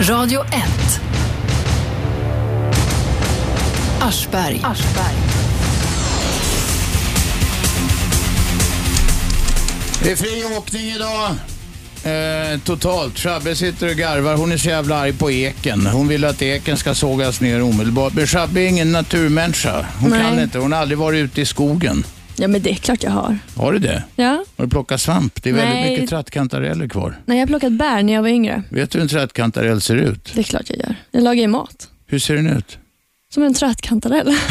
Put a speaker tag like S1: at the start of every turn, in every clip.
S1: Radio 1. Aschberg.
S2: Det är fri åkning idag. Eh, totalt. Shabbe sitter och garvar. Hon är så jävla arg på eken. Hon vill att eken ska sågas ner omedelbart. Men Shabbe är ingen naturmänniska. Hon
S3: Nej.
S2: kan inte. Hon har aldrig varit ute i skogen.
S3: Ja, men det är klart jag har.
S2: Har du det?
S3: Ja.
S2: Har du plockat svamp? Det är väldigt
S3: Nej.
S2: mycket trattkantareller kvar.
S3: Nej, jag har plockat bär när jag var yngre.
S2: Vet du hur en trattkantarell ser ut?
S3: Det är klart jag gör. Jag lagar ju mat.
S2: Hur ser den ut?
S3: Som en trattkantarell.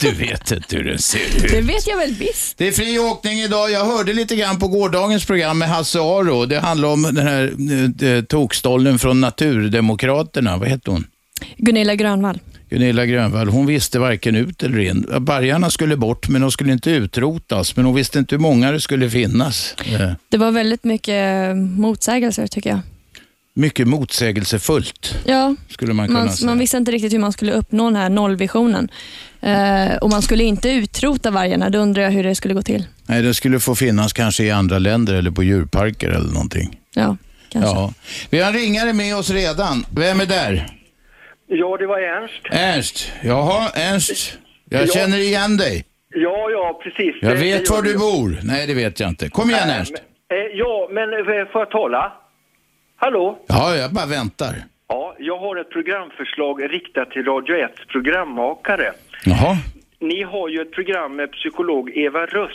S2: Du vet inte hur den ser ut.
S3: Det vet jag väl visst.
S2: Det är fri åkning idag. Jag hörde lite grann på gårdagens program med Hasse Aro. Det handlar om den här eh, eh, tokstollen från Naturdemokraterna. Vad hette hon?
S3: Gunilla Grönvall.
S2: Gunilla Grönvall, hon visste varken ut eller in. Bargarna skulle bort, men de skulle inte utrotas. Men hon visste inte hur många det skulle finnas. Eh,
S3: Det var väldigt mycket motsägelser tycker jag.
S2: Mycket motsägelsefullt,
S3: Ja,
S2: skulle man kunna
S3: man,
S2: säga.
S3: man visste inte riktigt hur man skulle uppnå den här nollvisionen. Eh, och man skulle inte utrota vargarna. Då undrar jag hur det skulle gå till.
S2: Nej, det skulle få finnas kanske i andra länder eller på djurparker eller någonting.
S3: Ja, kanske.
S2: Ja. Vi har en ringare med oss redan. Vem är där?
S4: Ja, det var Ernst.
S2: Ernst. Jaha, Ernst. Jag
S4: Ja.
S2: känner igen dig.
S4: Ja, ja, precis.
S2: Jag
S4: Det- det
S2: vet
S4: gör
S2: var du
S4: ju.
S2: bor. Nej, det vet jag inte. Kom igen
S4: Nej,
S2: Ernst.
S4: men- eh, Ja, men eh, får jag tala? Hallå?
S2: Ja, jag bara väntar.
S4: Ja, jag har ett programförslag riktat till Radio 1 programmakare.
S2: Jaha.
S4: Ni har ju ett program med psykolog Eva Röss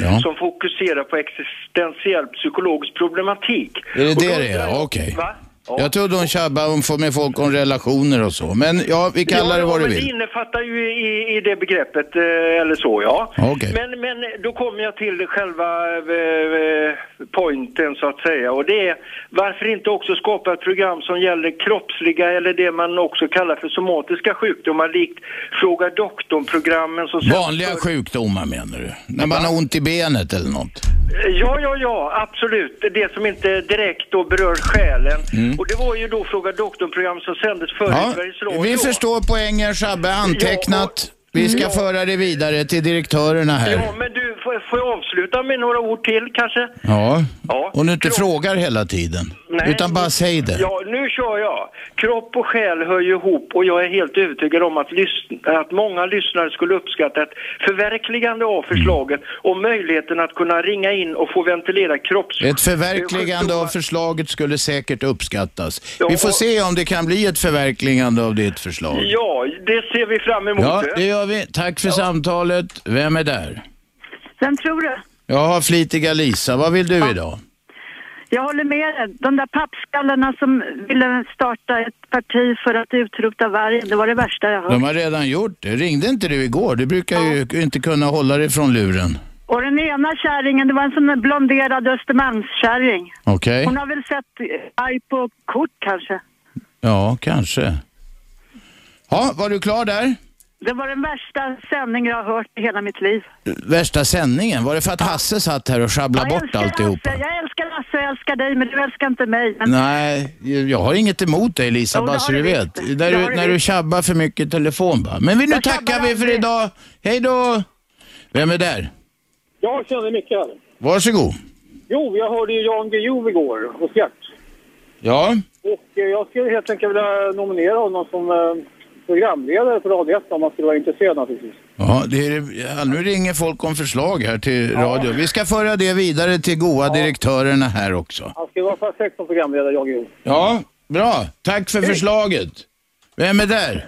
S2: Ja.
S4: som fokuserar på existentiell psykologisk problematik.
S2: Är det
S4: Och
S2: det
S4: då-
S2: det är? Okej.
S4: Va? Ja.
S2: Jag trodde hon tjabbade om få med folk om relationer och så. Men ja, vi kallar det vad du
S4: men Det
S2: vill.
S4: innefattar ju i, i det begreppet, eh, eller så ja.
S2: Okej.
S4: Men, men då kommer jag till själva eh, pointen så att säga. Och det är varför inte också skapa ett program som gäller kroppsliga eller det man också kallar för somatiska sjukdomar likt Fråga doktorn-programmen. som-
S2: Vanliga sjukdomar menar du? När man har ont i benet eller något?
S4: Eh, Ja, ja, ja, absolut. Det som inte direkt då berör själen. Och det var ju då Fråga doktorn-program som sändes förr i
S2: Mm. Ja,
S4: Sveriges Radio.
S2: vi förstår poängen. Shabbe har antecknat. Vi ska föra det vidare till direktörerna
S4: Mm. Ja,
S2: här.
S4: men du, får, får jag avsluta med några ord till kanske?
S2: Ja,
S4: Ja.
S2: och nu inte
S4: Kro-
S2: frågar hela tiden.
S4: Nej.
S2: Utan bara säg det.
S4: Ja, nu kör jag. Kropp och själ hör ju ihop och jag är helt övertygad om att, lys- att många lyssnare skulle uppskatta ett förverkligande av förslaget
S2: Mm.
S4: och möjligheten att kunna ringa in och få ventilera kropps...
S2: Ett förverkligande av
S4: sjukdomar.
S2: förslaget skulle säkert uppskattas.
S4: Ja,
S2: Vi får
S4: och-
S2: se om det kan bli ett förverkligande av ditt förslag.
S4: Ja, det ser vi fram emot.
S2: Ja, det gör vi. Tack för samtalet. Vem är där?
S5: Vem tror du?
S2: Jag har flitiga Lisa. Vad vill du idag?
S5: Jag håller med dig. De där pappskallarna som ville starta ett parti för att utrota vargen, det var det värsta jag hört.
S2: De har redan gjort det. Ringde inte du igår? Du brukar ju inte kunna hålla dig från luren.
S5: Och den ena kärringen, det var en sån där blonderad Östermalmskärring.
S2: Okej?
S5: Hon har väl sett eh, arg på kort kanske.
S2: Ja, kanske. Ja, var du klar där?
S5: Det var den värsta sändning jag har hört i hela mitt liv.
S2: Värsta sändningen, var det för att Hasse satt här och sjabblade
S5: jag
S2: bort
S5: älskar
S2: alltihopa?
S5: Lasse, jag älskar Lasse och jag älskar dig, men du älskar inte mig. Men
S2: Nej, jag har inget emot dig Lisa,
S5: Jo, det
S2: bara
S5: har
S2: så du
S5: du
S2: vet.
S5: visst.
S2: När
S5: Det har
S2: du,
S5: du
S2: när du
S5: visst.
S2: tjabbar för mycket i telefon bara. Men vi, nu
S5: Jag tjabbar
S2: tackar vi för
S5: aldrig.
S2: idag. Hej då! Vem är där?
S6: Jag känner Mikael.
S2: Varsågod.
S6: Jo, jag hörde ju Jan Guillou igår hos Gert.
S2: Ja,
S6: Och eh, jag skulle helt enkelt vilja nominera honom som eh, programledare för Radio 1 om man skulle vara intresserad naturligtvis.
S2: ja det är, ja, nu ringer folk om förslag här till radio. Vi ska föra det vidare till goa direktörerna här också.
S6: Han skulle vara perfekt som programledare, Jan Guillou.
S2: Ja, bra. Tack för förslaget. Vem är där?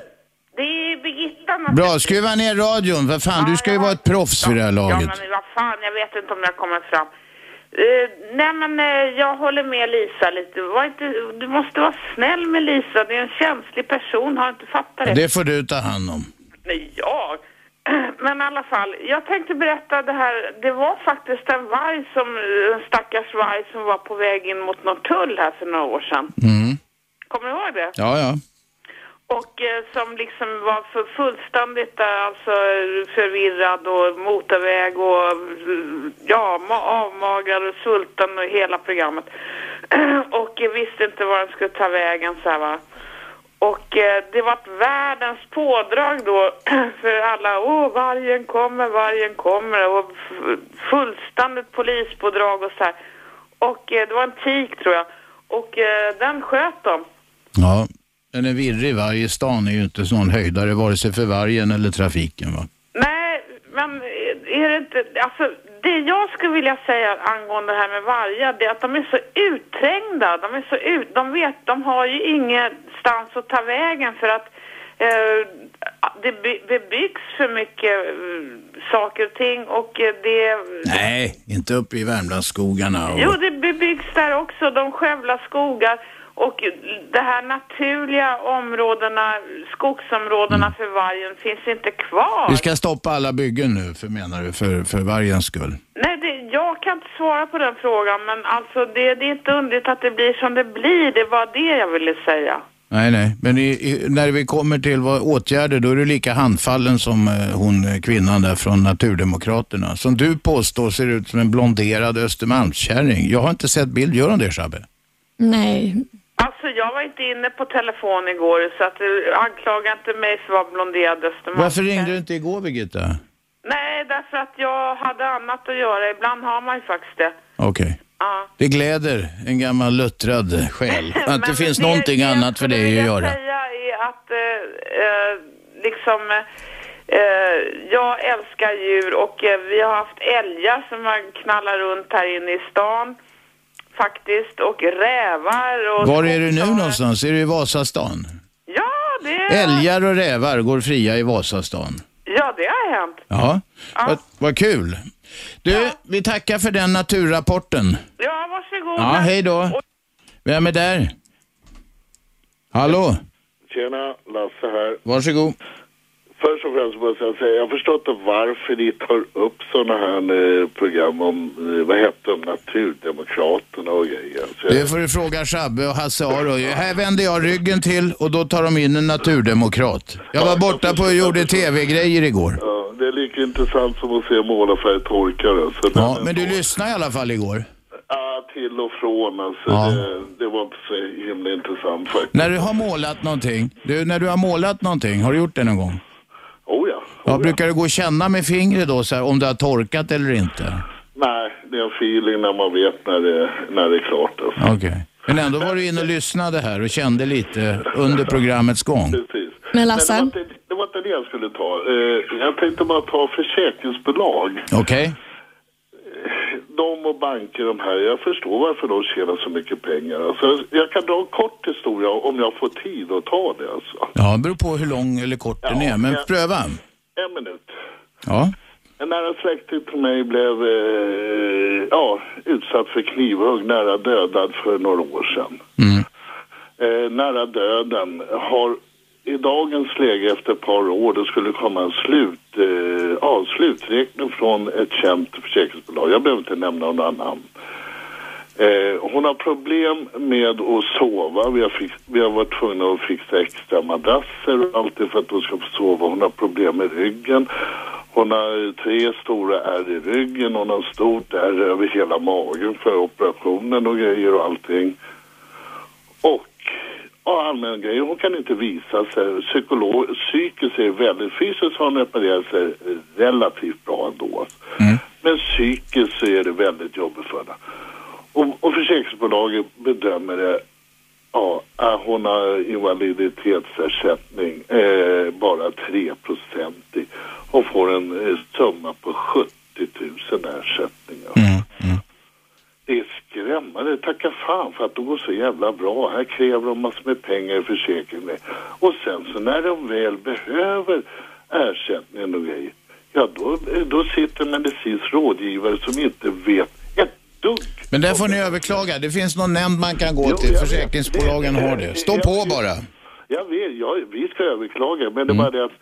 S7: Det är Birgitta
S2: Bra, skruva ner radion. Vad fan, du ska ju vara ett proffs vid det här
S7: Ja,
S2: laget.
S7: men vad fan, jag vet inte om jag kommer fram. Eh, nej, men eh, jag håller med Lisa lite. Var inte, du måste vara snäll med Lisa. Det är en känslig person, har inte fattat det?
S2: Det får du ta hand om.
S7: Nej, jag. Men i alla fall, jag tänkte berätta det här. Det var faktiskt en varg som, eh, en stackars varg som var på väg in mot Norrtull här för några år sedan.
S2: Mm.
S7: Kommer du ihåg det?
S2: Ja, ja.
S7: Och eh, som liksom var för fullständigt eh, alltså, förvirrad och motorväg och eh, ja, ma- avmagad och sulten och hela programmet. och eh, visste inte var den skulle ta vägen så här va. Och eh, det var världens pådrag då för alla. Åh, vargen kommer, vargen kommer. Och f- fullständigt polispådrag och så här. Och eh, det var en tik tror jag. Och eh, den sköt dem.
S2: Ja, den är virrig. Varje stan är ju inte någon höjdare, vare sig för vargen eller trafiken. Va?
S7: Nej, men är det inte... Alltså, det jag skulle vilja säga angående det här med vargar, det är att de är så utträngda. De är så ut... De vet, de har ju ingenstans att ta vägen för att eh, det by- bebyggs för mycket eh, saker och ting och eh, det...
S2: Nej, inte uppe i Värmlandsskogarna. Och...
S7: Jo, det bebyggs där också. De skövlar skogar och de här naturliga områdena, skogsområdena för vargen finns inte kvar.
S2: Mm. Vi ska stoppa alla byggen nu, för, menar du, för, för vargens skull.
S7: Nej, det, jag kan inte svara på den frågan, men alltså det, det är inte underligt att det blir som det blir. Det var det jag ville säga.
S2: Nej, nej. Men i, i, när vi kommer till vad, åtgärder, då är du lika handfallen som eh, hon eh, kvinnan där från Naturdemokraterna. Som du påstår ser ut som en blonderad Östermalmskärring. Jag har inte sett bild. Gör hon det, Shabbe?
S3: Nej.
S7: Alltså jag var inte inne på telefon igår, så att, eh, anklaga inte mig för att vara blonderad Östermalm.
S2: Varför ringde du inte igår, Birgitta?
S7: Nej, därför att jag hade annat att göra. Ibland har man ju faktiskt det.
S2: Okej.
S7: Ja.
S2: Det gläder en gammal luttrad själ att det
S7: Men
S2: finns någonting annat för dig att
S7: Det
S2: göra.
S7: jag skulle vilja säga är att eh, eh, liksom, eh, jag älskar djur och eh, vi har haft älgar som har knallat runt här inne i stan faktiskt och rävar och...
S2: Var är du nu någonstans? Är du i Vasastan?
S7: Ja, det,
S2: Älgar och rävar går fria i Vasastan.
S7: ja, det har hänt.
S2: Ja, vad, vad kul. Du, vi tackar för den naturrapporten.
S7: Ja, varsågod.
S2: Ja, hej då. Vem är där? Hallå?
S8: Tjena, Lasse här.
S2: Varsågod.
S8: Först och främst måste jag säga, jag förstår inte varför ni tar upp sådana här eh, program om, eh, vad hette de, Naturdemokraterna och grejer. Alltså,
S2: Det får du fråga Shabbe och Hasse Aro. Här vänder jag ryggen till och då tar de in en naturdemokrat. Jag var borta på och gjorde tv-grejer igår.
S8: ja, det är lika intressant som att se målarfärg torka. Alltså,
S2: Ja, men du lyssnade i alla fall igår.
S8: Ja, till och från alltså.
S2: Ja.
S8: Det, det var inte så himla intressant faktiskt.
S2: När du har målat någonting, du, när du har målat någonting, har du gjort det någon gång?
S8: Oh ja.
S2: Ja, brukar du gå och känna med fingret då så här, om det har torkat eller inte?
S8: Nej, det är en feeling när man vet när det, när det är klart. Alltså.
S2: Okej. Men ändå var du inne och lyssnade här och kände lite under programmets gång.
S8: Precis.
S3: Men Lasse?
S8: Men det, var inte, det var inte det jag skulle ta. Eh, jag tänkte bara ta försäkringsbolag.
S2: Okej?
S8: De och banker de här, jag förstår varför de tjänar så mycket pengar. Alltså, jag kan dra en kort historia om jag får tid att ta det alltså.
S2: Ja, det beror på hur lång eller kort den är, men
S8: ja.
S2: pröva.
S8: En minut.
S2: Ja.
S8: En nära släkting till mig blev eh, ja, utsatt för knivhugg, nära dödad för några år sedan.
S2: Mm.
S8: Eh, nära döden har i dagens läge efter ett par år det skulle komma en slut, eh, ja, sluträkning från ett känt försäkringsbolag. Jag behöver inte nämna några namn. Eh, hon har problem med att sova. Vi har, fix, vi har varit tvungna att fixa extra madrasser och allt det för att hon ska få sova. Hon har problem med ryggen. Hon har tre stora ärr i ryggen. Hon har stort ärr över hela magen för operationen och grejer och allting. Och ja, allmän grej, hon kan inte visa sig. Psykolog, psykiskt är väldigt, fysiskt har hon reparerat sig eh, relativt bra ändå. Men psykiskt så är det väldigt jobbigt för henne. Och, och försäkringsbolaget bedömer det, ja, att hon har invaliditetsersättning eh, bara 3 i och får en eh, summa på 70 000 ersättningar. Det är skrämmande. Tacka fan för att de går så jävla bra. Här kräver de massor med pengar i försäkringen. Och sen så när de väl behöver ersättningen och grejer, ja då, då sitter en medicinsk rådgivare som inte vet ett dugg.
S2: Men där får ni överklaga. Det finns någon nämnd man kan gå till. Försäkringsbolagen har det. Stå på bara.
S8: Jag vet, jag, vi ska överklaga, men det är bara det att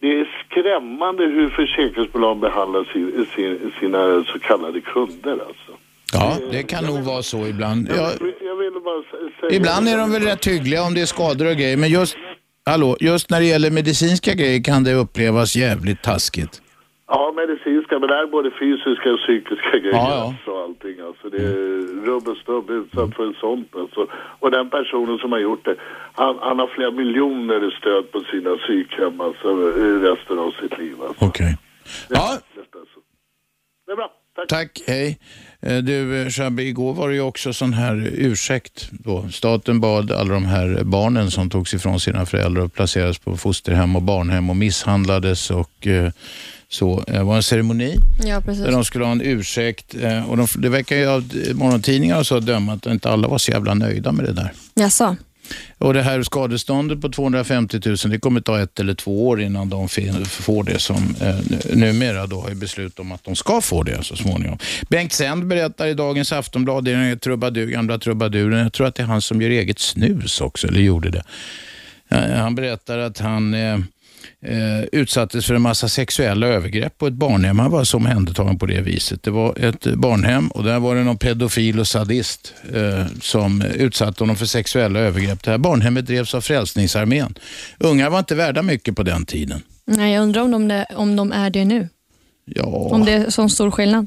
S8: det är skrämmande hur försäkringsbolagen behandlar sin, sin, sina så kallade kunder alltså.
S2: Ja, det kan nog vara så ibland. Ja,
S8: Jag vill bara sä- säga...
S2: ibland är de väl rätt hyggliga om det är skador och grejer, men just, hallå, just när det gäller medicinska grejer kan det upplevas jävligt taskigt.
S8: Ja, medicinska, men det är både fysiska och psykiska grejer
S2: Ja,
S8: och allting. Alltså, det är rubb och stubb utsatt för sånt. Alltså. Och den personen som har gjort det, han, han har flera miljoner i stöd på sina psykhem alltså, i resten av sitt liv. Alltså.
S2: Okej. Ja,
S8: Det är bra. Tack.
S2: Tack, hej. Eh, Du, eh, Shabby, igår var det ju också sån här ursäkt. Då. Staten bad alla de här barnen som togs ifrån sina föräldrar och placerades på fosterhem och barnhem och misshandlades och eh, så. Eh, Det var en ceremoni
S3: Ja,
S2: där
S3: precis.
S2: de skulle ha en ursäkt. eh, Och de, det verkar ju av morgontidningar och så att döma att inte alla var så jävla nöjda med det där.
S3: Jaså?
S2: Och det här skadeståndet på 250 000, det kommer ta ett eller två år innan de fin- får det som eh, nu- numera då har ju beslut om att de ska få det så småningom. Bengt Sänd berättar i dagens Aftonblad, det är den här trubadur, gamla trubaduren, jag tror att det är han som gör eget snus också, eller gjorde det. Eh, Han berättar att han eh, eh, utsattes för en massa sexuella övergrepp på ett barnhem. Han var som händertagen på det viset. Det var ett barnhem och där var det någon pedofil och sadist eh, som utsatte honom för sexuella övergrepp. Det här barnhemmet drevs av Frälsningsarmén. Ungar var inte värda mycket på den tiden.
S3: Nej, jag undrar om de, det- om de är det nu.
S2: Ja,
S3: Om det är sån stor skillnad.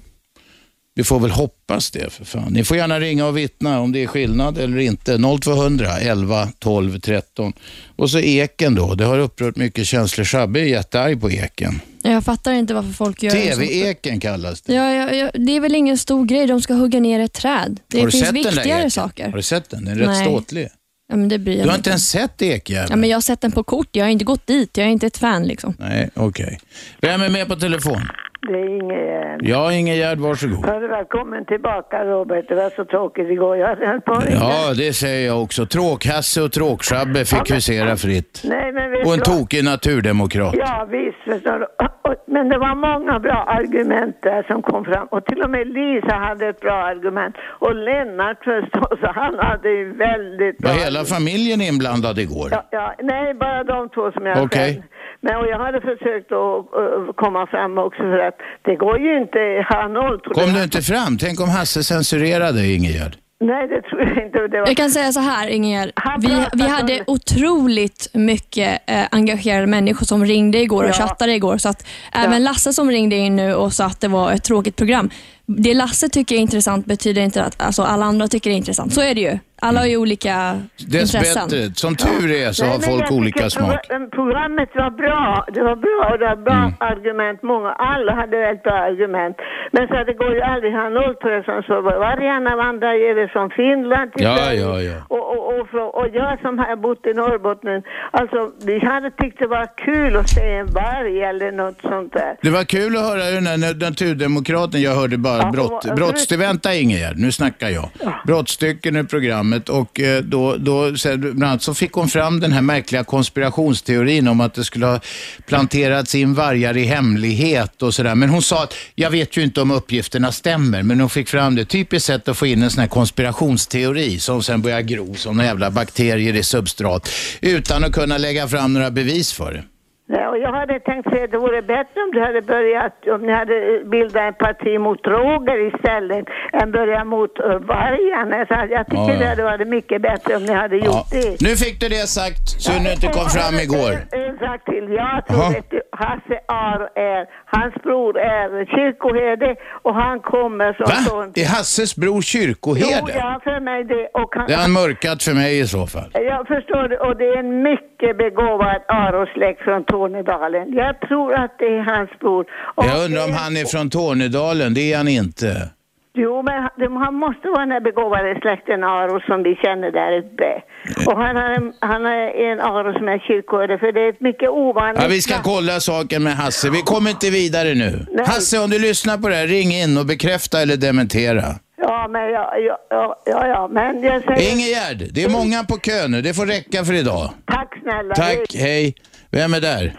S2: vi får väl hoppas det för fan. Ni får gärna ringa och vittna om det är skillnad eller inte. 0200 11 12 13. Och så Eken då. Det har upprört mycket känslor. Shabbe är jättearg på Eken.
S3: Jag fattar inte varför folk gör en sån-
S2: TV-eken kallas det.
S3: Ja, ja, ja, det är väl ingen stor grej. De ska hugga ner ett träd. Det
S2: Har du
S3: finns
S2: sett den där
S3: viktigare
S2: eken?
S3: saker.
S2: Har du sett den? Den är rätt
S3: Nej.
S2: ståtlig.
S3: Ja, men det bryr jag
S2: Du har
S3: mig
S2: inte ens sett ekjäveln?
S3: Ja, men jag har sett den på kort. Jag har inte gått dit. Jag är inte ett fan. liksom.
S2: Nej, okej. Vem är med på telefon?
S9: Det är inget...
S2: Ja, Ingegärd, varsågod.
S9: Hörru, välkommen tillbaka Robert. Det var så tråkigt igår. Jag höll på att ringa.
S2: Ja, det säger jag också. Tråkhasse och tråksjabbe fick husera fritt.
S9: Nej, men visst
S2: Och en
S9: var-
S2: tokig naturdemokrat.
S9: Ja, visst förstår du. Och- och- Men det var många bra argument där som kom fram. Och till och med Lisa hade ett bra argument. Och Lennart förstås, han hade ju väldigt bra
S2: Var hela familjen inblandad igår?
S9: Ja, ja, nej, bara de två som jag
S2: Okej.
S9: själv. Men och jag hade försökt att eh, komma fram också för att det går ju inte, han noll
S2: Kom du inte fram? Tänk om Hasse censurerade Ingegärd?
S9: Nej, det tror jag inte. Det var...
S3: Jag kan säga så här, Ingegerd. Vi, vi hade otroligt mycket eh, engagerade människor som ringde igår och
S9: Ja.
S3: chattade igår. Så att Även Lasse som ringde in nu och sa att det var ett tråkigt program. Det Lasse tycker är intressant betyder inte att alltså, alla andra tycker det är intressant. Så är det ju. Alla har ju olika intressen.
S2: Dessbättre. Som tur är så
S9: Nej, men
S2: har
S9: jag
S2: folk
S9: tycker
S2: olika smak.
S9: progr-
S2: Mm.
S9: Programmet var bra. Det var bra och det var bra argument. Många, alla hade väldigt bra argument. Men så att det går ju aldrig att ha noll på det som så. Vargarna vandrar ju över från Finland till
S2: Ja,
S9: Sverige.
S2: ja, ja.
S9: Och, och, och, från, och jag som har bott i Norrbotten, alltså vi hade tyckt det var kul att se en varg eller något sånt där.
S2: Det var kul att höra den där naturdemokraten. Jag hörde bara brott, brotts... Vänta Ingegerd, nu snackar jag. Brottstycken i programmet och eh, då, då, så- bland annat så fick hon fram den här märkliga konspirationsteorin om att det skulle ha planterats in vargar i hemlighet och sådär. Men hon sa att, jag vet ju inte om uppgifterna stämmer, men hon fick fram det. Typiskt sätt att få in en sån här konspirationsteori som sen börjar gro som några jävla bakterier i substrat utan att kunna lägga fram några bevis för det.
S9: Ja, och jag hade tänkt säga att det vore bättre om du hade börjat, om ni hade bildat ett parti mot droger istället än börja mot eh, vargarna. Så att jag tycker
S2: Ja, ja.
S9: det hade varit mycket bättre om ni hade gjort det.
S2: Nu fick du det sagt, så nu inte kom fram igår.
S9: En sak till. Jag
S2: Jaha.
S9: tror vet du, Hasse Aro är, hans bror är kyrkoherde och han kommer från...
S2: Va? Är Hasses bror
S9: Jo,
S2: kyrkoherde?
S9: ja, för mig det. Och han,
S2: Det har han mörkat för mig i så fall.
S9: Jag förstår det. Och det är en mycket begåvad Arosläkt från Tornedalen. Jag tror att det är hans bror. Och
S2: Jag undrar om han är från Tornedalen, det är han inte.
S9: Jo, men han- de- han måste vara den där begåvade släkten Aro som vi känner där uppe. Och han har en, han har en Aro som är kyrkoherde, för det är ett mycket ovanligt...
S2: Ja, vi ska kolla saken med Hasse, vi kommer inte vidare nu. Hasse, om du lyssnar på det här, ring in och bekräfta eller dementera.
S9: Ja, men jag... Ja, ja, ja, ja, men jag säger...
S2: Ingegärd, det är många på kö nu, det får räcka för idag.
S9: Tack snälla.
S2: Tack, hej. Vem är där?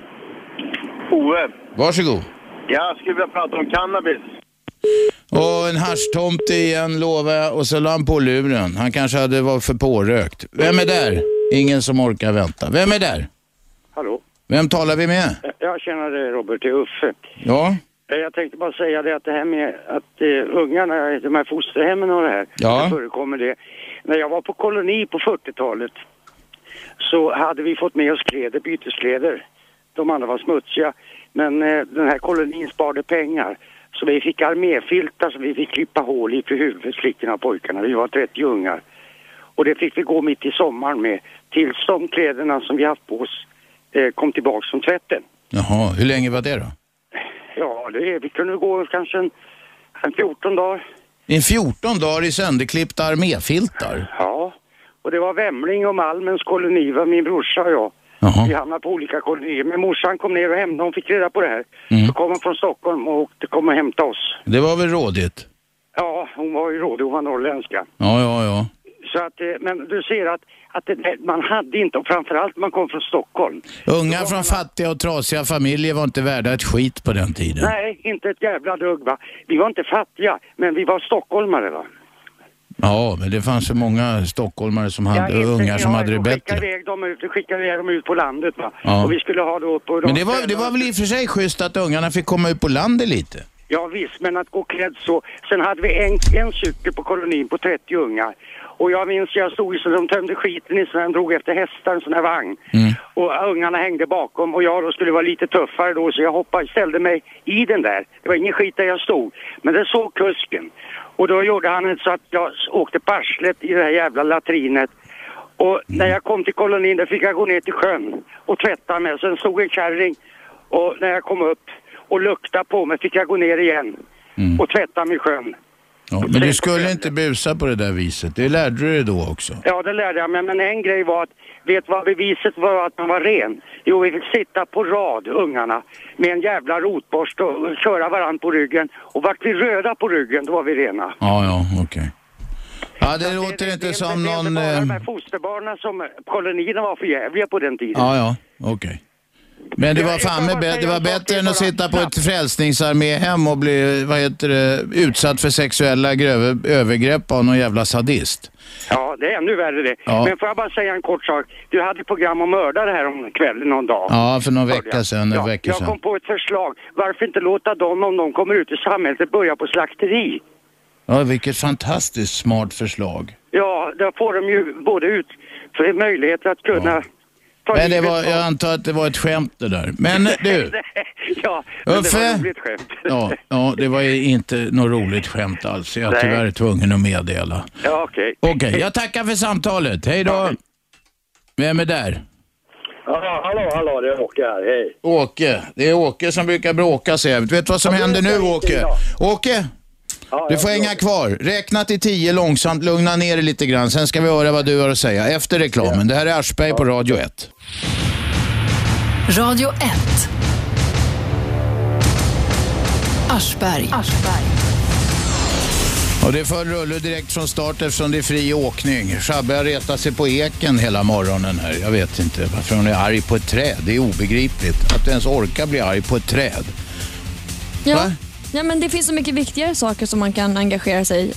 S10: Ove,
S2: Varsågod.
S10: jag skulle vilja prata om cannabis.
S2: Och en haschtomte igen lovar jag och så la han på luren. Han kanske hade varit för pårökt. Vem är där? Ingen som orkar vänta. Vem är där?
S10: Hallå?
S2: Vem talar vi med?
S10: Jag känner dig Robert, det är Uffe.
S2: Ja,
S10: Eh, Jag tänkte bara säga det att det här med att eh, ungarna, de här fosterhemmen och det här,
S2: Ja.
S10: det förekommer det. När jag var på koloni på 40-talet så hade vi fått med oss kläder, byteskläder. De andra var smutsiga. Men eh, den här kolonin sparade pengar. Så vi fick arméfiltar som vi fick klippa hål i för huvudet, flickorna och pojkarna. Vi var 30 ungar. Och det fick vi gå mitt i sommaren med tills de kläderna som vi haft på oss eh, kom tillbaks från tvätten.
S2: jaha. Hur länge var det då?
S10: Ja, det, vi kunde gå kanske en, en 14 dagar.
S2: I 14 dagar i sönderklippta arméfiltar.
S10: Ja, och det var Vämling och Malmens koloni, var min brorsa och jag. Vi hamnade på olika kolonier, men morsan kom ner och hämtade, hon fick reda på det här. Så kom hon från Stockholm och åkte, kom och hämtade oss.
S2: Det var väl rådigt?
S10: Ja, hon var ju rådig, hon var norrländska.
S2: Ja, ja, ja.
S10: Så att, eh, men du ser att, att det, där- man hade inte, och framförallt man kom från Stockholm.
S2: Ungar från fattiga och trasiga familjer var inte värda ett skit på den tiden.
S10: Nej, inte ett jävla dugg va. Vi var inte fattiga, men vi var stockholmare va.
S2: Ja, men det fanns så många stockholmare som hade,
S10: inte-
S2: ungar som
S10: ja,
S2: hade det
S10: och
S2: bättre.
S10: Skickade iväg dem ut, skickade iväg dem ut på landet va.
S2: Ja.
S10: Och vi skulle ha då på de
S2: Men det var, det
S10: ställena-
S2: var väl i och för sig schysst att ungarna fick komma ut på landet lite?
S10: Ja visst, men att gå klädd så. Sen hade vi en, en cykel på kolonin på 30 ungar. Och jag minns, jag stod i så de tömde skiten i så de drog efter hästar, en sån här vagn. Och ungarna hängde bakom och jag då skulle vara lite tuffare då så jag hoppade, ställde mig i den där. Det var ingen skit där jag stod. Men det såg kusken. Och då gjorde han ett så att jag s- åkte på arslet i det här jävla latrinet. Och när jag kom till kolonin där fick jag gå ner till sjön och tvätta mig. Sen stod en kärring och när jag kom upp och luktade på mig fick jag gå ner igen
S2: Mm.
S10: och tvätta mig i sjön.
S2: Ja, men du skulle inte busa på det där viset. Det lärde du dig då också.
S10: Ja, det lärde jag mig. Men en grej var att, vet vad beviset var att man var ren? Jo, vi fick sitta på rad, ungarna, med en jävla rotborste och köra varann på ryggen. Och vart vi röda på ryggen, då var vi rena.
S2: Ja, ja, okej. Ja, det låter inte som någon...
S10: Bara
S2: eh,
S10: de här fosterbarnen som kolonierna var för jävliga på den tiden.
S2: Ja, ja, okej. Men det var fan med bä- det var bättre än att sitta på ett frälsningsarméhem och bli, vad heter det, utsatt för sexuella gröve, övergrepp av någon jävla sadist.
S10: Ja, det är ännu värre det.
S2: Ja.
S10: Men får jag bara säga en kort sak? Du hade program om mördare här om kvällen någon dag.
S2: Ja, för någon
S10: Hörde
S2: vecka
S10: jag.
S2: sedan, några
S10: Ja,
S2: veckor
S10: Jag
S2: sedan.
S10: kom på ett förslag. Varför inte låta dem, om de kommer ut i samhället, börja på slakteri?
S2: Ja, vilket fantastiskt smart förslag.
S10: Ja, då får de ju både ut för möjligheter att kunna... Ta
S2: Men det
S10: livet
S2: var,
S10: av-
S2: jag antar att det var ett skämt det där. Men du,
S10: ja, men det var
S2: Uffe?
S10: ett roligt skämt.
S2: ja, ja, det var ju inte något roligt skämt alls. Jag är
S10: Nej.
S2: tyvärr tvungen att meddela.
S10: Ja, okej.
S2: Okej, jag tackar för samtalet. Hej då! Vem är där?
S11: Ja, hallå, hallå, det är Åke här. Hej.
S2: Åke. Det är Åke som brukar bråka sig jävligt. Vet du vad som
S11: Ja, det
S2: händer
S11: ska
S2: nu
S11: vi inte
S2: Åke?
S11: idag.
S2: Åke! Du
S11: jag
S2: får hänga kvar. Räkna till tio långsamt, lugna ner dig lite grann. Sen ska vi höra vad du har att säga efter reklamen. Det här är Aschberg på Radio 1.
S1: Radio 1. Aschberg.
S2: Och det är full rulle direkt från start eftersom det är fri åkning. Shabbe har retat sig på eken hela morgonen här. Jag vet inte varför hon är arg på ett träd. Det är obegripligt att du ens orkar bli arg på ett träd.
S3: Ja. ja, men det finns så mycket viktigare saker som man kan engagera sig i.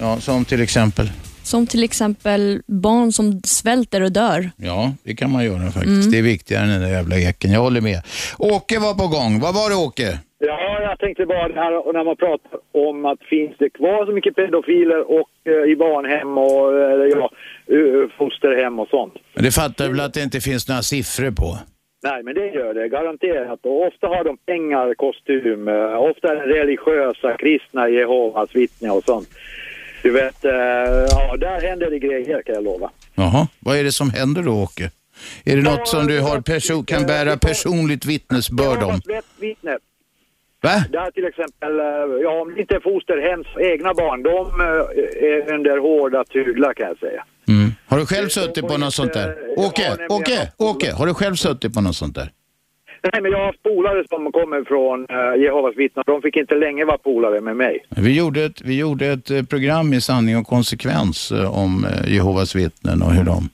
S2: Ja, som till exempel.
S3: Som till exempel barn som svälter och dör.
S2: Ja, det kan man göra faktiskt. Det är viktigare än den där jävla eken. Jag håller med. Åke var på gång. Vad var det Åke?
S11: Ja, jag tänkte bara det här och när man pratar om att finns det kvar så mycket pedofiler och eh, i barnhem och eh, ja, eh, fosterhem och sånt.
S2: Men det fattar du väl att det inte finns några siffror på?
S11: Nej, men det gör det garanterat. Och ofta har de pengar, kostym, eh, ofta är det religiösa, kristna, Jehovas vittnen och sånt. Du vet, eh, ja, där händer det grejer kan jag lova.
S2: Jaha, vad är det som händer då Åke? Är det något som du har perso- kan bära personligt vittnesbörd om?
S11: Rätt vittne.
S2: Va?
S11: Där till exempel, eh, ja om det inte är fosterhems egna barn, de eh, är under hårda tyglar kan jag säga.
S2: Mm. Har du själv suttit på något sånt där? Åke, Åke, Åke, har du själv suttit på något sånt där?
S11: Nej men jag har haft polare som kommer från eh, Jehovas vittnen, de fick inte länge vara polare med mig.
S2: Vi gjorde ett, vi gjorde ett eh, program i sanning och konsekvens eh, om eh, Jehovas vittnen och hur de,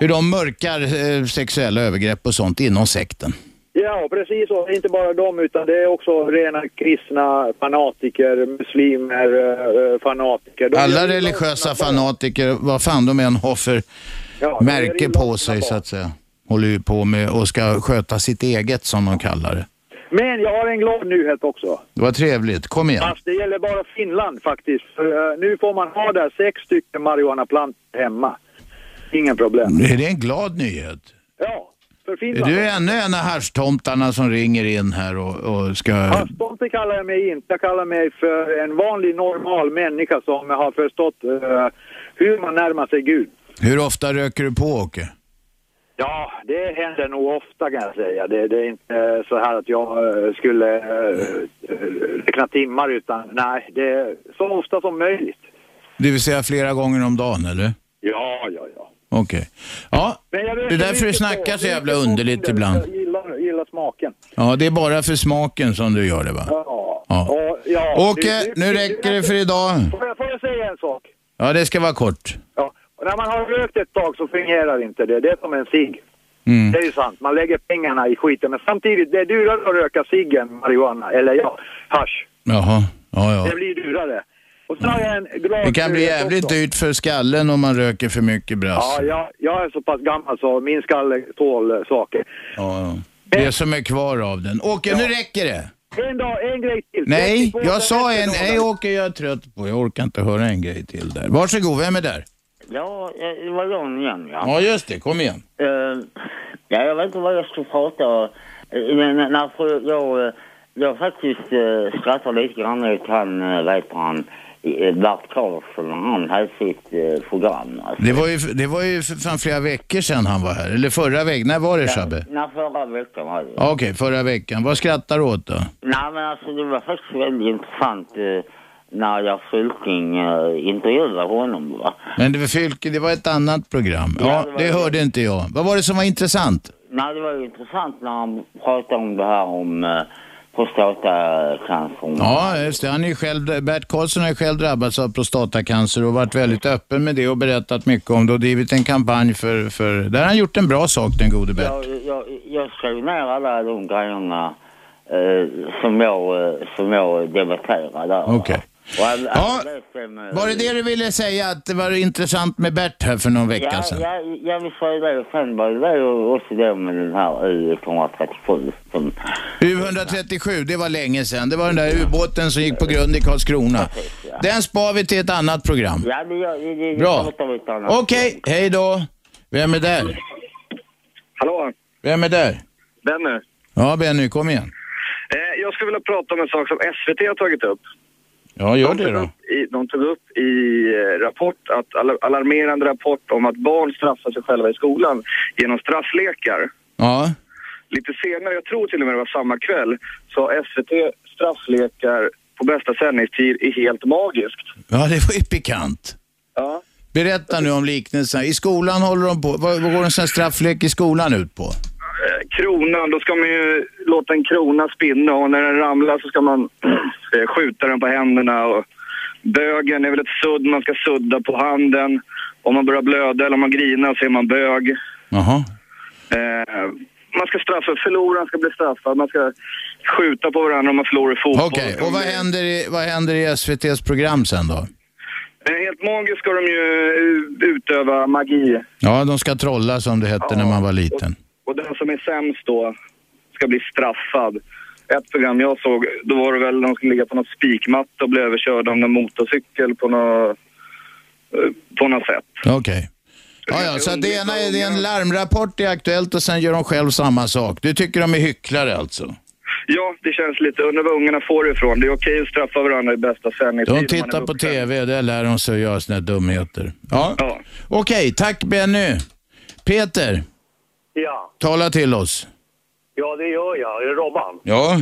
S2: hur de mörkar eh, sexuella övergrepp och sånt inom sekten.
S11: Ja, precis så. Inte bara de, utan det är också rena kristna fanatiker, muslimer, eh, eh, fanatiker. De
S2: Alla religiösa fanatiker, vad fan de än har för märke på sig så att säga, håller ju på med och ska sköta sitt eget som de kallar det.
S11: Men jag har en glad nyhet också.
S2: Det var trevligt, kom igen.
S11: Fast det gäller bara Finland faktiskt. För, eh, nu får man ha där sex stycken marijuanaplantor hemma. Ingen problem.
S2: Är det en glad nyhet?
S11: Ja, för
S2: Är
S11: Finland.
S2: du ännu en av haschtomtarna som ringer in här och, och ska...
S11: Tomte kallar jag mig inte. Jag kallar mig för en vanlig normal människa som har förstått eh, hur man närmar sig Gud.
S2: Hur ofta röker du på Åke?
S11: Ja, det händer nog ofta kan jag säga. Det, det är inte eh, så här att jag eh, skulle eh, räkna timmar utan nej, det är så ofta som möjligt.
S2: Det vill säga flera gånger om dagen, eller?
S11: Ja, ja, ja.
S2: Okej. Ja,
S11: Men jag vet
S2: det är
S11: inte
S2: därför det
S11: riktigt
S2: snackar
S11: vad-
S2: så jävla
S11: det är inte
S2: underligt
S11: bonden.
S2: ibland.
S11: Jag gillar, gillar smaken.
S2: Ja, det är bara för smaken som du gör det, va?
S11: Ja.
S2: Ja.
S11: Och, ja
S2: Åke, eh, nu räcker det för idag.
S11: Får jag, får jag säga en sak?
S2: Ja, det ska vara kort.
S11: Ja. När man har rökt ett tag så fungerar inte det. Det är som en cigg.
S2: Mm.
S11: Det är ju sant. Man lägger pengarna i skiten. Men samtidigt, det är dyrare att röka ciggen, marijuana, eller ja, hasch.
S2: Jaha. Ja, ja.
S11: Det blir dyrare. Och sen har jag en glad...
S2: Det kan bli
S11: nyhet
S2: jävligt
S11: också.
S2: alltså. dyrt för skallen om man röker för mycket brass.
S11: Ja, jag, jag är så pass gammal så min skalle tål eh, saker.
S2: Ja, ja. Det som är kvar av den. Åke, nu räcker det.
S11: En dag, en grej till.
S2: Nej,
S11: 32
S2: jag sa
S11: dagar
S2: en.
S11: efter
S2: Nej,
S11: dagen.
S2: Åke, jag är trött på. Jag orkar inte höra en grej till där. Varsågod, vem är där?
S12: Ja, eh, det var Jan igen ja.
S2: Ja, just det. Kom igen.
S12: Eh, ja, jag vet inte vad jag ska prata om. Eh, Men när fru, jag, eh, jag faktiskt eh, skrattar lite grann åt han, eh, vad heter han, eh, Bert Karlsson, när han hade sitt eh, program. Alltså.
S2: Det var ju, det var ju för fan flera veckor sedan han var här. Eller förra veckan. När var det, Shabbe?
S12: När förra veckan var det.
S2: Ja, Okej, förra veckan. Vad skrattar du åt då?
S12: Nej men alltså det var faktiskt väldigt intressant eh, när jag Fylking eh, intervjuade honom va.
S2: Men det var, Fylke, det var ett annat program. Ja, det hörde inte jag. Vad var det som var intressant?
S12: Nej, det var ju intressant när han pratade om det här om eh, prostatacancern.
S2: Ja, just det. Han är ju själv, Bert Karlsson har ju själv drabbats av prostatacancer och varit väldigt öppen med det och berättat mycket om det och drivit en kampanj för, för... Där har han gjort en bra sak, den gode Bert.
S12: Jag, jag, jag skrev ner alla de grejerna eh, som, jag, eh, som jag debatterade där.
S2: Okej.
S12: Och jag,
S2: Ja,
S12: jag läste med-
S2: Var det det du ville säga, att det var intressant med Bert här för någon vecka sedan?
S12: Ja, ja, ja, vi sa ju det. Och Sen var det det och också det med den här U137 som...
S2: U137, det var länge sedan. Det var den där ubåten som gick på grund i Karlskrona. Den spar vi till ett annat program.
S12: Ja, det, det, det, det
S2: Bra.
S12: pratar vi inte om.
S2: Okej, hej då. Vem är där?
S13: Hallå,
S2: Vem är där?
S13: Benny.
S2: Ja, Benny, kom igen.
S13: Eh, jag skulle vilja prata om en sak som SVT har tagit upp.
S2: Ja, gör det då.
S13: I, de tog upp i eh, rapport, att al- alarmerande rapport om att barn straffar sig själva i skolan genom strafflekar.
S2: Ja.
S13: Lite senare, jag tror till och med det var samma kväll, sa SVT strafflekar på bästa sändningstid är helt magiskt.
S2: Ja, det var ju pikant.
S13: Ja.
S2: Berätta nu om liknelsen. I skolan håller de på... Vad, vad går en sån här strafflek i skolan ut på?
S13: Eh, Kronan, då ska man ju låta en krona spinna och när den ramlar så ska man eh, skjuta den på händerna. Och bögen är väl ett sudd, man ska sudda på handen. Om man börjar blöda eller om man grinar så är man bög.
S2: Jaha.
S13: Eh, man ska straffa, förloraren ska bli straffad, man ska skjuta på varandra om man förlorar i fotboll.
S2: Okej, och vad händer, i, vad händer i SVTs program sen då?
S13: Eh, Helt magiskt ska de ju eh, utöva magi
S2: Ja, de ska trolla som det hette när man var liten.
S13: och den som är sämst då ska bli straffad. Ett program jag såg, då var det väl de skulle ligga på något spikmatta och bli överkörda av någon motorcykel på något, eh, på något sätt.
S2: Okej. Ja, ja, så att det ena är, det är en larmrapport i Aktuellt och sen gör de själv samma sak. Du tycker de är hycklare alltså?
S13: Ja, det känns lite, undrar var ungarna får det ifrån. Det är okej att straffa varandra i bästa sändningstid. om
S2: De
S13: man är
S2: tittar på
S13: vuxen.
S2: TV, där lär de sig att göra såna här dumheter. Ja. Okej, tack Benny. Peter,
S6: Ja,
S2: tala till oss.
S6: ja det gör jag. Är det Robban?
S2: Ja.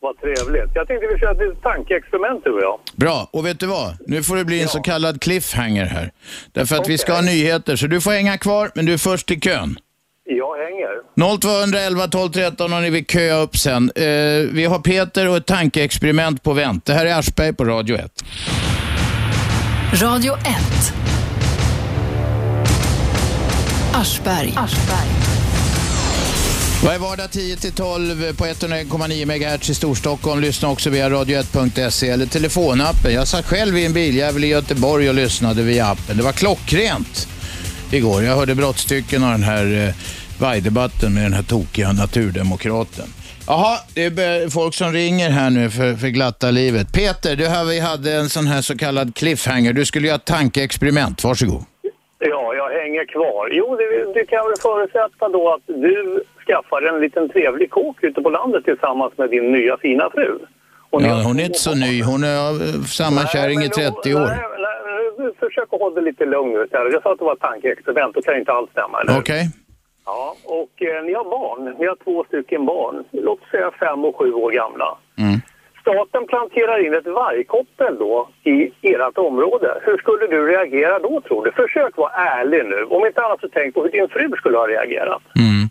S6: Vad trevligt. Jag tänkte vi kör ett litet tankeexperiment du och jag.
S2: Bra, och vet du vad? Nu får det bli en så kallad cliffhanger här. Därför att vi ska ha nyheter, så du får hänga kvar, men du är först i kön.
S6: Jag hänger.
S2: 0211 12 13 om ni vill köa upp sen. Eh, vi har Peter och ett tankeexperiment på vänt. Det här är Aschberg på Radio 1.
S1: Radio 1. Aschberg.
S2: Varje vardag 10-12 på 101,9 MHz i Storstockholm. Lyssna också via radio1.se eller telefonappen. Jag satt själv i en biljävel i Göteborg och lyssnade via appen. Det var klockrent igår. Jag hörde brottstycken av den här eh, vajdebatten med den här tokiga naturdemokraten. Jaha, det är be- folk som ringer här nu för, för glatta livet. Peter, du här, vi hade en sån här så kallad cliffhanger. Du skulle göra ett tankeexperiment. Varsågod.
S6: Ja, jag hänger kvar. Jo, det, det kan väl förutsätta då att du skaffar en liten trevlig kåk ute på landet tillsammans med din nya fina fru.
S2: Ja, hon är inte så ny. Hon är av eh, samma kärring i 30 år.
S6: Nej, nu- Försök att hålla det lite lugn nu. Sarah. Jag sa att det var ett tankeexperiment. Det kan ju inte alls stämma, eller
S2: Okej.
S6: hur? Ja, och eh, ni har barn. Ni har två stycken barn. Låt säga fem och sju år gamla.
S2: Mm.
S6: Staten planterar in ett vargkoppel då i ert område. Hur skulle du reagera då tror du? Försök vara ärlig nu. Om inte annat så tänk på hur din fru skulle ha reagerat.
S2: Mm.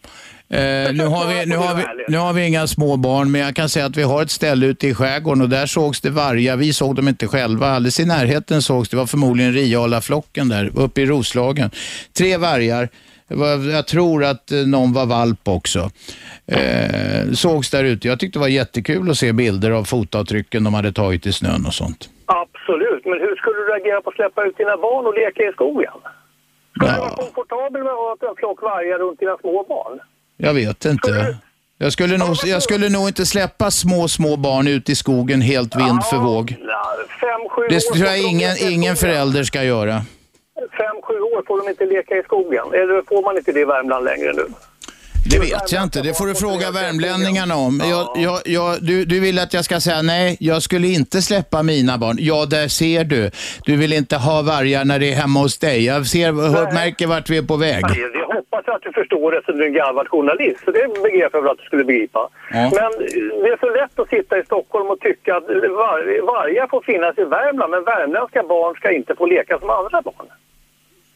S2: Eh, nu, har vi, nu, har vi, nu har vi inga små barn, men jag kan säga att vi har ett ställe ute i skärgården och där sågs det vargar. Vi såg dem inte själva. Alldeles i närheten sågs det, var förmodligen Riala-flocken där uppe i Roslagen. Tre vargar. Det var- Jag tror att eh, någon var valp också. Eh, sågs där ute. Jag tyckte det var jättekul att se bilder av fotavtrycken de hade tagit i snön och sånt.
S6: Absolut, men hur skulle du reagera på att släppa ut dina barn och leka i skogen? Skulle du vara komfortabel med att ha en flock vargar runt dina små barn?
S2: Jag vet inte. Jag skulle, nog, jag skulle nog inte släppa små, små barn ut i skogen helt vind för våg.
S6: Fem, sju
S2: Det
S6: år
S2: tror jag
S6: får de
S2: ingen,
S6: leka i
S2: ingen
S6: skogen.
S2: förälder ska göra.
S6: Fem, sju år får de inte leka i skogen. Eller får man inte det i Värmland längre nu?
S2: Det vet jag inte. Det får du fråga värmlänningarna om. Jag, jag, jag, du, du vill att jag ska säga nej, jag skulle inte släppa mina barn. Ja, där ser du. Du vill inte ha vargar när det är hemma hos dig. Jag ser, hör, märker vart vi är på väg.
S6: Nej, Jag hoppas att du förstår eftersom du är en garvad journalist. Så det begrep jag väl att du skulle begripa.
S2: Ja.
S6: Men eh, det är så lätt att sitta i Stockholm och tycka att var, vargar får finnas i Värmland men värmländska barn ska inte få leka som andra barn.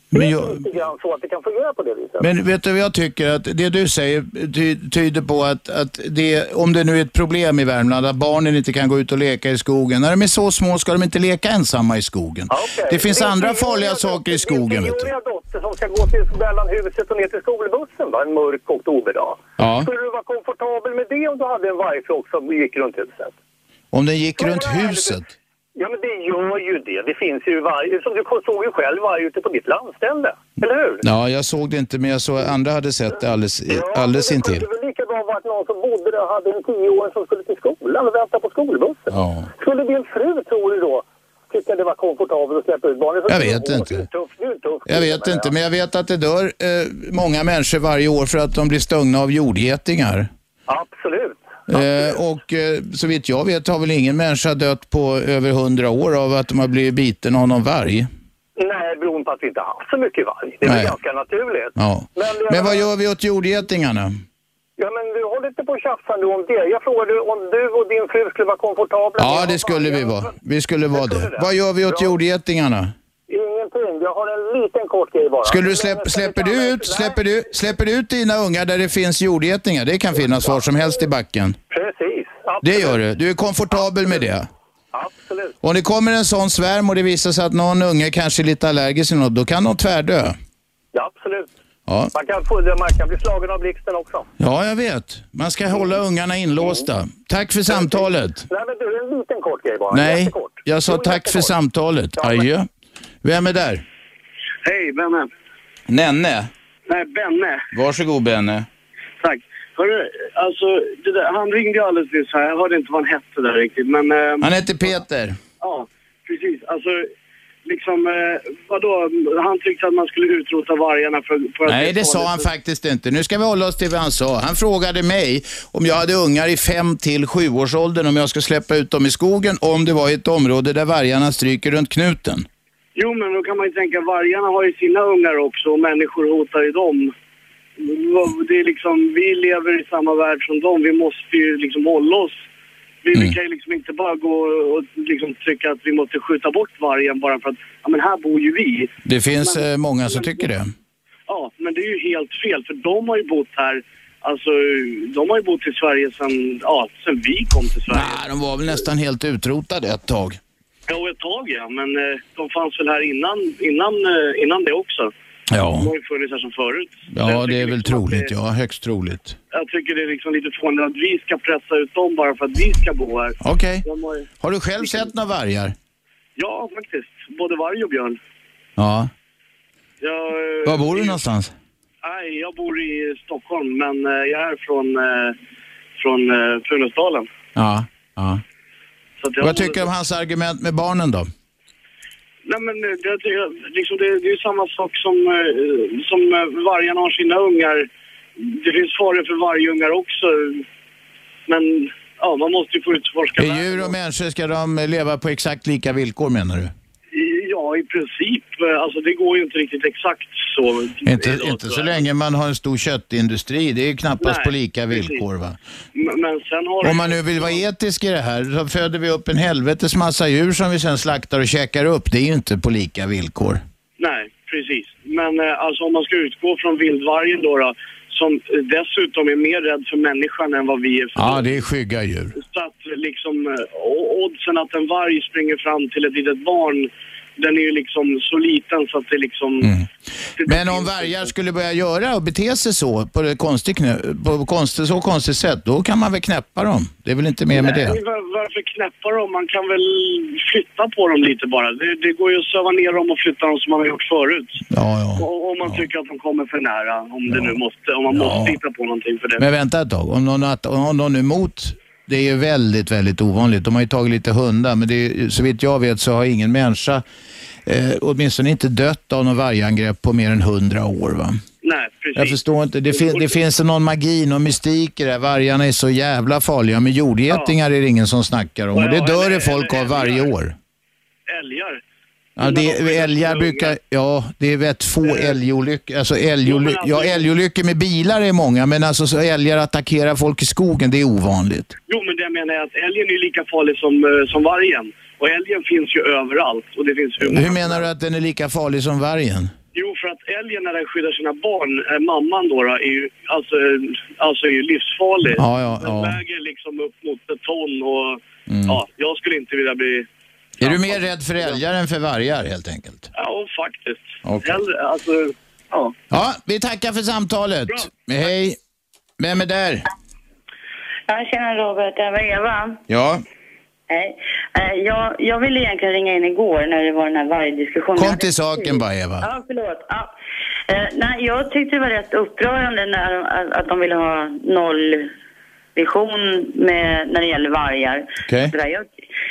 S2: Men jag,
S6: Lite grann så att det kan fungera på det viset.
S2: Men vet du vad jag tycker? Att det du säger ty tyder på att, att det, om det nu är ett problem i Värmland, att barnen inte kan gå ut och leka i skogen. När de är så små ska de inte leka ensamma i skogen. Det finns
S6: Det är
S2: andra
S6: tioåriga
S2: farliga saker i skogen. Vet du.
S6: Min dotter som ska gå till mellan huset och ner till skolbussen va, en mörk oktoberdag.
S2: Ja.
S6: Skulle du vara komfortabel med det om du hade en vargflock som gick runt huset?
S2: Om den gick runt huset.
S6: Ja, men det gör ju det. Det finns ju varje... Som du såg ju själv varje ute på ditt landställe, eller hur?
S2: Ja, jag såg det inte, men jag såg andra hade sett det alldeles, alldeles intill.
S6: Det var lika bra att någon som bodde där och hade en tioåring som skulle till skolan och väntade på skolbussen.
S2: Ja.
S6: Skulle din fru, tror du då, tycka det var komfortabelt att släppa ut barnen?
S2: Jag vet inte. Jag vet inte, men jag vet att det dör eh, många människor varje år för att de blir stungna av jordgetingar.
S6: Absolut.
S2: Eh, och eh, så vitt jag vet har väl ingen människa dött på över hundra år av att de har blivit biten av någon varg.
S6: Nej, beroende på att vi inte har haft så mycket varg. Det är väl
S2: Nej.
S6: ganska naturligt.
S2: Ja. Men, vad gör vi åt jordgetingarna?
S6: Ja, men du håller inte på och tjafsar nu om det. Jag frågade om du och din fru skulle vara komfortabla.
S2: Ja, det skulle vi vara. Vi skulle vara det. Vad gör vi åt jordgetingarna?
S6: Ingenting. Jag har en liten kort grej bara.
S2: Skulle du släpp, släpper, du ut, släpper, du, släpper du ut dina ungar där det finns jordgetingar? Det kan finnas var som helst i backen.
S6: Precis.
S2: Det gör du. Du är komfortabel med det.
S6: Absolut.
S2: Om det kommer en sån svärm och det visar sig att någon unge kanske är lite allergisk eller något, då kan de tvärdö.
S6: Ja, absolut.
S2: Ja.
S6: Man, kan få, man kan bli slagen av blixten också.
S2: Ja, jag vet. Man ska hålla ungarna
S6: Mm.
S2: inlåsta. Tack för samtalet.
S6: Nej, men du, en liten kort grej bara.
S2: Nej,
S6: Jättekort.
S2: jag sa tack för samtalet. Adjö. Vem är där?
S14: Hej, Benne.
S2: Nenne.
S14: Nej, Benne.
S2: Varsågod Benne.
S14: Tack. Hörru, alltså, det där, han ringde ju alldeles nyss här. Jag hörde inte vad han hette där riktigt, men... Eh,
S2: Han heter Peter.
S14: Ja, precis. Alltså, liksom, eh, vadå? Han tyckte att man skulle utrota vargarna för, för att...
S2: Nej, det sa han faktiskt inte. Nu ska vi hålla oss till vad han sa. Han frågade mig om jag hade ungar i 5 till 7 års åldern om jag ska släppa ut dem i skogen och om det var i ett område där vargarna stryker runt knuten.
S14: Jo, men då kan man ju tänka, vargarna har ju sina ungar också och människor hotar ju dem. Det är liksom, vi lever i samma värld som dem. Vi måste ju liksom hålla oss. Vi, vi kan ju liksom inte bara gå och liksom tycka att vi måste skjuta bort vargen bara för att, ja men här bor ju vi.
S2: Det finns eh, många som tycker det.
S14: Ja, men det är ju helt fel för de har ju bott här, alltså de har ju bott i Sverige sedan, ja, sedan vi kom till Sverige.
S2: Nej, de var väl nästan helt utrotade ett tag.
S14: Ja, ett tag ja, men eh, de fanns väl här innan, innan, eh, innan det också.
S2: Ja.
S14: De har ju funnits här som förut.
S2: Ja, det är väl troligt. Ja, högst troligt.
S14: Jag tycker det är liksom lite fånigt att vi ska pressa ut dem bara för att vi ska bo här.
S2: Okej.
S14: De har ju-
S2: Har du själv sett några vargar?
S14: Ja, faktiskt. Både varg och björn.
S2: Ja.
S14: Jag, eh,
S2: Var bor du någonstans?
S14: Nej, jag bor i Stockholm, men eh, jag är från, eh, från eh, Funäsdalen.
S2: Ja. ja.
S14: Så att jag
S2: Vad
S14: bor-
S2: tycker du om hans argument med barnen då?
S14: Nej, men eh, det, det, liksom, det, det är ju samma sak som, eh, som eh, vargarna har sina ungar. Det finns faror för vargungar också. Men ja, man måste ju få utforska
S2: Är djur och människor, ska de leva på exakt lika villkor menar du?
S14: Ja, i princip. eh, alltså det går ju inte riktigt exakt så.
S2: Inte, inte så länge man har en stor köttindustri. Det är ju knappast
S14: Nej,
S2: på lika
S14: precis.
S2: villkor va.
S14: Men, men sen har
S2: Om man nu vill vara etisk i det här så föder vi upp en helvetes massa djur som vi sen slaktar och käkar upp. Det är ju inte på lika villkor.
S14: Nej, precis. Men eh, alltså om man ska utgå från vildvargen då, då som eh, dessutom är mer rädd för människan än vad vi är för
S2: Ja, det är skygga djur.
S14: Så att liksom eh, o- oddsen att en varg springer fram till ett litet barn den är ju liksom så liten så att det liksom...
S2: Mm. Men om vargar skulle börja göra och bete sig så på, det konstigt, knö- på konstigt, så konstigt sätt, då kan man väl knäppa dem. Det är väl inte mer med
S14: Nej,
S2: det.
S14: var- varför knäppa dem? Man kan väl flytta på dem lite bara. Det, det går ju att söva ner dem och flytta dem som man har gjort förut. Och, om man tycker att de kommer för nära, om, det nu måste, om man måste hitta på någonting för det.
S2: Men vänta ett tag, om någon, att- om någon är emot, det är ju väldigt, väldigt ovanligt. De har ju tagit lite hundar, men det är, ju- så vitt jag vet så har ingen människa, eh, åtminstone inte dött av någon vargangrepp på mer än hundra år. Va?
S14: Nej, precis.
S2: Jag förstår inte. Det, fin- det finns någon magi, någon mystik i det här. Vargarna är så jävla farliga, men jordgetingar är det ingen som snackar om. Och det dör det folk av varje år.
S14: Älgar.
S2: Ja, det, älgar brukar, ja, det är rätt få älgolyckor. Alltså älgoly- ja, älgolyckor med bilar är många, men alltså så älgar attackerar folk i skogen, det är ovanligt.
S14: Jo, men det jag menar är att älgen är lika farlig som, eh, som vargen. Och älgen finns ju överallt. Och det finns
S2: Hur menar du att den är lika farlig som vargen?
S14: Jo, för att älgen när den skyddar sina barn, eh, mamman då, då är ju, alltså, eh, alltså är ju livsfarlig.
S2: Ja, ja,
S14: den
S2: ja. Mm.
S14: väger liksom upp mot betong och ja, jag skulle inte vilja bli...
S2: Är du mer rädd för älgar än för vargar helt enkelt?
S14: Ja, faktiskt.
S2: Okej.
S14: Hellre, alltså, ja.
S2: Ja, vi tackar för samtalet. Hej. Vem är där?
S15: Ja, tjena Robert, det var Eva.
S2: Ja.
S15: Hej. Eh, Jag, jag ville egentligen ringa in igår när det var den här vargdiskussionen.
S2: Kom till saken bara Eva.
S15: Ja, förlåt. Ja. Eh, nej, jag tyckte det var rätt upprörande när, de- att de ville ha nollvision med, när det gäller vargar.
S2: Okej.
S15: Sådär, Jag,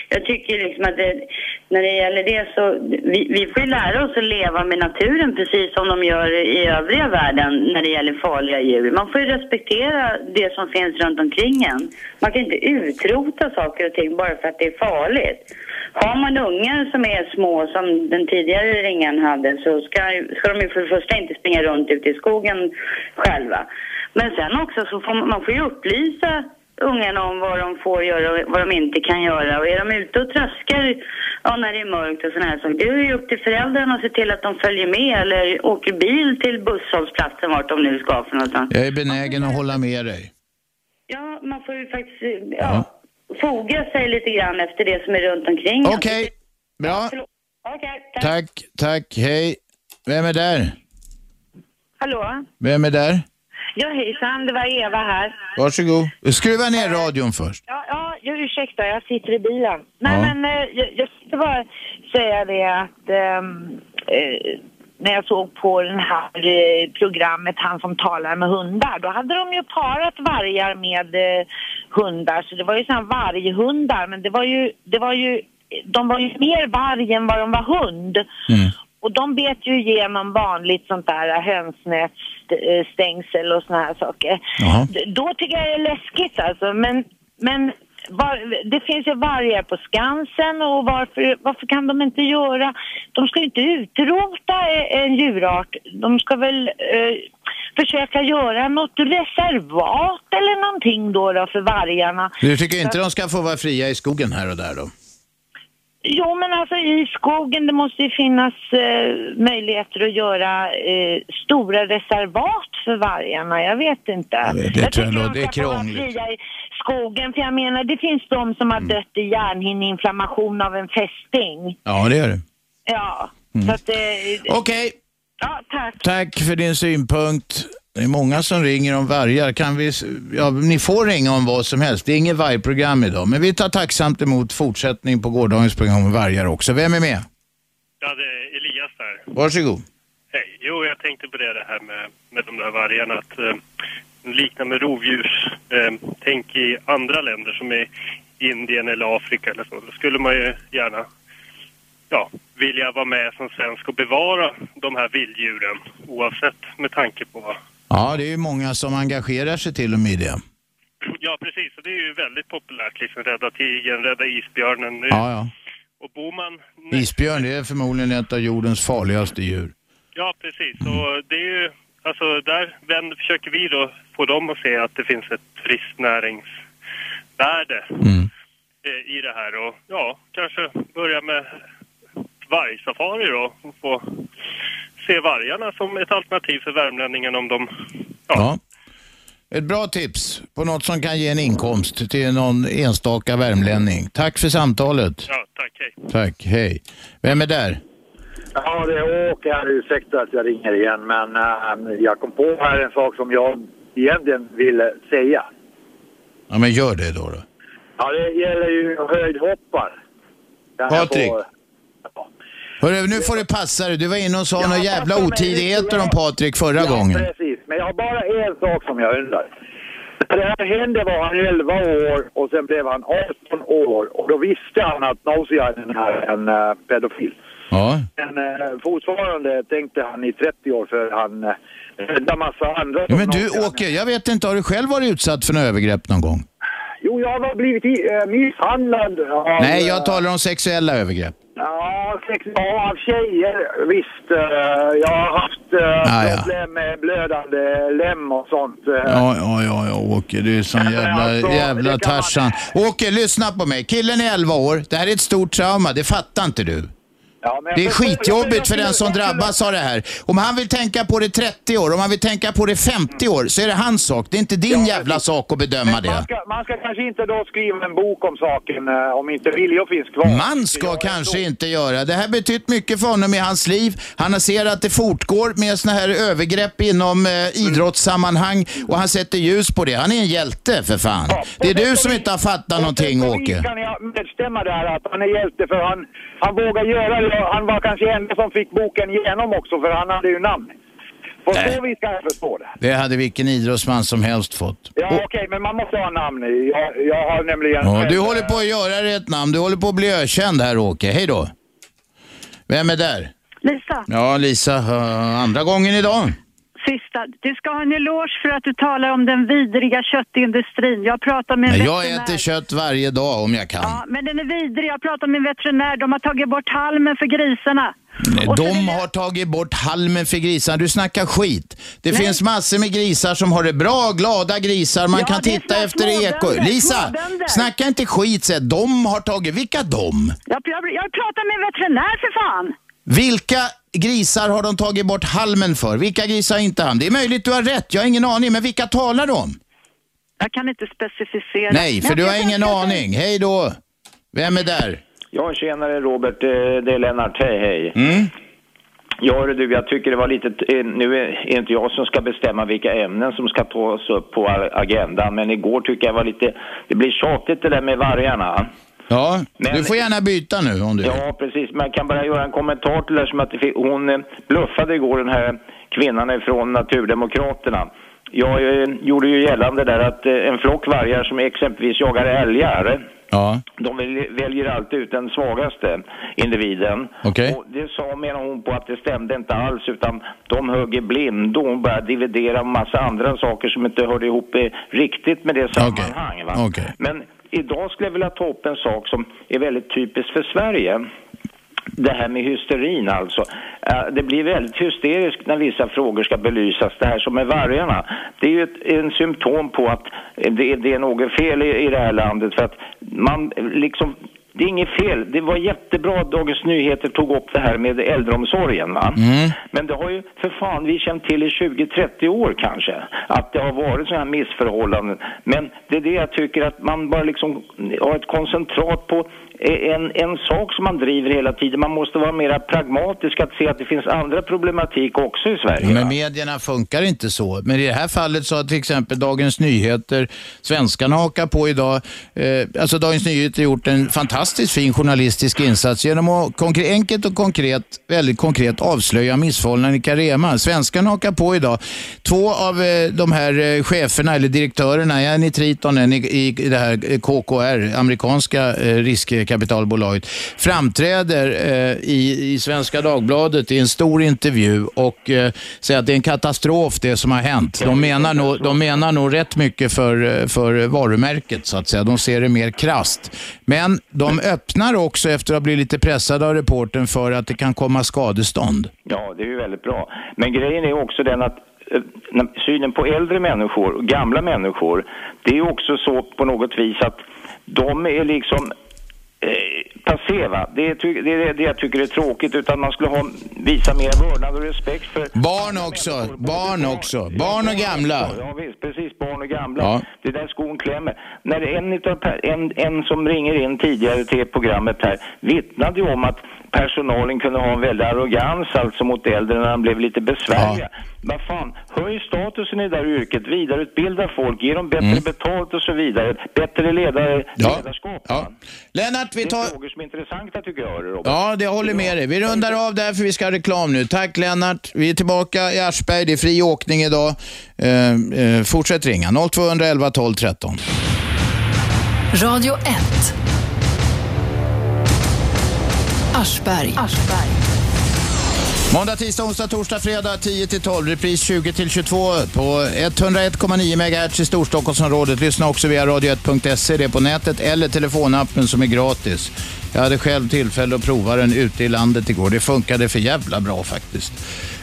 S15: jag tycker liksom att det, när det gäller det så, vi, vi får ju lära oss att leva med naturen precis som de gör i övriga världen när det gäller farliga djur. Man får ju respektera det som finns runt omkring en. Man kan inte utrota saker och ting bara för att det är farligt. Har man ungar som är små, som den tidigare ringen hade, så ska, ska de ju för det första inte springa runt ute i skogen själva. Men sen också så får man, man får ju upplysa ungarna om vad de får göra och vad de inte kan göra. Och är de ute och tröskar ja, när det är mörkt och sådana här saker, det är ju upp till föräldrarna att se till att de följer med eller åker bil till busshållplatsen vart de nu ska för någonstans.
S2: Jag är benägen att hålla med dig.
S15: Ja, man får ju faktiskt ja, foga sig lite grann efter det som är runt omkring.
S2: Okej, bra. Tack, tack, hej. Vem är där?
S16: Hallå?
S2: Vem är där?
S16: Ja, hejsan, det var Eva här.
S2: Varsågod. Skruva ner radion först.
S16: Ja, ja jag ursäktar, jag sitter i bilen. Nej,
S2: Ja.
S16: men eh, jag, jag tänkte bara säga det att ehm, eh, när jag såg på den här eh, programmet, han som talar med hundar, då hade de ju parat vargar med eh, hundar, så det var ju sådana varghundar, men det var ju, det var ju, de var ju mer varg än vad de var hund. Och de bet ju igenom vanligt sånt där eh, hönsnätsstängsel och såna här saker. D- Då tycker jag det är läskigt alltså. Men, men var, det finns ju vargar på Skansen och varför, varför kan de inte göra... De ska ju inte utrota e- en djurart. De ska väl eh, försöka göra något reservat eller någonting då, då för vargarna.
S2: Du tycker inte de ska få vara fria i skogen här och där då?
S16: Jo, men alltså i skogen det måste ju finnas eh, möjligheter att göra eh, stora reservat för vargarna. Jag vet inte.
S2: Det tror jag nog, det är krångligt.
S16: fria i skogen, för jag menar det finns de som har dött i hjärnhinneinflammation av en fästing.
S2: Ja, det gör det.
S16: Ja,
S2: Mm.
S16: så att... Eh,
S2: Okej.
S16: Ja, tack.
S2: Tack för din synpunkt. Det är många som ringer om vargar. Kan vi, s- ja, ni får ringa om vad som helst. Det är inget vargprogram idag, men vi tar tacksamt emot fortsättning på gårdagens program om vargar också. Vem är med?
S17: Ja, det är Elias där.
S2: Varsågod.
S17: Hej. Jo, jag tänkte på det, det här med, med de där vargarna. Att eh, likna med rovdjurs. Eh, tänk i andra länder som i Indien eller Afrika eller så. Då skulle man ju gärna ja, vilja vara med som svensk och bevara de här vilddjuren. Oavsett med tanke på...
S2: Ja, det är ju många som engagerar sig till och med i det.
S17: Ja, precis. Och det är ju väldigt populärt. Liksom, rädda tigern, rädda isbjörnen. Det är-
S2: Ja, ja.
S18: Och bor man...
S2: Isbjörn, det är förmodligen ett av jordens farligaste djur.
S18: Ja, precis. Och det är ju, alltså där vänder, försöker vi då få dem att se att det finns ett turistnäringsvärde eh, i det här. Och ja, kanske börja med vargsafari då och få se vargarna som ett alternativ för värmlänningen om de...
S2: Ja. Ett bra tips på något som kan ge en inkomst till någon enstaka värmlänning. Tack för samtalet.
S18: Ja, tack. Hej.
S2: Tack, hej. Vem är där?
S11: Ja, det är Åke här. Ursäkta att jag ringer igen, men eh, jag kom på här en sak som jag egentligen ville säga.
S2: Ja, men gör det då. då.
S11: Ja, det gäller ju höjdhoppar. Kan jag
S2: Patrik.
S11: få-
S2: Hörru, nu får du passa dig. Du var inne och sa några jävla
S11: passar mig
S2: otidigheter om Patrik förra
S11: ja,
S2: gången.
S11: precis. Men jag har bara en sak som jag undrar. När det här hände var han 11 år och sen blev han 18 år och då visste han att Nausiainen är en eh, pedofil.
S2: Ja.
S11: Men eh, fortfarande tänkte han i 30 år för han eh, räddade massa andra.
S2: Ja, men du Åke, jag vet inte, har du själv varit utsatt för några övergrepp någon gång?
S11: Jo, jag har blivit i- eh, misshandlad av...
S2: Nej, jag
S11: eh,
S2: talar om sexuella övergrepp.
S11: Ja, sex, ja, av tjejer, visst. eh, jag har haft eh,
S2: Ah, ja.
S11: problem med blödande lem och sånt. eh.
S2: Ja, ja, ja, ja Åke, du är sån
S11: alltså,
S2: jävla, jävla Tarzan. Åke, lyssna på mig. Killen är 11 år. Det här är ett stort trauma, det fattar inte du.
S11: Ja, men jag
S2: Det är
S11: förstår-
S2: skitjobbigt för
S11: jag-
S2: den som drabbas av det här. Om han vill tänka på det 30 år, om han vill tänka på det 50 år, så är det hans sak. Det är inte din jävla sak att bedöma
S11: Man
S2: det.
S11: ska, man ska kanske inte då skriva en bok om saken eh, om inte viljor finns kvar.
S2: Man ska kanske inte göra. Det här betytt mycket för honom i hans liv. Han ser att det fortgår med såna här övergrepp inom eh, idrottssammanhang och han sätter ljus på det. Han är en hjälte för fan. Det är du som inte har fattat någonting Åke.
S11: Kan jag medstämma där att han är hjälte för han, han vågar göra det. Han var kanske enda som fick boken igenom också för han hade ju namn. På så vis kan jag förstå det.
S2: Det hade vilken idrottsman som helst fått.
S11: Ja okej, men man måste ha namn. Jag, jag har nämligen...
S2: Ja, du håller på att göra dig ett namn. Du håller på att bli ökänd här Åke. Hej då. Vem är där?
S5: Lisa,
S2: Ja, Lisa, eh, andra gången idag.
S5: sista. Du ska ha en eloge för att du talar om den vidriga köttindustrin. Jag pratar med en
S2: Men jag
S5: veterinär.
S2: äter kött varje dag om jag kan.
S5: Ja, men den är vidrig. Jag pratar med en veterinär. De har tagit bort halmen för grisarna.
S2: Nej, De har tagit bort halmen för grisar. Du snackar skit. Det
S5: Nej.
S2: finns massor med grisar som har det bra, glada grisar. Man
S5: Ja,
S2: kan
S5: det är
S2: titta
S5: små
S2: efter eko.
S5: småbönder,
S2: Lisa,
S5: småbönder.
S2: snacka inte skit. Säg, de har tagit... Vilka de?
S5: Jag, jag, jag pratar med en veterinär för fan!
S2: Vilka grisar har de tagit bort halmen för? Vilka grisar har inte han? Det är möjligt du har rätt, jag har ingen aning. Men vilka talar de?
S5: Jag kan inte specificera.
S2: Nej, för
S5: Men
S2: du
S5: jag
S2: har
S5: ska-
S2: ingen aning. Hej då. Vem är där?
S19: Ja, tjenare Robert. Eh, Det är Lennart. Hej, hej.
S2: Mm.
S19: Ja, hörru du, jag tycker det var lite... eh, Nu är inte jag som ska bestämma vilka ämnen som ska tas upp på a- agendan, men igår tycker jag var lite... Det blir tjatigt det där med vargarna.
S2: Ja,
S19: Men-
S2: du får gärna byta nu om du
S19: Ja, precis. Men jag kan bara göra en kommentar till det här som att det fi- hon eh, bluffade igår, den här kvinnan från Naturdemokraterna. Jag eh, gjorde ju gällande där att eh, en flock vargar som exempelvis jagar älgar,
S2: Ja,
S19: de väl- väljer alltid ut den svagaste individen.
S2: okej.
S19: Och det sa, menar hon på att det stämde inte alls utan de högg i blindo. Hon började dividera om massa andra saker som inte hörde ihop eh, riktigt med det sammanhang. Va?
S2: Okej.
S19: Men idag skulle jag vilja ta upp en sak som är väldigt typisk för Sverige. Det här med hysterin alltså. Eh, Det blir väldigt hysteriskt när vissa frågor ska belysas. Det här som med vargarna. Det är ju ett en symptom på att eh, det är, det är något fel i, i det här landet. För att man eh, liksom, det är inget fel. Det var jättebra att Dagens Nyheter tog upp det här med äldreomsorgen. Va?
S2: Mm.
S19: Men det har ju för fan vi känt till i 20-30 år kanske, att det har varit sådana här missförhållanden. Men det är det jag tycker att man bara liksom har ett koncentrat på e-, en, en sak som man driver hela tiden. Man måste vara mer pragmatisk att se att det finns andra problematik också i Sverige.
S2: Men medierna funkar inte så. Men i det här fallet så har till exempel Dagens Nyheter, svenskarna hakar på idag. Eh, alltså Dagens Nyheter har gjort en fantastiskt fin journalistisk insats genom att konkre- enkelt och konkret, väldigt konkret avslöja missförhållanden i Carema. Svenskarna hakar på idag. Två av eh, de här eh, cheferna, eller direktörerna, en i Triton, en i, i det här eh, KKR, amerikanska eh, riskkapitalbolaget, framträder eh, i, i Svenska Dagbladet i en stor intervju och eh, säger att det är en katastrof det som har hänt. De menar nog, de menar nog rätt mycket för, eh, för varumärket så att säga. De ser det mer krasst. Men de de öppnar också efter att ha blivit lite pressade av reporten för att det kan komma skadestånd.
S19: Ja, det är ju väldigt bra. Men grejen är också den att eh, när- synen på äldre människor, och gamla människor, det är ju också så på något vis att de är liksom eh, passiva. Det är, ty- det är det jag tycker är tråkigt, utan man skulle ha, visa mer vördnad och respekt för
S2: Barn också, barn också, barn och gamla.
S19: Ja visst, precis. Barn och gamla.
S2: Ja.
S19: Det är där skon klämmer. När en, utav, per- en, en som ringer in tidigare till programmet här vittnade ju om att personalen kunde ha en väldig arrogans alltså mot äldre när han blev lite besvärliga. Vad fan, höj statusen i det där yrket, vidareutbilda folk, ge dem bättre betalt och så vidare. Bättre ledare,
S2: Mm. Ja.
S19: ledarskap.
S2: Ja. Lennart, vi tar...
S19: Det är frågor som är intressanta tycker jag, Robert.
S2: Ja, det jag håller med dig. Vi rundar av där för vi ska ha reklam nu. Tack Lennart. Vi är tillbaka i Aschberg. Det är fri åkning idag. Eh, eh, fortsätt ringa. 0211 12 13.
S1: Radio 1. Aschberg.
S2: Måndag, tisdag, onsdag, torsdag, fredag 10-12. Repris 20-22 på 101,9 MHz i Storstockholmsområdet. Lyssna också via radio1.se, det är på nätet, eller telefonappen som är gratis. Jag hade själv tillfälle att prova den ute i landet igår. Det funkade för jävla bra faktiskt.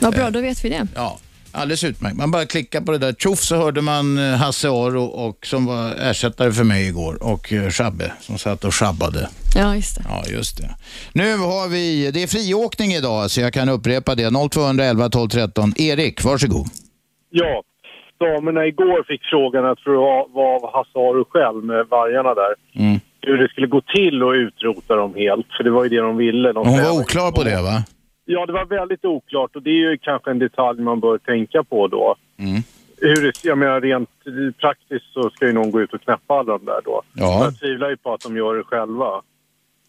S3: Vad bra, då vet vi det.
S2: Ja, alldeles utmärkt. Man bara klickar på det där. Tjoff så hörde man eh, Hasse Aro och, som var ersättare för mig igår och eh, Shabbe som satt och sjabbade.
S3: Ja, just det.
S2: Ja, just det. Nu har vi, det är friåkning idag så jag kan upprepa det. 0211 12 13. Erik, varsågod.
S20: Ja, damerna igår fick frågan, jag tror det var av Hasaru själv med vargarna där, hur det skulle gå till att utrota dem helt. För det var ju det de ville. De
S2: Hon
S20: sa-
S2: var oklar på det va?
S20: Ja, det var väldigt oklart och det är ju kanske en detalj man bör tänka på då. Hur det, jag menar rent praktiskt så ska ju någon gå ut och knäppa alla de där då.
S2: Ja.
S20: Jag tvivlar ju på att de gör det själva.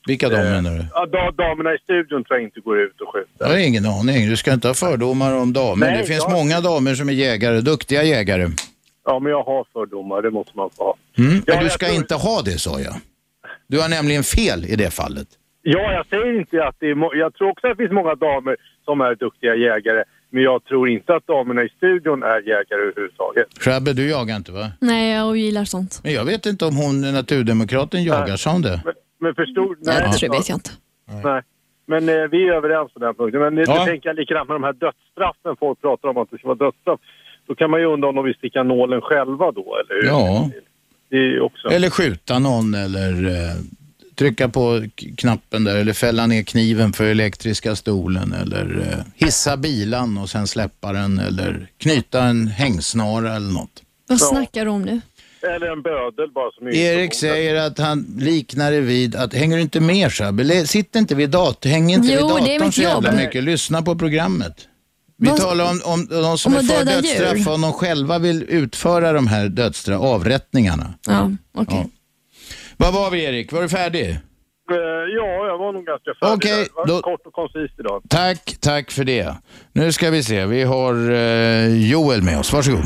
S2: Vilka de menar du?
S20: Ja, da- damerna i studion tror jag inte går ut och skjuter.
S2: Jag har ingen aning. Du ska inte ha fördomar om damer.
S20: Nej,
S2: det finns
S20: jag-
S2: många damer som är jägare, duktiga jägare.
S20: Ja, men jag har fördomar, det måste man få ha.
S2: Mm. Men du ska inte ha det sa jag. Du har nämligen fel i det fallet.
S20: Ja, jag säger inte att det är... må- Jag tror också att det finns många damer som är duktiga jägare. Men jag tror inte att damerna i studion är jägare överhuvudtaget.
S2: Shabbe, du jagar inte va?
S3: Nej, jag ogillar sånt.
S2: Men jag vet inte om hon, naturdemokraten, jagar, sa hon det?
S20: Men förstod...
S3: Nej, det vet jag inte.
S20: Nej. Men eh, vi är överens på den här punkten. Men eh,
S2: Ja.
S20: nu tänker jag likadant med de här dödsstraffen. Folk pratar om att det ska vara dödsstraff. Då kan man ju undra om de vill sticka nålen själva då, eller hur?
S2: Ja.
S20: Det är ju också...
S2: Eller skjuta någon eller eh, trycka på k- knappen där eller fälla ner kniven för elektriska stolen eller eh, hissa bilan och sen släppa den eller knyta en hängsnara eller något.
S3: Vad snackar du om nu?
S20: Eller en bödel bara som är...
S2: Erik säger att han liknar det vid att, hänger du inte med Shabbe? Sitt inte vid datorn, häng inte
S3: Jo,
S2: vid
S3: det är
S2: datorn
S3: mitt
S2: så jävla
S3: jobb.
S2: mycket. Lyssna på programmet. Vi
S3: Vad-
S2: talar om, om de som
S3: Om
S2: är
S3: att
S2: för
S3: döda djur.
S2: dödsstraff, om de själva vill utföra de här dödsstraff, avrättningarna.
S3: Ja, okej.
S2: Vad var vi Erik? Var du färdig?
S20: Eh, Ja, jag var nog ganska färdig
S2: Okej,
S20: där. Det var
S2: då-
S20: Kort och koncist idag.
S2: Tack, tack för det. Nu ska vi se, vi har eh, Joel med oss. Varsågod.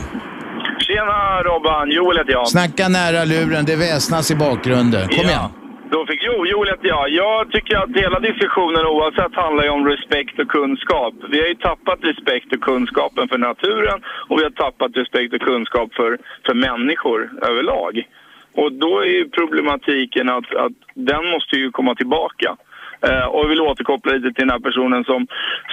S21: Tjena Robban, Joel heter jag.
S2: Snacka nära luren, det väsnas i bakgrunden. Kom igen.
S21: Då fick, jo, Joel heter jag. Jag tycker att hela diskussionen oavsett handlar ju om respekt och kunskap. Vi har ju tappat respekt och kunskapen för naturen och vi har tappat respekt och kunskap för, för människor överlag. Och då är ju problematiken att, att den måste ju komma tillbaka. Eh, och jag vill återkoppla lite till den här personen som,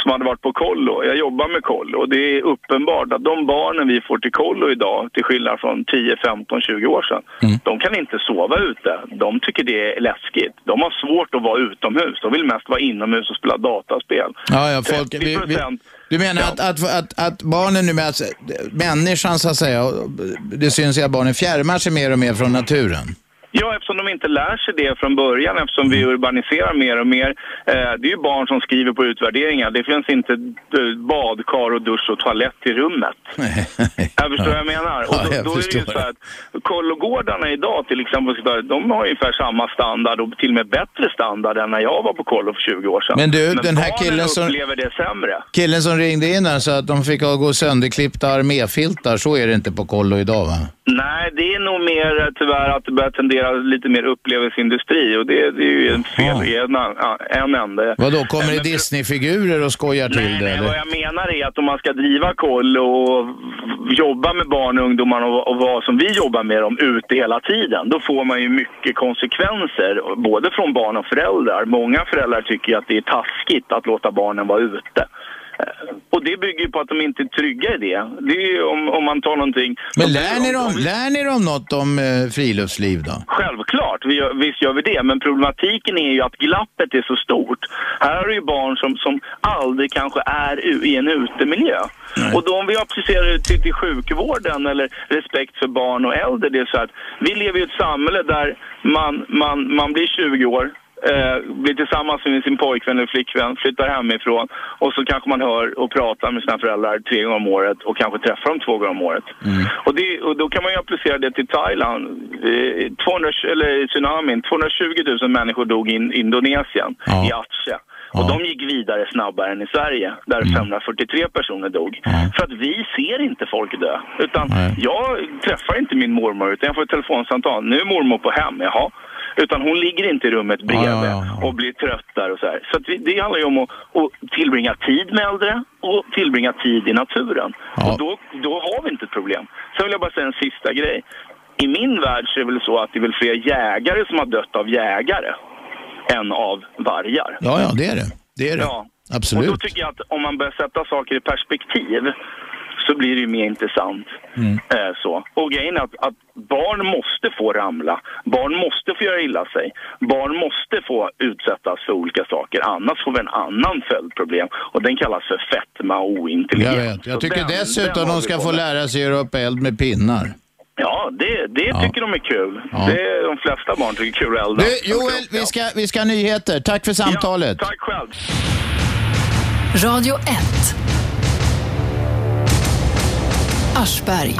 S21: som hade varit på kollo. Jag jobbar med kollo och det är uppenbart att de barnen vi får till kollo idag, till skillnad från 10, 15, 20 år sedan,
S2: Mm.
S21: de kan inte sova ute. De tycker det är läskigt. De har svårt att vara utomhus. De vill mest vara inomhus och spela dataspel.
S2: Ja, ja, folk, vi, vi,
S21: 30%.
S2: du menar att, att, att, att barnen nu, med, alltså, människan så att säga, och det syns ju att barnen fjärmar sig mer och mer från naturen.
S21: Ja, eftersom de inte lär sig det från början, eftersom vi urbaniserar mer och mer. Eh, det är ju barn som skriver på utvärderingar. Det finns inte eh, badkar och dusch och toalett i rummet. Jag förstår vad jag menar. Och
S13: Ja, jag
S21: då, då är det ju
S13: förstår.
S21: så här att kollogårdarna idag till exempel, så där, de har ungefär samma standard och till och med bättre standard än när jag var på kollo för 20 år sedan.
S2: Men du, den här
S21: barnen
S2: killen som-
S21: upplever det sämre.
S2: Killen som ringde in här sa att de fick ha- gå sönderklippta arméfiltar, så är det inte på kollo idag va?
S21: Nej, det är nog mer eh, tyvärr att det börjar tendera lite mer upplevelseindustri och det, det är ju en fel i en, ja, en ände.
S2: Vadå, kommer det Disneyfigurer och skojar till det
S21: Vad
S2: eller?
S21: jag menar är att om man ska driva koll och jobba med barn och ungdomar och, och vad som vi jobbar med dem ute hela tiden, då får man ju mycket konsekvenser, både från barn och föräldrar. Många föräldrar tycker ju att det är taskigt att låta barnen vara ute. Eh, Och det bygger ju på att de inte är trygga i det. Det är ju om, om man tar någonting...
S2: Men lär ni dem, lär ni dem något om eh, friluftsliv då?
S21: Självklart, vi gör, visst gör vi det. Men problematiken är ju att glappet är så stort. Här har du ju barn som, som aldrig kanske är u- i en utemiljö. Och då om vi applicerar det till, till sjukvården eller respekt för barn och äldre, det är så att vi lever i ett samhälle där man, man, man blir 20 år, eh, blir tillsammans med sin pojkvän eller flickvän, flyttar hemifrån och så kanske man hör och pratar med sina föräldrar tre gånger om året och kanske träffar dem två gånger om året. Och, det, och då kan man ju applicera det till Thailand, eh, 200, eller tsunamin, 220 000 människor dog i in, Indonesien, i Atse. Och de gick vidare snabbare än i Sverige, där 543 personer dog. För att vi ser inte folk dö. Utan jag träffar inte min mormor, utan jag får ett telefonsamtal. Nu är mormor på hem, jaha. Utan hon ligger inte i rummet bredvid och blir trött där och så här. Så att vi, det handlar ju om att, att tillbringa tid med äldre och tillbringa tid i naturen. Och då, då har vi inte ett problem. Sen vill jag bara säga en sista grej. I min värld så är det väl så att det är väl fler jägare som har dött av jägare än av vargar.
S2: Ja, ja, det är det. Det är det.
S21: Ja.
S2: Absolut.
S21: Och då tycker jag att om man börjar sätta saker i perspektiv så blir det ju mer intressant.
S2: Mm.
S21: Eh, så. Och grejen är att, att barn måste få ramla, barn måste få göra illa sig, barn måste få utsättas för olika saker, annars får vi en annan följdproblem och den kallas för fetma och
S2: Jag
S21: ointelligens.
S2: vet.
S21: Så
S2: Jag tycker
S21: den-
S2: dessutom
S21: den har
S2: de
S21: vi
S2: ska
S21: på
S2: få
S21: med.
S2: lära sig att göra upp eld med pinnar.
S21: Ja, det, det tycker de är kul. Det är de flesta barn tycker är kul att elda.
S2: Du, Joel, vi ska, vi ska ha nyheter. Tack för samtalet.
S21: Tack själv.
S1: Radio 1. Aschberg.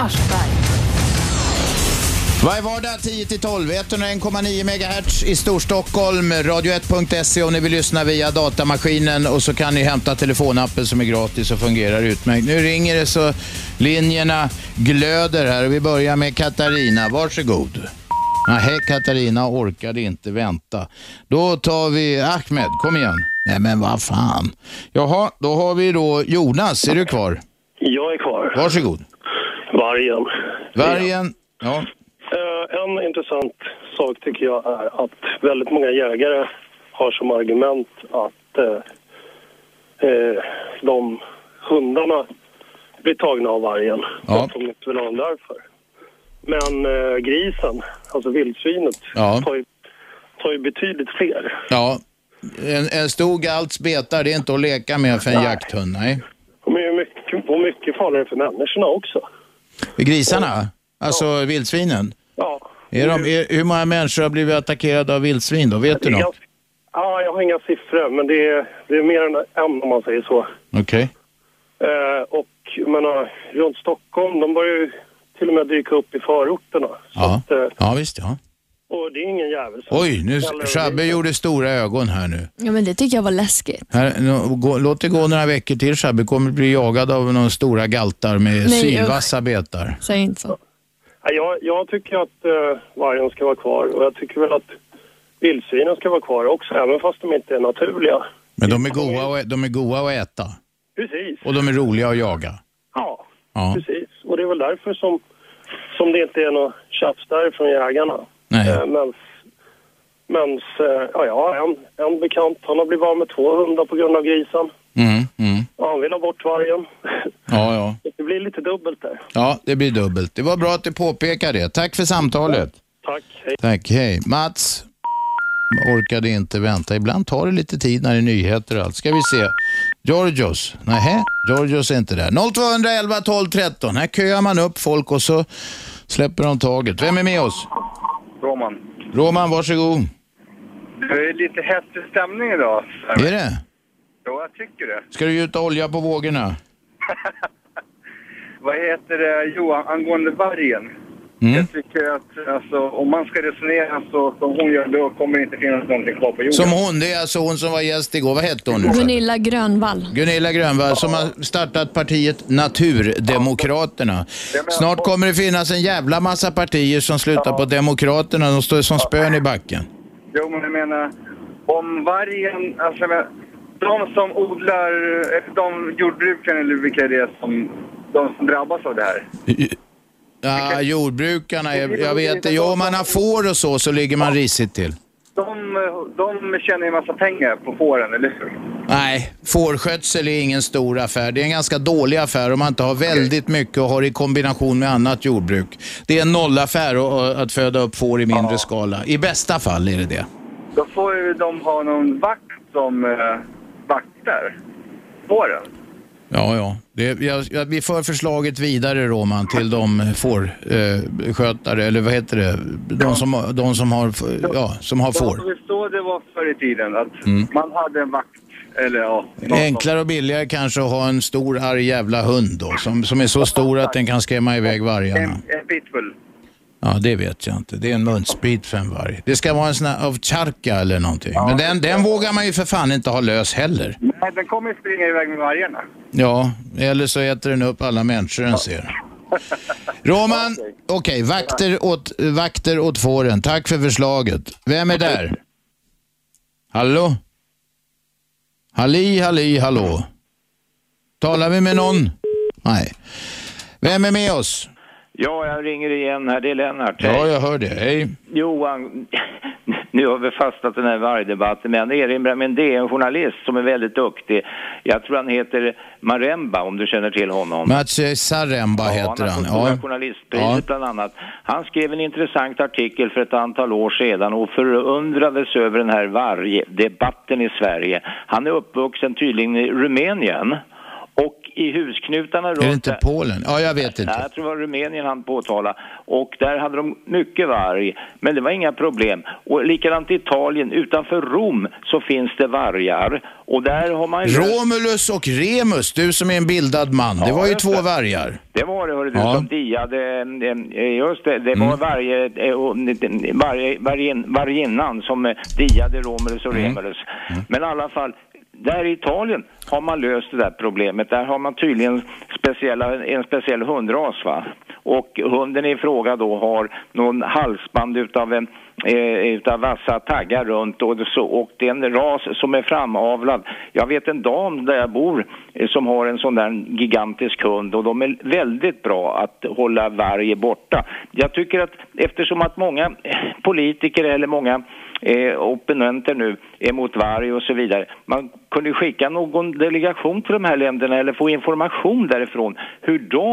S2: Varje vardag 10-12, 101,9 MHz i Storstockholm, radio1.se om ni vill lyssna via datamaskinen och så kan ni hämta telefonappen som är gratis och fungerar utmärkt. Nu ringer det så linjerna glöder här och vi börjar med Katarina. Varsågod. Nej, Katarina orkade inte vänta. Då tar vi Ahmed, kom igen. Nej men vad fan. Jaha, då har vi då Jonas, är du kvar?
S22: Jag är kvar.
S2: Varsågod.
S22: Vargen.
S2: Vargen, ja.
S22: Eh, En intressant sak tycker jag är att väldigt många jägare har som argument att eh, eh, de hundarna blir tagna av vargen.
S2: Ja.
S22: Att de inte vill ha dem därför. Men eh, grisen, alltså vildsvinet,
S2: Ja.
S22: tar, ju, tar ju betydligt fler.
S2: Ja, en, en stor galts betar, det är inte att leka med för en jakthund, nej.
S22: De är ju mycket, och mycket farligare för människorna också.
S2: Grisarna? Alltså vildsvinen?
S22: Ja.
S2: Är de, är, hur många människor har blivit attackerade av vildsvin då? Vet
S22: Det
S2: du
S22: är
S2: något?
S22: ganska- Ja, jag har inga siffror, men det är, det är mer än en om man säger så.
S2: Okej.
S22: Eh, och jag menar, runt Stockholm, de börjar ju till och med dyka upp i förorterna.
S2: Ja.
S22: eh,
S2: ja, visst ja.
S22: Och det är ingen jävel som...
S2: Oj, nu Shabbe gjorde stora ögon här nu.
S3: Ja, men det tycker jag var läskigt.
S2: Här, nu, gå, låt det gå några veckor till Shabbe, kommer bli jagad av några stora galtar med
S22: Nej,
S2: sylvassa betar.
S3: Säg inte så.
S22: Nej, Jag, jag tycker att eh, vargen ska vara kvar och jag tycker väl att vildsvinen ska vara kvar också, även fast de inte är naturliga.
S2: Men de är goa och, ä- de är goa att äta
S22: Precis.
S2: och de är roliga att jaga.
S22: Ja,
S2: Ja.
S22: precis. Och det är väl därför som, som det inte är något tjafs där från jägarna.
S2: Nej.
S22: Eh, mens, mens eh, ja, jag har en, en bekant, han har blivit av med två hundar på grund av grisen.
S2: Mm, mm.
S22: Och han vill ha bort vargen.
S2: Ja, ja.
S22: Det blir lite dubbelt där.
S2: Ja, det blir dubbelt. Det var bra att du påpekade det. Tack för samtalet.
S22: Tack,
S2: hej. Tack, hej. Mats orkade inte vänta. Ibland tar det lite tid när det är nyheter och allt. Ska vi se. Georgios. Nähä, Georgios är inte där. 0211 12 13. Här köar man upp folk och så släpper de taget. Vem är med oss?
S13: Roman,
S2: Roman, varsågod.
S13: det är lite häftig stämning idag.
S2: Är det?
S13: Jo, jag tycker det.
S2: Ska du gjuta olja på vågorna?
S13: Vad heter det? Jo, angående vargen.
S2: Mm.
S13: Jag tycker att alltså, om man ska resonera så som hon gör, då kommer det inte finnas någonting kvar på jorden.
S2: Som hon, det är alltså hon som var gäst igår. Vad hette hon nu?
S3: Gunilla Grönvall.
S2: Gunilla Grönvall som har startat partiet Naturdemokraterna. Snart kommer det finnas en jävla massa partier som slutar på Demokraterna. De står som spön i backen.
S13: Jo, men jag menar, om vargen, alltså jag menar, de som odlar, eh, de jordbrukarna eller vilka det är som de som drabbas av det här.
S2: Ja, jordbrukarna, jag, jag vet det. Ja, om man har får och så, så ligger man risigt till.
S13: De, de tjänar ju en massa pengar på fåren, eller hur?
S2: Nej, fårskötsel är ingen stor affär. Det är en ganska dålig affär om man inte har väldigt mycket och har det i kombination med annat jordbruk. Det är en nollaffär och- och att föda upp får i mindre skala. I bästa fall är det det.
S13: Då får ju de ha någon vakt som eh, vaktar fåren.
S2: Ja, ja. Det, jag, jag, vi för förslaget vidare, Roman, till de fårskötare, eh, skötare, eller vad heter det, de som, har- de som, har, f- ja, som har får.
S13: Det var så det var förr i tiden, att
S2: Mm.
S13: man hade en vakt. Eller ja,
S2: Enklare och billigare kanske att ha en stor arg jävla hund då, som, som är så stor att den kan skrämma iväg vargarna.
S13: en pitbull.
S2: Ja, det vet jag inte. Det är en munsprit för en varg. Det ska vara en sån här av charka eller någonting. Men den, den vågar man ju för fan inte ha lös heller.
S13: Nej, den kommer ju springa iväg med vargarna.
S2: Ja, eller så äter den upp alla människor den ser. Roman, okej, vakter, åt, vakter åt fåren. Tack för förslaget. Vem är där? Hallå? Halli, halli, hallå. Talar vi med någon? Nej. Vem är med oss?
S19: Ja, jag ringer igen här. Det är Lennart.
S2: Ja, jag hör det. Hej.
S19: Johan, nu har vi fastnat i den här vargdebatten, men jag erinrar mig en DN-journalist som är väldigt duktig. Jag tror han heter Maremba, om du känner till honom.
S2: Maciej Saremba heter han.
S19: Stora
S2: Ja.
S19: journalistpriset
S2: Ja.
S19: bland annat. Han skrev en intressant artikel för ett antal år sedan och förundrades över den här vargdebatten i Sverige. Han är uppvuxen tydligen i Rumänien och i husknutarna runt...
S2: Är det inte Polen? Ja, jag vet
S19: Nej,
S2: inte.
S19: jag tror det var Rumänien han påtalade. Och där hade de mycket varg, men det var inga problem. Och likadant i Italien, utanför Rom så finns det vargar. Och där har man ju...
S2: Romulus och Remus, du som är en bildad man. Det
S19: Ja,
S2: var ju
S19: just
S2: två
S19: det.
S2: vargar.
S19: Det var det, hörde du,
S2: Ja.
S19: som diade. eh, Just det, det var
S2: Mm.
S19: varje, eh, och, eh, varje, vargen- varginnan som eh, diade Romulus och
S23: Mm.
S19: Remulus. Men i alla fall, där i Italien har man löst det där problemet. Där har man tydligen speciella, en speciell hundras, va? Och hunden i fråga då har någon halsband utav en eh, utav vassa taggar runt och, så, och det är en ras som är framavlad. Jag vet en dam där jag bor eh, som har en sån där gigantisk hund och de är väldigt bra att hålla varg borta. Jag tycker att eftersom att många eh, politiker eller många eh, opponenter nu är mot varg och så vidare. Man kunde ju skicka någon delegation till de här länderna eller få information därifrån hur de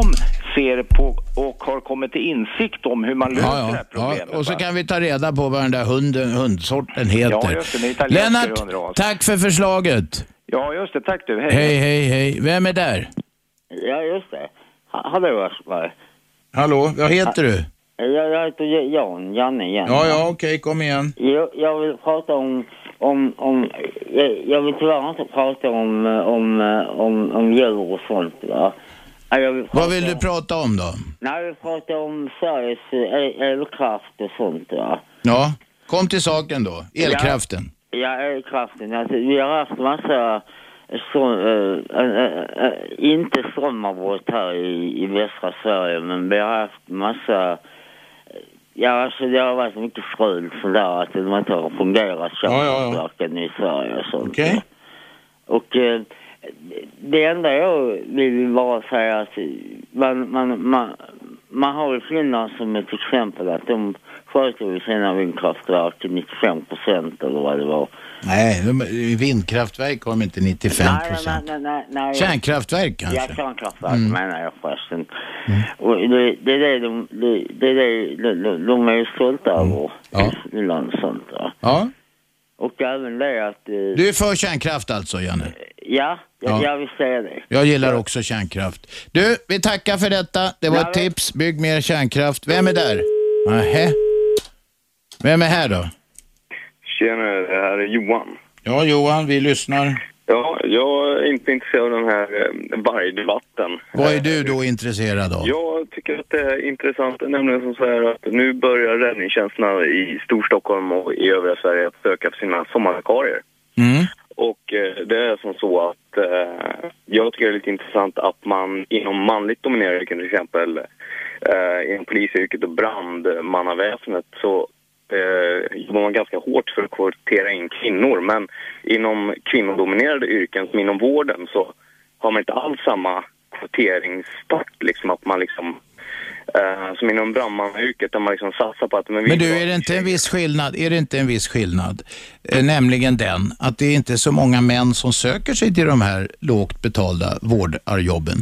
S19: ser på och har kommit till insikt om hur man löser det här
S2: Ja,
S19: problemet.
S2: och så
S19: va?
S2: kan vi ta reda på vad den där hunden, hundsorten
S19: Ja,
S2: heter.
S19: just det, med italienska
S2: Lennart,
S19: hundras.
S2: tack för förslaget.
S19: Ja, just det. Tack du. Hej.
S2: Hej, hej, hej. Vem är där?
S12: Ja, just det. Ha- Hallå Aschberg.
S2: Hallå, vad heter du?
S12: Jag, jag heter J- Jan, Janne igen.
S2: Ja, ja, okej, kom igen.
S12: Jag, jag vill prata om, om, om jag, jag vill tyvärr inte prata om, eh, om, eh, om, om djur och sånt. Ja. Ja, Jag vill
S2: Vad vill du prata om då?
S12: Nej, vi pratar om Sveriges eh, elkraft och sånt. Ja.
S2: Ja, kom till saken då. Elkraften.
S12: Ja, elkraften. Alltså, vi har haft massa så, eh, eh, eh, inte sommarbrott här i, i västra Sverige, men vi har haft massa... Ja, alltså det har varit mycket strul sådär, att de inte har fungerat kärnkraftverken i Sverige och sånt.
S2: Okej.
S12: Och eh, det enda jag vill bara säga att man, man, man, man har ju Finland som ett exempel att de sköter ju sina vindkraftverk till 95 procent eller vad det var.
S2: Nej, de, vindkraftverk har de inte 95 procent.
S12: nej, nej, nej.
S2: Kärnkraftverk kanske?
S12: Ja, kärnkraftverk
S2: Mm.
S12: menar jag förresten. Och det, det är det de, det, det är det, de, de, de är ju stolta
S2: Mm.
S12: över. Ja. Finland och sånt. Ja.
S2: Ja.
S12: Och även det att... eh,
S2: Du är för kärnkraft alltså, Janne?
S12: Ja, jag,
S2: Ja.
S12: jag vill säga det.
S2: Jag gillar också kärnkraft. Du, vi tackar för detta. Det var
S12: Ja,
S2: ett tips. Bygg mer kärnkraft. Vem är där? Nähä. Vem är här då?
S23: Tjena, det här är Johan.
S2: Ja, Johan, vi lyssnar.
S23: Ja, jag är inte intresserad av den här eh, vargdebatten.
S2: Vad är du då intresserad av?
S23: Jag tycker att det är intressant, nämligen som så här att nu börjar räddningstjänsterna i Storstockholm och i övriga Sverige att söka för sina sommarvikarier.
S2: Mm.
S23: Och eh, det är som så att eh, jag tycker det är lite intressant att man inom manligt dominerade yrken, till exempel eh, inom polisyrket och brandmannaväsendet, så eh, jobbar man ganska hårt för att kvotera in kvinnor. Men inom kvinnodominerade yrken, som inom vården, så har man inte alls samma kvoteringssport. Liksom, att man liksom, eh, som inom brandmannayrket, där man liksom satsar på att... Men, vi-
S2: Men du, är det inte en viss skillnad? Är det inte en viss skillnad? Eh, nämligen den att det är inte så många män som söker sig till de här lågt betalda vårdarjobben.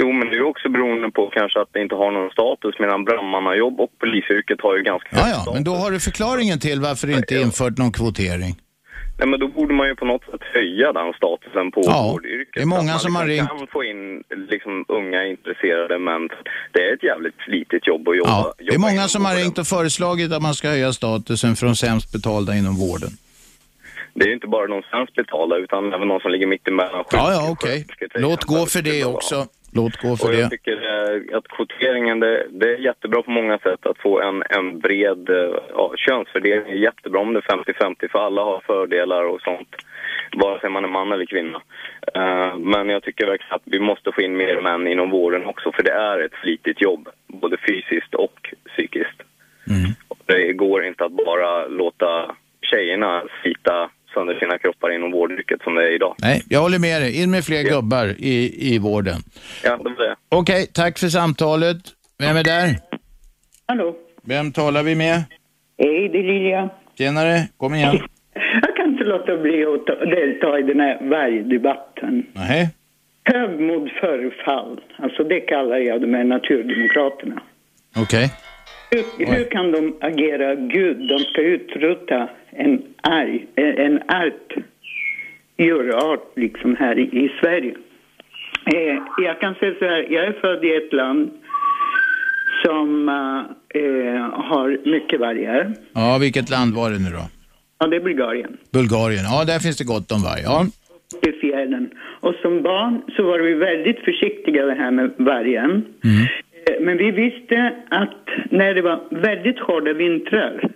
S23: Jo, men det är ju också beroende på kanske att det inte har någon status, medan brandmannajobb och polisyrket har ju ganska
S2: Ja, ja, men då har du förklaringen till varför det inte är infört någon kvotering.
S23: Nej, men då borde man ju på något sätt höja den statusen på
S2: Ja,
S23: vårdyrket.
S2: det är många
S23: Att man
S2: som har
S23: liksom kan få in liksom, unga intresserade män. Det är ett jävligt slitigt jobb att jobba.
S2: Ja, det är
S23: jobba
S2: många som har ringt och föreslagit att man ska höja statusen för de sämst betalda inom vården.
S23: Det är ju inte bara de sämst betalda, utan även de som ligger mitt emellan.
S2: Ja, ja, okej. Låt gå för det också. Låt gå för
S23: Och
S2: det.
S23: jag tycker eh, att kvoteringen, det, det är jättebra på många sätt att få en, en bred eh, ja, könsfördelning. är jättebra om det är 50-50 för alla har fördelar och sånt. Vare sig man är man eller kvinna. Eh, men jag tycker verkligen att vi måste få in mer män inom vården också för det är ett slitigt jobb. Både fysiskt och psykiskt.
S2: Mm.
S23: Och Det går inte att bara låta tjejerna slita sönder sina kroppar inom vårdyrket som det är idag.
S2: Nej, jag håller med dig. In med fler gubbar i, i vården.
S23: Ja, det var det.
S2: Okej, tack för samtalet. Vem är där?
S24: Hallå,
S2: Vem talar vi med?
S24: hej det är Lilja.
S2: Tjenare, kom igen.
S24: Jag kan inte låta bli att ta- delta i den här vargdebatten.
S2: Nej.
S24: Högmod före fall, alltså det kallar jag de här naturdemokraterna.
S2: Okej.
S24: Hur, hur kan de agera Gud? De ska utrota en, arg, en- en art, djurart liksom här i, i Sverige. Eh, jag kan säga så här, jag är född i ett land som eh, eh, har mycket vargar.
S2: Ja, vilket land var det nu då?
S24: Ja, det är Bulgarien.
S2: Bulgarien. Ja, där finns det gott om varg. Ja.
S24: i fjällen. Och som barn så var vi väldigt försiktiga det här med vargen. Eh, Men vi visste att när det var väldigt hårda vintrar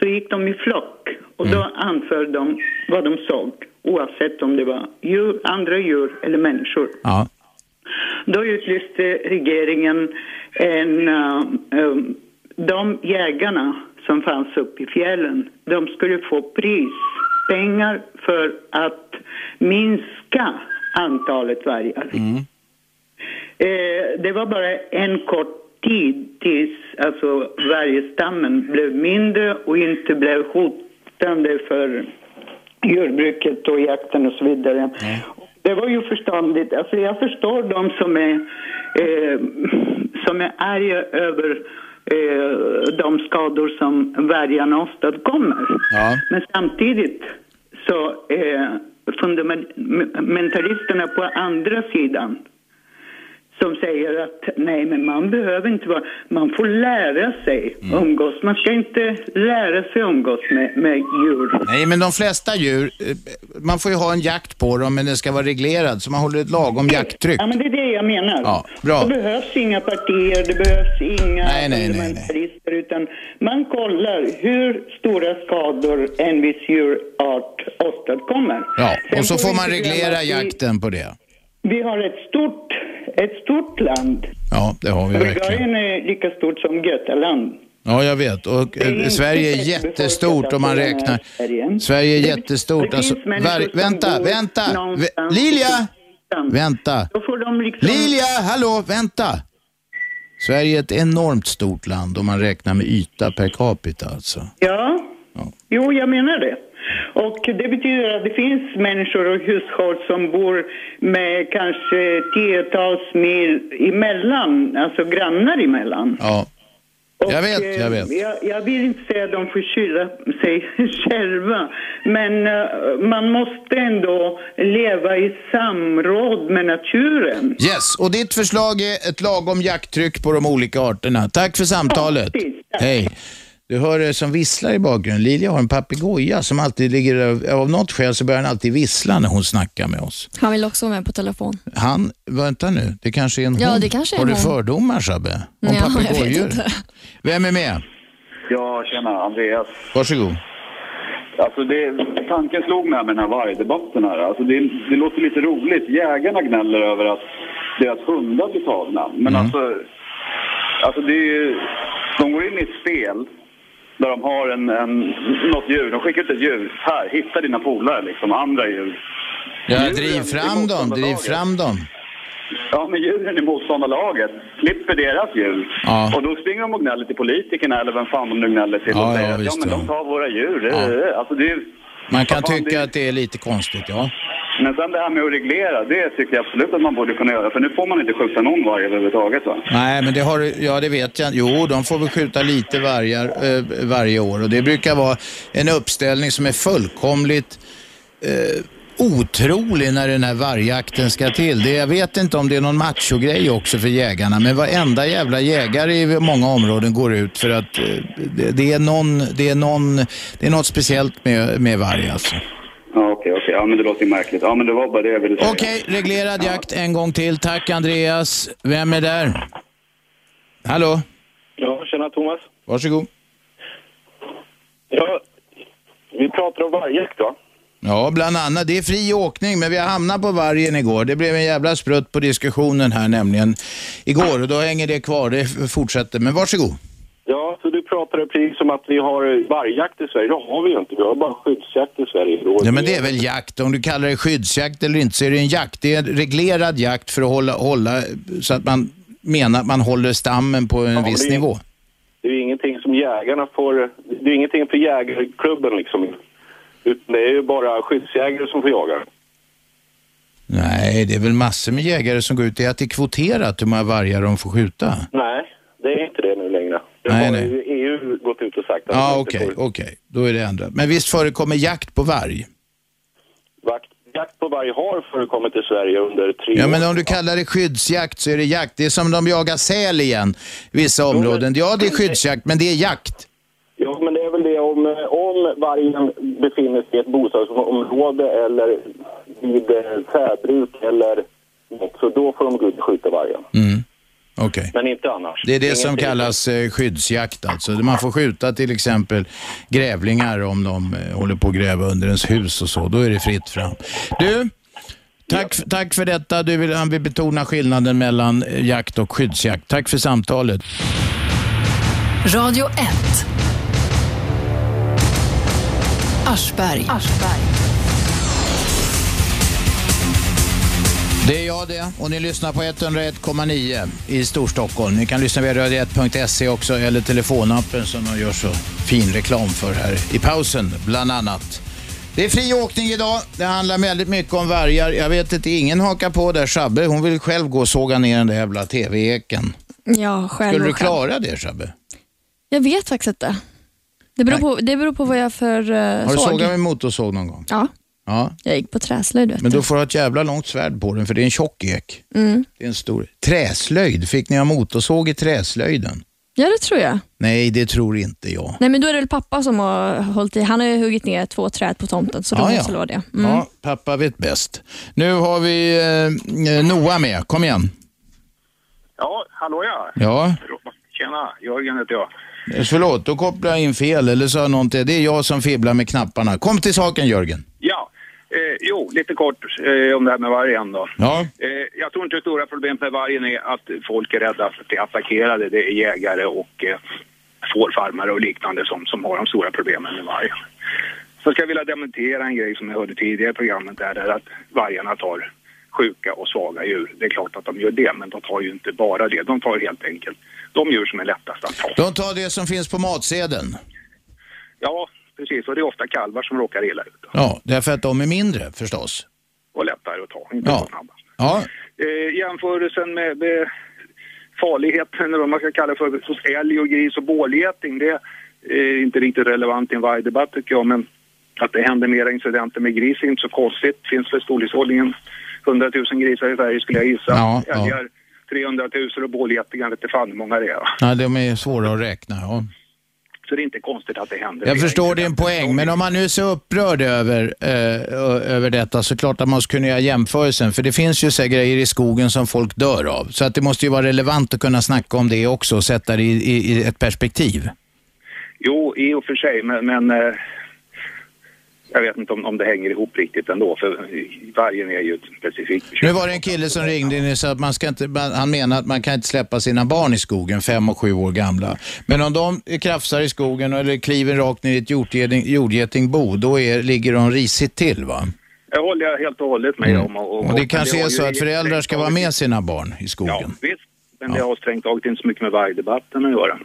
S24: så gick de i flock och då anförde de vad de såg oavsett om det var djur, andra djur eller människor.
S2: Ja.
S24: Då utlyste regeringen en... eh, eh, de jägarna som fanns uppe i fjällen, de skulle få pris, pengar för att minska antalet vargar.
S2: Mm,
S24: Eh, det var bara en kort tid tills alltså, vargstammen blev mindre och inte blev hotande för jordbruket och jakten och så vidare. Det var ju förståndigt. Alltså jag förstår de som är, eh, som är arga över eh, de skador som vargarna åstadkommer.
S2: Ja.
S24: Men samtidigt så eh, fundamentalisterna på andra sidan som säger att nej men man behöver inte vara, man får lära sig
S2: Mm.
S24: umgås. Man ska inte lära sig umgås med, med djur.
S2: Nej, men de flesta djur, eh, man får ju ha en jakt på dem, men den ska vara reglerad, så man håller ett lagom jakttryck.
S24: Ja, men det är det jag menar.
S2: Ja, bra.
S24: Det behövs inga partier, det behövs inga
S2: Nej, nej, nej,
S24: fundamentalister, utan man kollar hur stora skador en viss djurart åstadkommer.
S2: Ja,
S24: Sen
S2: och så
S24: får
S2: får
S24: vi
S2: man
S24: inte glömma
S2: reglera
S24: att vi-
S2: jakten på det.
S24: Vi har ett stort, ett stort land.
S2: Ja, det har vi verkligen.
S24: Bulgarien är lika stort som Götaland.
S2: Ja, jag vet. Och
S24: är
S2: eh,
S24: inte
S2: Sverige är
S24: tätbefolkat,
S2: jättestort om man
S24: alltså,
S2: räknar.
S24: Sverige.
S2: Sverige är jättestort.
S24: det
S2: Alltså,
S24: finns människor
S2: var-
S24: som
S2: vänta,
S24: bor
S2: vänta!
S24: någonstans
S2: Vä- Lilja! Vänta!
S24: Då får de liksom...
S2: Lilja, hallå, vänta! Sverige är ett enormt stort land om man räknar med yta per capita alltså.
S24: Ja. jo jag menar det. Och det betyder att det finns människor och hushåll som bor med kanske tiotals mil emellan, alltså grannar emellan.
S2: Ja. Jag vet, jag vet.
S24: Eh, Jag, jag vill inte säga att de får skylla sig själva, men eh, man måste ändå leva i samråd med naturen.
S2: Yes, och ditt förslag är ett lagom jakttryck på de olika arterna. Tack för samtalet. Hej. Du hör det som visslar i bakgrunden. Lilja har en papegoja som alltid ligger där. Av något skäl så börjar han alltid vissla när hon snackar med oss.
S3: Han vill också vara med på telefon.
S2: Han, vänta nu, det kanske är en
S3: Ja,
S2: hon.
S3: det kanske är
S2: har
S3: en
S2: du
S3: hon.
S2: fördomar Shabbe? Om
S3: Nej, jag vet
S2: papegojor?
S3: inte.
S2: Vem är med?
S8: Ja, tjena Andreas.
S2: Varsågod.
S8: Alltså det, tanken slog mig med den här vargdebatten här. Alltså det, det låter lite roligt. Jägarna gnäller över att deras hundar blir tagna.
S2: Mm.
S8: Men alltså, alltså det är ju, de går in i ett spel där de har en, en, något djur. De skickar ut ett djur. Här, hitta dina polare liksom, andra djur.
S2: Ja, driv fram dem, driv fram dem.
S25: Ja, men djuren i motståndarlaget slipper deras djur.
S2: Ja.
S25: Och då springer de och gnäller till politikerna eller vem fan de nu gnäller till
S2: Ja,
S25: och
S2: ja,
S25: säger att ja,
S2: visst,
S25: men de
S2: ja.
S25: tar våra djur.
S2: Ja.
S25: Alltså, det är,
S2: Man kan tycka att det är lite konstigt, ja.
S25: men sen det här med att reglera, det tycker jag absolut att man borde kunna göra. För nu får man inte skjuta någon varg överhuvudtaget. Va?
S2: Nej, men det har ja det vet jag Jo, de får väl skjuta lite vargar eh, varje år och det brukar vara en uppställning som är fullkomligt eh, otrolig när den här vargjakten ska till. Det, jag vet inte om det är någon machogrej också för jägarna, men varenda jävla jägare i många områden går ut för att eh, det, det, är, någon, det, är, någon, det är något speciellt med, med varg alltså.
S25: Ja, okej, okej. Ja, men det låter ju märkligt. Ja, men det var bara det jag ville säga.
S2: Okej, reglerad jakt en gång till. Tack Andreas. Vem är där? Hallå?
S4: Ja, tjena Thomas.
S2: Varsågod.
S4: Ja, vi pratar om vargjakt va?
S2: Ja, bland annat. Det är fri åkning, men vi har hamnat på vargen igår. Det blev en jävla sprutt på diskussionen här nämligen igår och då hänger det kvar. Det f- fortsätter. Men varsågod.
S4: Ja, så du pratade precis om att vi har vargjakt i Sverige. Det har vi ju inte. Vi har bara skyddsjakt i Sverige.
S2: Ja, men det är väl jakt. Om du kallar det skyddsjakt eller inte så är det en jakt. Det är en reglerad jakt för att hålla, hålla så att man menar att man håller stammen på en viss
S4: det är-
S2: nivå.
S4: Det är ju ingenting som jägarna får... Det är ingenting för jägarklubben liksom. Utan det är ju bara skyddsjägare som får jaga.
S2: Nej, det är väl massor med jägare som går ut. Det är att det är kvoterat hur många vargar de får skjuta.
S4: Nej, det är inte det nu längre. Det
S2: Nej,
S4: har
S2: nej.
S4: ju EU gått ut och sagt. att
S2: Ja,
S4: de inte
S2: okej,
S4: får-
S2: okej. Då är det ändrat. Men visst förekommer jakt på varg?
S4: Jakt på varg har förekommit i Sverige under tre
S2: Ja,
S4: år.
S2: men om du kallar det skyddsjakt så är det jakt. Det är som de jagar säl igen, vissa områden. Ja, det är skyddsjakt, men det är jakt.
S4: Ja, men det är väl det om, om vargen befinner sig i ett bostadsområde eller vid eh, fäbruk eller något, så då får de gå ut och skjuta vargen.
S2: Mm. Okej.
S4: Men inte annars.
S2: Det är det som
S4: Ingenting.
S2: kallas eh, skyddsjakt alltså. Man får skjuta till exempel grävlingar om de eh, håller på att gräva under ens hus och så. Då är det fritt fram. Du, tack, tack för detta. Du vill, han vill betona skillnaden mellan eh, jakt och skyddsjakt. Tack för samtalet.
S1: Radio 1. Aschberg.
S2: Det är jag det och ni lyssnar på 101,9 i Storstockholm. Ni kan lyssna via radio1.se också eller telefonappen som de gör så fin reklam för här i pausen bland annat. Det är fri åkning idag. Det handlar väldigt mycket om vargar. Jag vet inte, ingen hakar på där. Shabbe, hon vill själv gå och såga ner den där jävla tv-eken.
S3: Ja, själv
S2: Skulle du
S3: och själv.
S2: klara det Shabbe?
S3: Jag vet faktiskt inte. Det beror, på, det berår på vad jag för uh,
S2: Har du
S3: såg.
S2: sågat med motorsåg någon gång?
S3: Ja,
S2: Ja.
S3: jag gick på träslöjd vet
S2: Men
S3: du.
S2: då får du ha ett jävla långt svärd på den för det är en tjock ek.
S3: Mm.
S2: Det är en stor. Träslöjd, fick ni ha motorsåg i träslöjden?
S3: Ja, det tror jag.
S2: Nej, det tror inte jag.
S3: Nej, men då är det väl pappa som har hållit i. Han har ju huggit ner två träd på tomten, så då
S2: Ah, Ja,
S3: måste
S2: ja.
S3: det vara det. Mm.
S2: Ja, pappa vet bäst. Nu har vi eh, Noah med. Kom igen.
S26: Ja, hallå ja.
S2: Ja,
S26: Tjena, Jörgen heter jag.
S2: Eh, förlåt, då kopplade jag in fel eller sa jag någonting. Det är jag som fibblar med knapparna. Kom till saken Jörgen.
S26: Ja, eh, jo, lite kort eh, om det här med vargen då.
S2: Ja.
S26: Eh, jag tror inte det stora problemet med vargen är att folk är rädda för att bli attackerade. Det är jägare och eh, fårfarmare och liknande som, som har de stora problemen med vargen. Så ska jag vilja dementera en grej som jag hörde tidigare i programmet där, där att vargarna tar sjuka och svaga djur. Det är klart att de gör det, men de tar ju inte bara det. De tar helt enkelt de djur som är lättast att ta.
S2: De tar det som finns på matsedeln.
S26: Ja, precis. Och det är ofta kalvar som råkar illa ut
S2: Ja, därför att de är mindre förstås.
S26: och lättare att ta. Inte
S2: Ja.
S26: så snabba.
S2: Ja,
S26: Eh, jämförelsen med, med farligheten, eller vad man ska kalla det för, hos älg och gris och bålgeting, det är inte riktigt relevant i en vargdebatt tycker jag, men att det händer mera incidenter med gris är inte så konstigt. finns väl i storleksordningen 100 000 grisar i Sverige skulle jag gissa.
S2: Ja, ja.
S26: Älgar 300 000 och bålgetingar vete fan hur många det är.
S2: ja de är svåra att räkna. Ja.
S26: Så det är inte konstigt att det händer.
S2: Jag förstår din poäng, men om man nu är så upprörd över, eh, ö- över detta så klart att man ska kunna göra jämförelsen. För det finns ju så här grejer i skogen som folk dör av. Så att det måste ju vara relevant att kunna snacka om det också och sätta det i, i, i ett perspektiv.
S26: Jo, i och för sig, men, men eh, jag vet inte om, om det hänger ihop riktigt ändå, för eh, vargen är ju ett specifikt
S2: Nu var det en kille som ringde in och sa att man ska inte, man, han menar att man kan inte släppa sina barn i skogen, fem och sju år gamla. Men om de krafsar i skogen eller kliver rakt ner i ett jordgeting, jordgetingbo, då är, ligger de risigt till va?
S26: Det håller jag helt och hållet med
S2: Mm.
S26: om. Och,
S2: Och det kanske
S26: har
S2: är så
S26: ju
S2: att föräldrar ska vara med sina barn i skogen.
S26: Visst, men det har strängt taget inte så mycket med vargdebatten att göra.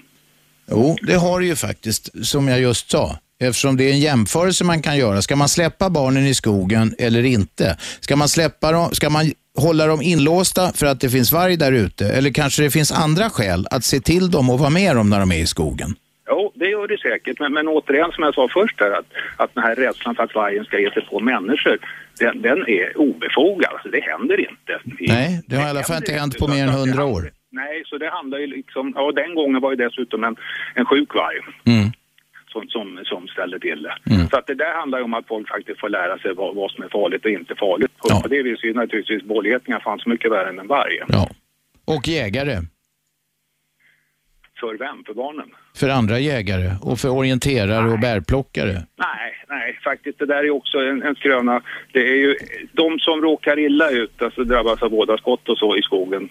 S2: Jo, det har det ju faktiskt, som jag just sa. Eftersom det är en jämförelse man kan göra. Ska man släppa barnen i skogen eller inte? Ska man, släppa dem, ska man hålla dem inlåsta för att det finns varg där ute? Eller kanske det finns andra skäl att se till dem och vara med dem när de är i skogen?
S26: Jo, det gör det säkert. Men, men återigen, som jag sa först där, att, att den här rädslan för att vargen ska ge sig på människor, den, den är obefogad. Alltså, det händer inte.
S2: Nej, det har i alla fall inte hänt på mer än hundra år.
S26: Nej, så det handlar ju liksom... Ja, den gången var ju dessutom en, en sjuk varg
S2: Mm.
S26: som, som, som ställde till det. Så att det där handlar ju om att folk faktiskt får lära sig vad, vad som är farligt och inte farligt. Och på det viset är ju naturligtvis bålgetingar fanns mycket värre än en varg.
S2: Och jägare,
S26: För vem? För barnen?
S2: för andra jägare och för orienterare och bärplockare.
S26: Nej, nej, faktiskt. Det där är också en, en skröna. Det är ju de som råkar illa ut, alltså drabbas av båda skott och så i skogen,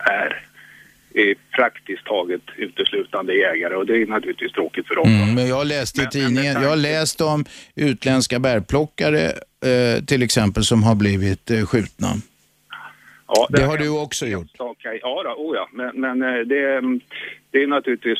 S26: är, är praktiskt taget uteslutande jägare och det är naturligtvis tråkigt för dem.
S2: Mm, men jag läste i tidningen, jag har läst om utländska bärplockare eh, till exempel som har blivit eh, skjutna.
S26: Ja,
S2: Det har du också gjort.
S26: Okay. Ja, då, oh ja. men, men eh, det, det är naturligtvis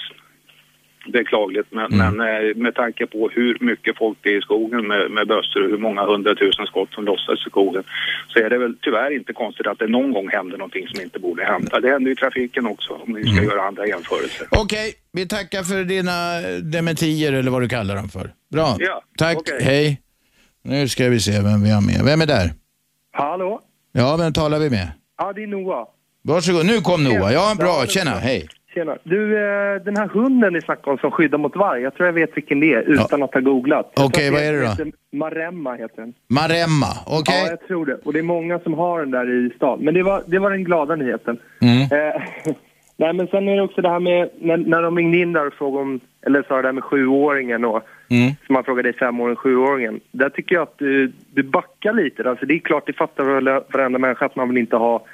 S26: beklagligt. Men,
S2: Mm.
S26: men eh, med tanke på hur mycket folk det är i skogen med, med bössor och hur många hundratusen skott som lossas i skogen så är det väl tyvärr inte konstigt att det någon gång händer någonting som inte borde hända. Det händer ju i trafiken också om vi ska
S2: Mm.
S26: göra andra jämförelser.
S2: Okej, vi tackar för dina dementier eller vad du kallar dem för. Bra,
S26: Ja,
S2: tack, hej. Nu ska vi se vem vi har med. Vem är där?
S27: Hallå?
S2: Ja, vem talar vi med?
S27: Ja, det är Noah.
S2: Varsågod, nu kom Noah. Ja, bra, tjena, hej.
S27: Tjena. Du, eh, den här hunden ni snackade om som skyddar mot varg, jag tror jag vet vilken det är utan att ha googlat. Jag
S2: Okej,
S27: tror att
S2: vad är det då?
S27: heter Maremma heter den.
S2: Maremma, okej.
S27: Ja, jag tror det. Och det är många som har den där i stan. Men det var, det var den glada nyheten.
S2: Mm.
S27: Eh, nej, men sen är det också det här med när, när de ringde in där och frågade om, eller sa det där med sjuåringen och
S2: Mm.
S27: som man frågade dig, femåringen, sjuåringen. Där tycker jag att du, du backar lite. Alltså det är klart, det fattar väl varenda människa att man vill inte ha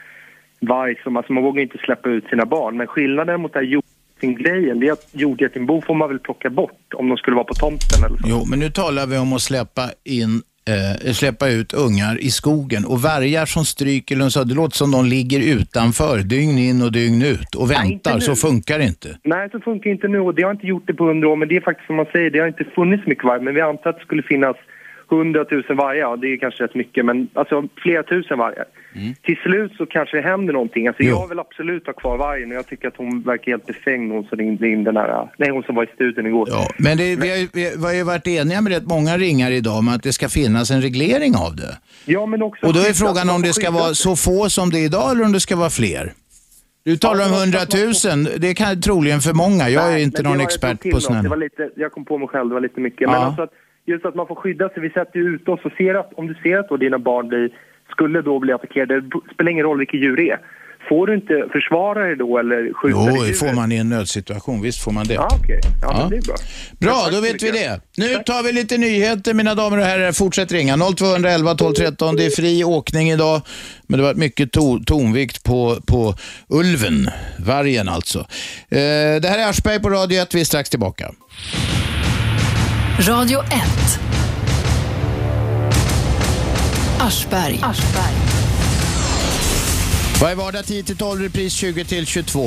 S27: varg som, alltså man vågar inte släppa ut sina barn. Men skillnaden mot den här jordgetinggrejen, det är att jordgetingbo får man väl plocka bort om de skulle vara på tomten eller så.
S2: Jo, men nu talar vi om att släppa in eh, släppa ut ungar i skogen och vargar som stryker eller så, det låter som de ligger utanför dygn in och dygn ut och
S27: Nej,
S2: väntar,
S27: inte nu.
S2: så funkar det inte.
S27: Nej, så funkar inte nu och det har inte gjort det på hundra år. Men det är faktiskt som man säger, det har inte funnits mycket varg. Men vi antar att det skulle finnas hundratusen vargar, ja det är kanske rätt mycket, men alltså flera tusen vargar. Till slut så kanske det händer någonting. Alltså jag vill absolut ha kvar vargen och jag tycker att hon verkar helt befängd hon som ringde in den här, nej hon som var i studion igår.
S2: Men det, vi, har, ju- vi har ju varit eniga med rätt många ringar idag om att det ska finnas en reglering av det.
S27: Ja, men också
S2: Och då är
S27: skydda-
S2: frågan
S27: man
S2: om
S27: får
S2: det ska
S27: skydda
S2: vara
S27: sig.
S2: så få som det är idag eller om det ska vara fler. Du talar om hundratusen, det kan troligen för många. Jag är
S27: Nej, men
S2: inte
S27: det
S2: någon
S27: var jag som
S2: expert
S27: till
S2: på
S27: då.
S2: sådana
S27: Det
S2: här.
S27: var lite, jag kom på mig själv, det var lite mycket. Men
S2: Ja.
S27: alltså att, just att man får skydda sig. Vi sätter ju ut oss och ser att om du ser att då dina barn blir, skulle då bli attackerade, det spelar ingen roll vilket djur det är. Får du inte försvara dig då eller skjuta
S2: Jo,
S27: dig
S2: det får man i en nödsituation, visst får man det.
S27: Ja, okej. Ja,
S2: Ja.
S27: men det är bra.
S2: Bra, då vet vi det. Nu tar vi lite nyheter mina damer och herrar. Fortsätt ringa 0211 12 13. Det är fri åkning idag. Men det var mycket to tonvikt på, på ulven, vargen alltså. Eh, det här är Aschberg på Radio 1. Vi är strax tillbaka.
S1: Radio 1. Aschberg.
S2: Varje vardag 10-12, repris 20-22.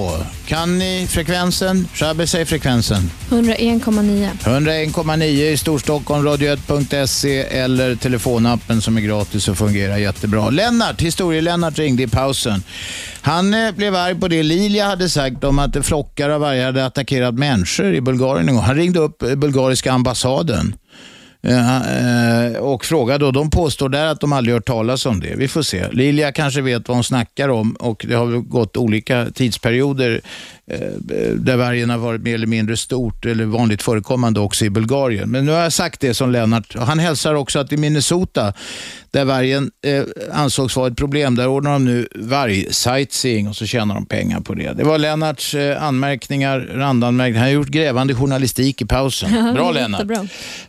S2: Kan ni frekvensen? Shabbe, säg frekvensen.
S3: 101,9.
S2: 101,9 i Storstockholm, radio1.se eller telefonappen som är gratis och fungerar jättebra. Lennart, historie-Lennart ringde i pausen. Han eh, blev arg på det Lilia hade sagt om att flockar av vargar hade attackerat människor i Bulgarien en gång. Han ringde upp eh, bulgariska ambassaden. Eh, eh, och frågade och de påstår där att de aldrig hört talas om det. Vi får se. Lilia kanske vet vad hon snackar om och det har väl gått olika tidsperioder eh, där vargen har varit mer eller mindre stort eller vanligt förekommande också i Bulgarien. Men nu har jag sagt det som Lennart. Han hälsar också att i Minnesota där vargen eh, ansågs vara ett problem, där ordnar de nu vargsightseeing och så tjänar de pengar på det. Det var Lennarts eh, anmärkningar, randanmärkningar. Han har gjort grävande journalistik i pausen. Bra Lennart.
S3: Jättebra.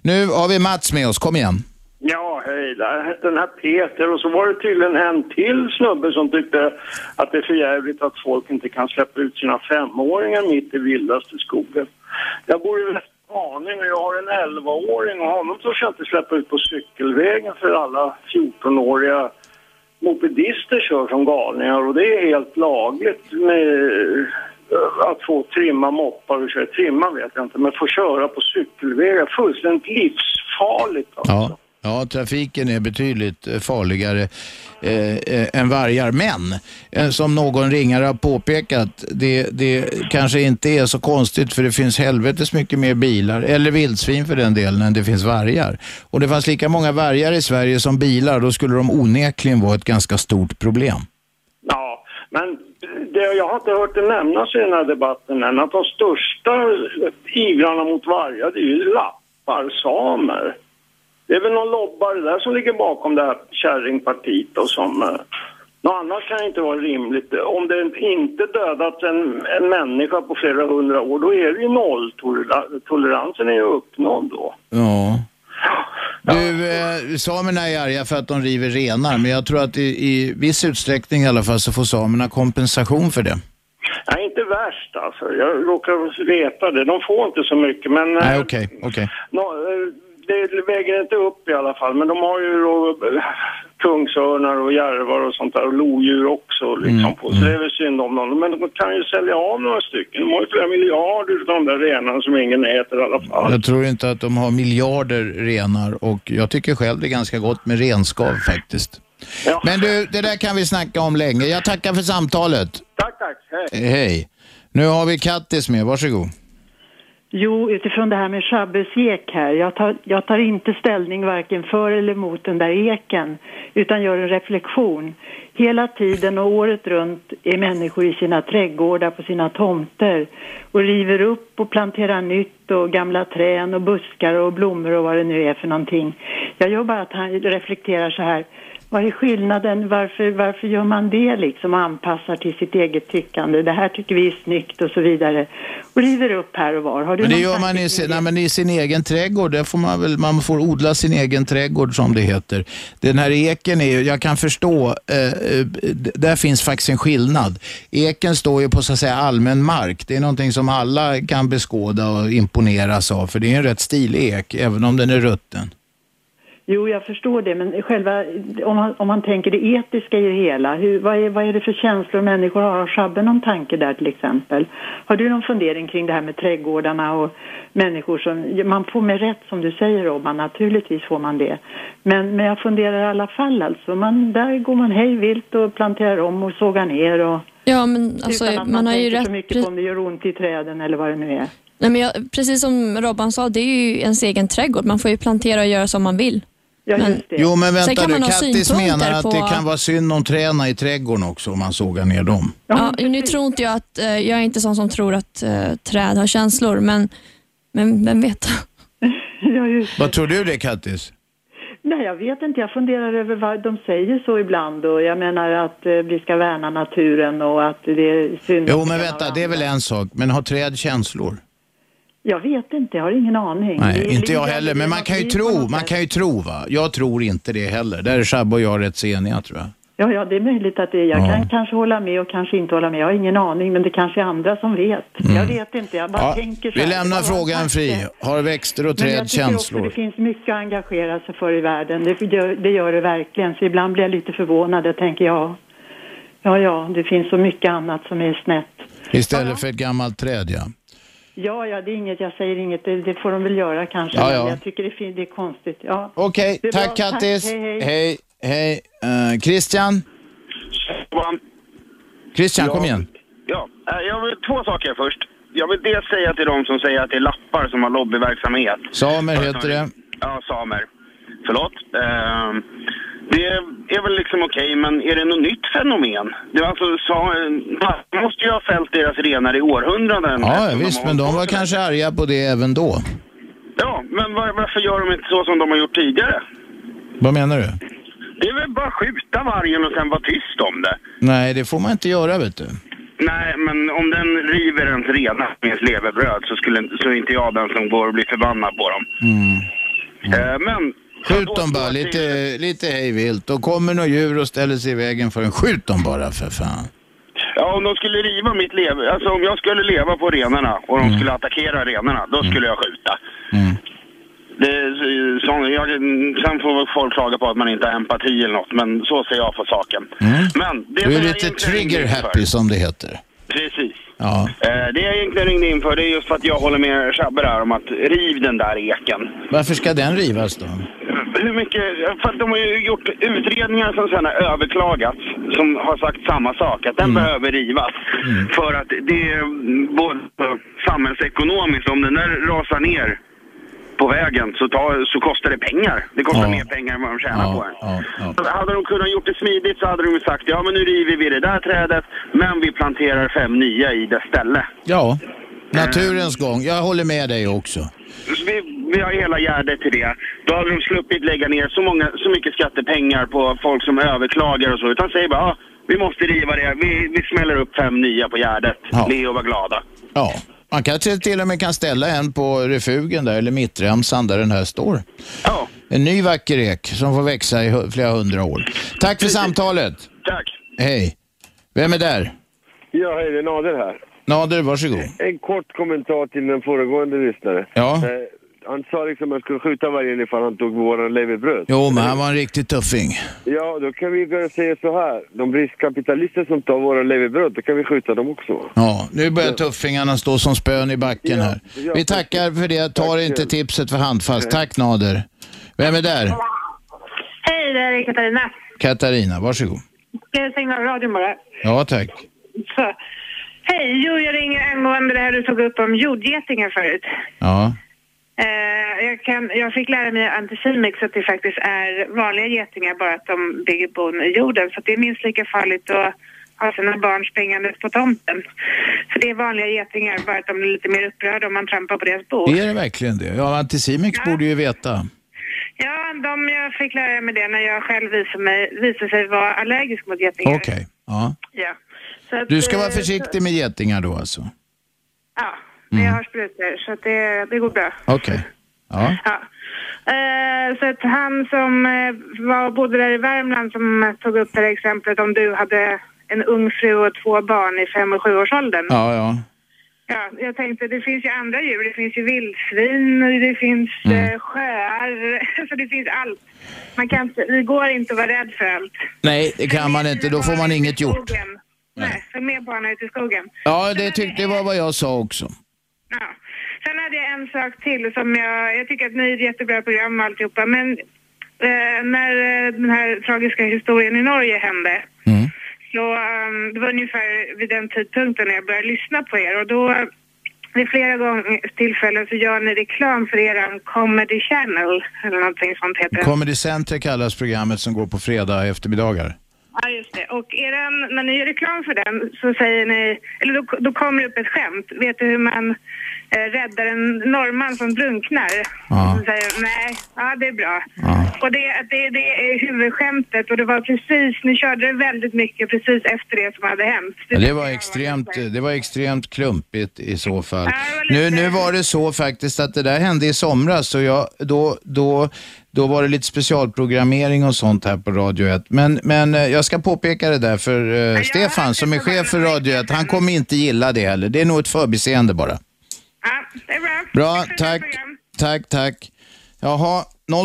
S2: Nu har vi Mats med oss, kom igen.
S4: Ja, hej. där. Den här Peter. Och så var det tydligen en till snubbe som tyckte att det är för jävligt att folk inte kan släppa ut sina femåringar mitt i vildaste skogen. Jag bor i Väst- aning. Jag har en 11-åring och honom törs jag inte släppa ut på cykelvägen för alla 14-åriga mopedister kör som galningar och det är helt lagligt med eh, att få trimma moppar och köra. Trimma vet jag inte, men få köra på cykelvägar. Fullständigt livsfarligt.
S2: Ja. Ja, trafiken är betydligt eh, farligare eh, eh, än vargar. Men, eh, som någon ringare har påpekat, det, det kanske inte är så konstigt för det finns helvetes mycket mer bilar, eller vildsvin för den delen, än det finns vargar. Och det fanns lika många vargar i Sverige som bilar, då skulle de onekligen vara ett ganska stort problem.
S4: Ja, men det, jag har inte hört det nämnas i den här debatten än att de största ivrarna mot vargar det är ju lappar, samer. Det är väl någon lobbare där som ligger bakom det här kärringpartiet och som... eh, Något annat kan inte vara rimligt. Om det inte dödats en, en människa på flera hundra år då är det ju nolltoleransen är ju uppnådd då.
S2: Ja. Du, eh, samerna är arga för att de river renar, men jag tror att i, i viss utsträckning i alla fall så får samerna kompensation för det.
S4: Nej, inte värst alltså. Jag råkar veta det. De får inte så mycket men... eh,
S2: Nej, okej, okej.
S4: Nå, eh, det väger inte upp i alla fall, men de har ju då eh, kungsörnar och järvar och sånt där och lodjur också liksom på. Så det är väl synd om dem. Men de kan ju sälja av några stycken. De har ju flera miljarder av de där renarna som ingen äter i alla fall.
S2: Jag tror inte att de har miljarder renar och jag tycker själv det är ganska gott med renskav faktiskt. Men du, det där kan vi snacka om länge. Jag tackar för samtalet.
S4: Tack, tack. Hej.
S2: Eh, Hej. Nu har vi Kattis med, varsågod.
S28: Jo, utifrån det här med Shabbes ek här. Jag tar, jag tar inte ställning varken för eller mot den där eken, utan gör en reflektion. Hela tiden och året runt är människor i sina trädgårdar, på sina tomter och river upp och planterar nytt och gamla träd och buskar och blommor och vad det nu är för någonting. Jag gör bara att han reflekterar så här. Vad är skillnaden? Varför, varför gör man det liksom och anpassar till sitt eget tyckande? Det här tycker vi är snyggt och så vidare. Och river upp här och var. Har du
S2: Men det
S28: någon
S2: gör
S28: tanke
S2: man i
S28: kring
S2: sin, nej, men i sin egen trädgård. Där får man, väl, man får odla sin egen trädgård som det heter. Den här eken är ju, jag kan förstå, eh, eh, d- där finns faktiskt en skillnad. Eken står ju på så att säga allmän mark. Det är någonting som alla kan beskåda och imponeras av. För det är en rätt stilig ek, även om den är rutten.
S28: Jo, jag förstår det, men själva, om man, om man tänker det etiska i det hela, hur, vad, är, vad är det för känslor människor har? Har Shabbe någon tanke där till exempel? Har du någon fundering kring det här med trädgårdarna och människor som, man får med rätt som du säger Robban, naturligtvis får man det. Men, men jag funderar i alla fall alltså, man, där går man hej vilt och planterar om och sågar ner och
S3: Ja, men alltså,
S28: utan att
S3: man har ju
S28: tänker
S3: rätt...
S28: så mycket på om det gör ont i träden eller vad det nu är.
S3: Nej, men jag, precis som Robban sa, det är ju ens egen trädgård. Man får ju plantera och göra som man vill. Men-
S2: Jo, men
S3: Sen
S2: vänta
S3: kan
S2: nu.
S3: man ha
S2: Kattis
S3: synpunkter
S2: menar att
S3: på-
S2: det kan vara synd om träna i trädgården också om man sågar ner dem.
S3: Ja, nu tror inte jag att, eh, jag är inte sån som tror att eh, träd har känslor, men, men vem vet?
S2: Vad tror du det Kattis?
S28: Nej, jag vet inte. Jag funderar över vad de säger så ibland. Och jag menar att eh, vi ska värna naturen och att det är Eh, synd.
S2: Jo, men vänta, det är väl en sak. Men har träd känslor?
S28: Jag vet inte. Jag har ingen aning. Det
S2: Nej,
S28: är
S2: inte jag
S28: lika-
S2: heller. Men man kan ju tro, man kan ju tro va. Jag tror inte det heller. Där är Shabbe och jag rätt eniga tror jag.
S28: Ja, ja, det är möjligt att det är. Jag
S2: Ja.
S28: kan kanske hålla med och kanske inte hålla med. Jag har ingen aning, men det kanske är andra som vet.
S2: Mm.
S28: Jag vet inte. Jag bara
S2: Ja,
S28: tänker så
S2: vi
S28: här.
S2: lämnar
S28: Jag bara-
S2: frågan fri. Har växter och
S28: Men jag
S2: träd
S28: tycker också
S2: känslor?
S28: det finns mycket att engagera sig för i världen. Det gör, det gör det verkligen. Så ibland blir jag lite förvånad och tänker ja, ja, ja, det finns så mycket annat som är snett.
S2: Istället för ett gammalt träd ja.
S28: Ja, ja, det är inget, jag säger inget, det, det får de väl göra kanske.
S2: Ja,
S28: men
S2: ja.
S28: Jag tycker det är, fin- det är konstigt. Ja.
S2: Okej,
S28: Det är
S2: tack
S28: bra.
S2: Kattis.
S28: Tack, hej, hej.
S2: Hej, hej. Eh, Christian? Christian, kom igen.
S29: Ja, eh, jag vill två saker först. Jag vill dels säga till de som säger att det är lappar som har lobbyverksamhet.
S2: Samer heter det.
S29: Ja, samer. Förlåt. Eh, det är väl liksom okej, men är det något nytt fenomen? Det var alltså, sa, man måste ju ha fällt deras renar i århundraden.
S2: Ja, visst, men de var kanske arga på det även då.
S29: Ja, men var, varför gör de inte så som de har gjort tidigare?
S2: Vad menar du?
S29: Det är väl bara skjuta vargen och sen vara tyst om det.
S2: Nej, det får man inte göra vet du.
S29: Nej, men om den river ens renar med ens levebröd så, skulle, så är inte jag den som går och blir förbannad på dem.
S2: Mm.
S29: Eh, men...
S2: Skjut dem bara lite, lite hejvilt. Då kommer några djur och ställer sig i vägen för en. Skjut dem bara för fan.
S29: Ja, om de skulle riva mitt lev... Alltså om jag skulle leva på renarna och de
S2: Mm.
S29: skulle attackera renarna, då skulle jag skjuta. Det, är så, jag, sen får väl folk klaga på att man inte har empati eller något, men så ser jag på saken. Men det
S2: Mm. Du är
S29: som jag
S2: lite
S29: egentligen ringde in för-
S2: trigger-happy som det heter.
S29: Precis.
S2: Ja.
S29: Eh, det jag egentligen ringde in för, det är just för att jag håller med Shabbe där om att riv den där eken.
S2: Varför ska den rivas då?
S29: Hur mycket, för att de har ju gjort utredningar som sen har överklagats, som har sagt samma sak, att den behöver rivas. För att det är mm, både samhällsekonomiskt, om den där rasar ner på vägen så, tar, så kostar det pengar. Det kostar mer pengar än vad de tjänar på den. Hade de kunnat gjort det smidigt så hade de ju sagt ja men nu river vi det där trädet men vi planterar fem nya i det ställe.
S2: Ja,
S29: Mm.
S2: naturens gång. Jag håller med dig också.
S29: Så Vi, vi har hela gärdet till det. Då hade de sluppit lägga ner så, många, så mycket skattepengar på folk som överklagar och så. Utan säger bara, ah, vi måste riva det. Vi, vi smäller upp fem nya på gärdet.
S2: Ja.
S29: Leo var glada.
S2: Ja. Man kanske till och med kan ställa en på refugen där, eller mittremsan där den här står.
S29: Ja.
S2: En ny vacker ek som får växa i hu- flera hundra år. Tack för samtalet.
S29: Tack.
S2: Hej. Vem är där?
S16: Ja, hej, det är Nader här.
S2: Nader, varsågod.
S16: En kort kommentar till den föregående lyssnaren.
S2: Ja.
S16: Eh, han sa liksom att man skulle skjuta vargen ifall han tog våran leverbröd.
S2: Jo, men han var en riktig tuffing.
S16: Ja, då kan vi ju säga så här. De riskkapitalister som tar våra leverbröd, då kan vi skjuta dem också.
S2: Ja, nu börjar tuffingarna stå som spön i backen här. Vi tackar för det. Tar inte tipset för handfast. Tack Nader. Vem är där?
S18: Hej, det här är Katarina.
S2: Katarina, varsågod.
S18: Ska jag stänga av radion bara?
S2: Ja, tack.
S18: Så. Hej, jo, jag ringer angående det här du tog upp om jordgetingar förut.
S2: Ja.
S18: Eh, jag, kan, jag fick lära mig antisimix att det faktiskt är vanliga getingar, bara att de bygger bon i jorden. Så att det är minst lika farligt att ha sina barn springandes på tomten. För det är vanliga getingar, bara att de är lite mer upprörda om man trampar på deras bo.
S2: Är det verkligen det? Ja, Anticimex borde ju veta.
S18: Ja, de jag fick lära mig det när jag själv visade, mig, visade sig vara allergisk mot getingar.
S2: Okej. Ja.
S18: Ja. Så att,
S2: Du ska vara
S18: eh,
S2: försiktig med Mm. getingar då alltså?
S18: Ja, men jag har sprutor så att det, det går bra.
S2: Okej. Ja.
S18: Eh, så att han som eh, var, bodde där i Värmland som tog upp det här exemplet om du hade en ung fru och två barn i fem och sjuårsåldern.
S2: Ja, ja.
S18: Ja, jag tänkte det finns ju andra djur. Det finns ju vildsvin, det finns
S2: Mm.
S18: eh, sjöar, så det finns allt. Man kan inte, det går inte att vara rädd för allt.
S2: Nej, det kan man inte. Då får man inget gjort.
S18: Skogen. Nej, för med barnen ute i skogen.
S2: Ja, det tyckte jag var vad jag sa också.
S18: Sen hade jag en sak till som jag, jag tycker att ni är ett jättebra program och alltihopa, men eh, när eh, den här tragiska historien i Norge hände, så eh, det var ungefär vid den tidpunkten när jag började lyssna på er och då eh, vid flera gånger tillfällen så gör ni reklam för eran comedy channel eller någonting sånt heter det.
S2: Comedy Center kallas programmet som går på fredag eftermiddagar.
S18: Ja, just det. Och är den, när ni gör reklam för den så säger ni, eller då, då kommer det upp ett skämt. Vet du hur man eh, räddar en norrman som drunknar?
S2: Ja.
S18: Så säger nej, ja det är bra. Och det, det, det är huvudskämtet och det var precis, ni körde det väldigt mycket precis efter det som hade hänt.
S2: Ja, det, var extremt, det var extremt klumpigt i så fall. Nu, nu var det så faktiskt att det där hände i somras och jag, då, då, då var det lite specialprogrammering och sånt här på Radio 1. Men, men eh, jag ska påpeka det där för eh, Stefan som är chef för Radio 1, han kommer inte gilla det heller. Det är nog ett förbiseende bara. Bra, tack. Tack, tack. Jaha,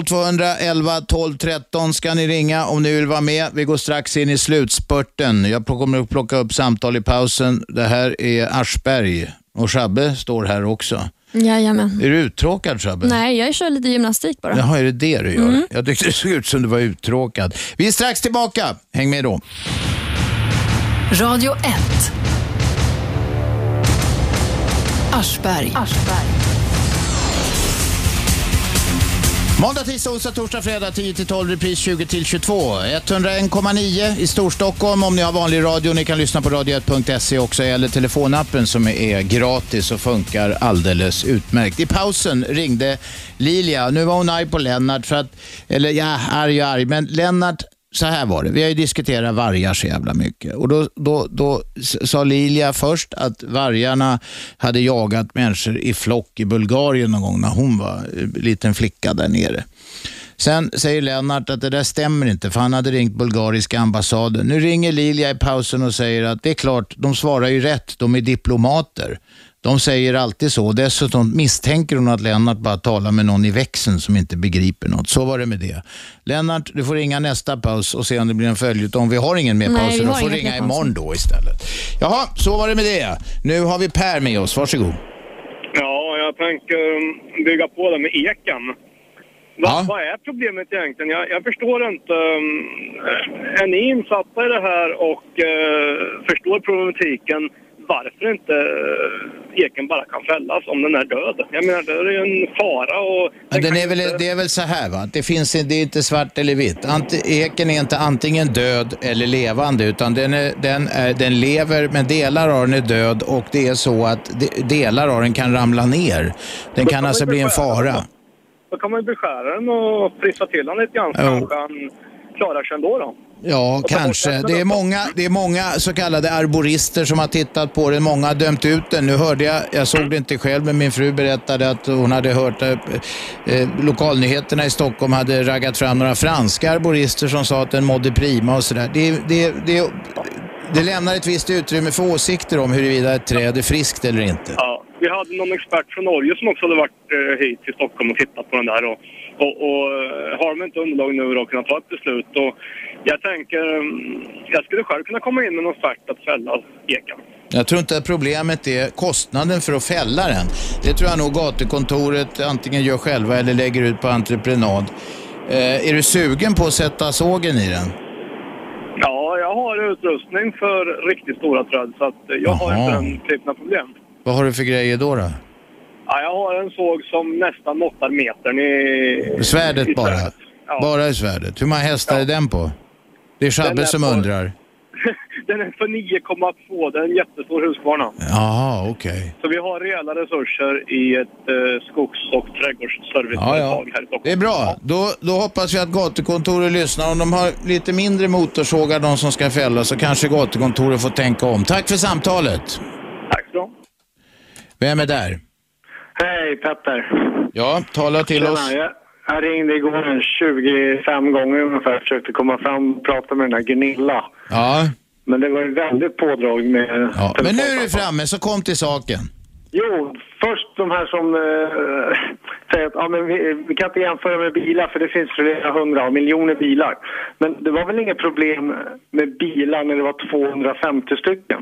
S2: 0211 12 13 ska ni ringa om ni vill vara med. Vi går strax in i slutspurten. Jag pl- kommer att plocka upp samtal i pausen. Det här är Aschberg och Shabbe står här också.
S3: Jajamän.
S2: Är du uttråkad Shabbe?
S3: Nej, jag kör lite gymnastik bara.
S2: Jaha, är det det du gör?
S3: Mm.
S2: Jag tyckte det såg ut som du var uttråkad. Vi är strax tillbaka. Häng med då.
S1: Radio 1. Aschberg.
S2: Måndag, tisdag, onsdag, torsdag, fredag 10-12, repris 20-22. 101,9 i Storstockholm om ni har vanlig radio. Ni kan lyssna på radio1.se också eller telefonappen som är gratis och funkar alldeles utmärkt. I pausen ringde Lilia. Nu var hon arg på Lennart för att, eller ja, arg och arg, men Lennart så här var det, vi har ju diskuterat vargar så jävla mycket. Och då, då, då s- sa Lilia först att vargarna hade jagat människor i flock i Bulgarien någon gång när hon var eh, liten flicka där nere. Sen säger Lennart att det där stämmer inte för han hade ringt bulgariska ambassaden. Nu ringer Lilia i pausen och säger att det är klart, de svarar ju rätt, de är diplomater. De säger alltid så. Dessutom misstänker hon att Lennart bara talar med någon i växeln som inte begriper något. Så var det med det. Lennart, du får ringa nästa paus och se om det blir en följetong. Vi har ingen mer
S5: Nej,
S2: paus,
S5: vi
S2: så du
S5: har
S2: får
S5: inget
S2: ringa
S5: mer
S2: imorgon då istället. Jaha, så var det med det. Nu har vi Per med oss, varsågod.
S11: Ja, jag tänker um, bygga på det med eken. Va,
S2: Ja.
S11: Vad är problemet egentligen? Jag, jag förstår inte. um, Är ni insatta i det här och eh, förstår problematiken varför inte eh, eken bara kan fällas om den är död? Jag menar, det är ju en fara och...
S2: Men den är väl, det är väl så här va, att det, finns, det är inte svart eller vitt. Ant, eken är inte antingen död eller levande utan den, är, den, är, den lever men delar av den är död och det är så att de, delar av den kan ramla ner. Den kan alltså bli en fara.
S11: Då kan man ju beskära den och frissa till den lite grann så
S2: Jo.
S11: kanske han klarar sig ändå då.
S2: Ja, kanske. Det är, många, det är många så kallade arborister som har tittat på den. Många har dömt ut den. Nu hörde jag, jag såg det inte själv, men min fru berättade att hon hade hört eh, eh, lokalnyheterna i Stockholm hade raggat fram några franska arborister som sa att den mådde prima och sådär. Det, det, det, det lämnar ett visst utrymme för åsikter om huruvida ett träd är friskt eller inte.
S11: Ja, vi hade någon expert från Norge som också hade varit eh, hit till Stockholm och tittat på den där. Och, och, och eh, har de inte underlag nu då kunnat ta ett beslut? Och jag tänker, mm, jag skulle själv kunna komma in med någon offert att fälla eken.
S2: Jag tror inte att problemet är kostnaden för att fälla den. Det tror jag nog gatukontoret antingen gör själva eller lägger ut på entreprenad. Eh, är du sugen på att sätta sågen i den?
S11: Ja, jag har utrustning för riktigt stora träd så att eh, jag har inte
S2: Jaha.
S11: den typen av problem.
S2: Vad har du för grejer då? då?
S11: Ja, jag har en såg som nästan måttar metern i... i
S2: Svärdet bara?
S11: svärdet.
S2: Bara i svärdet. Hur många hästar är den på? Det är
S11: Den
S2: Shabbe
S11: är
S2: som
S11: på-
S2: undrar.
S11: Den är för 9,2, det är en jättestor huskvarna.
S2: Jaha, okej.
S11: Så vi har rejäla resurser i ett eh, skogs och trädgårdsserviceföretag
S2: Ja,
S11: här i
S2: ja.
S11: Stockholm.
S2: Det är bra. Då, då hoppas vi att gatukontoret lyssnar. Om de har lite mindre motorsågar, de som ska fälla, så kanske gatukontoret får tänka om. Tack för samtalet.
S11: Tack så.
S2: Vem är där?
S4: Hej Petter!
S2: Ja, tala till
S4: Tjena,
S2: oss.
S4: Jag, jag ringde igår en 25 gånger ungefär försökte komma fram och prata med den här Gunilla.
S2: Ja.
S4: Men det var ju väldigt pådrag med...
S2: Ja, men nu är du framme, så kom till saken.
S4: Jo, först de här som eh, säger att ja, men vi, vi kan inte jämföra med bilar för det finns flera hundra miljoner bilar. Men det var väl inget problem med bilar när det var 250 stycken?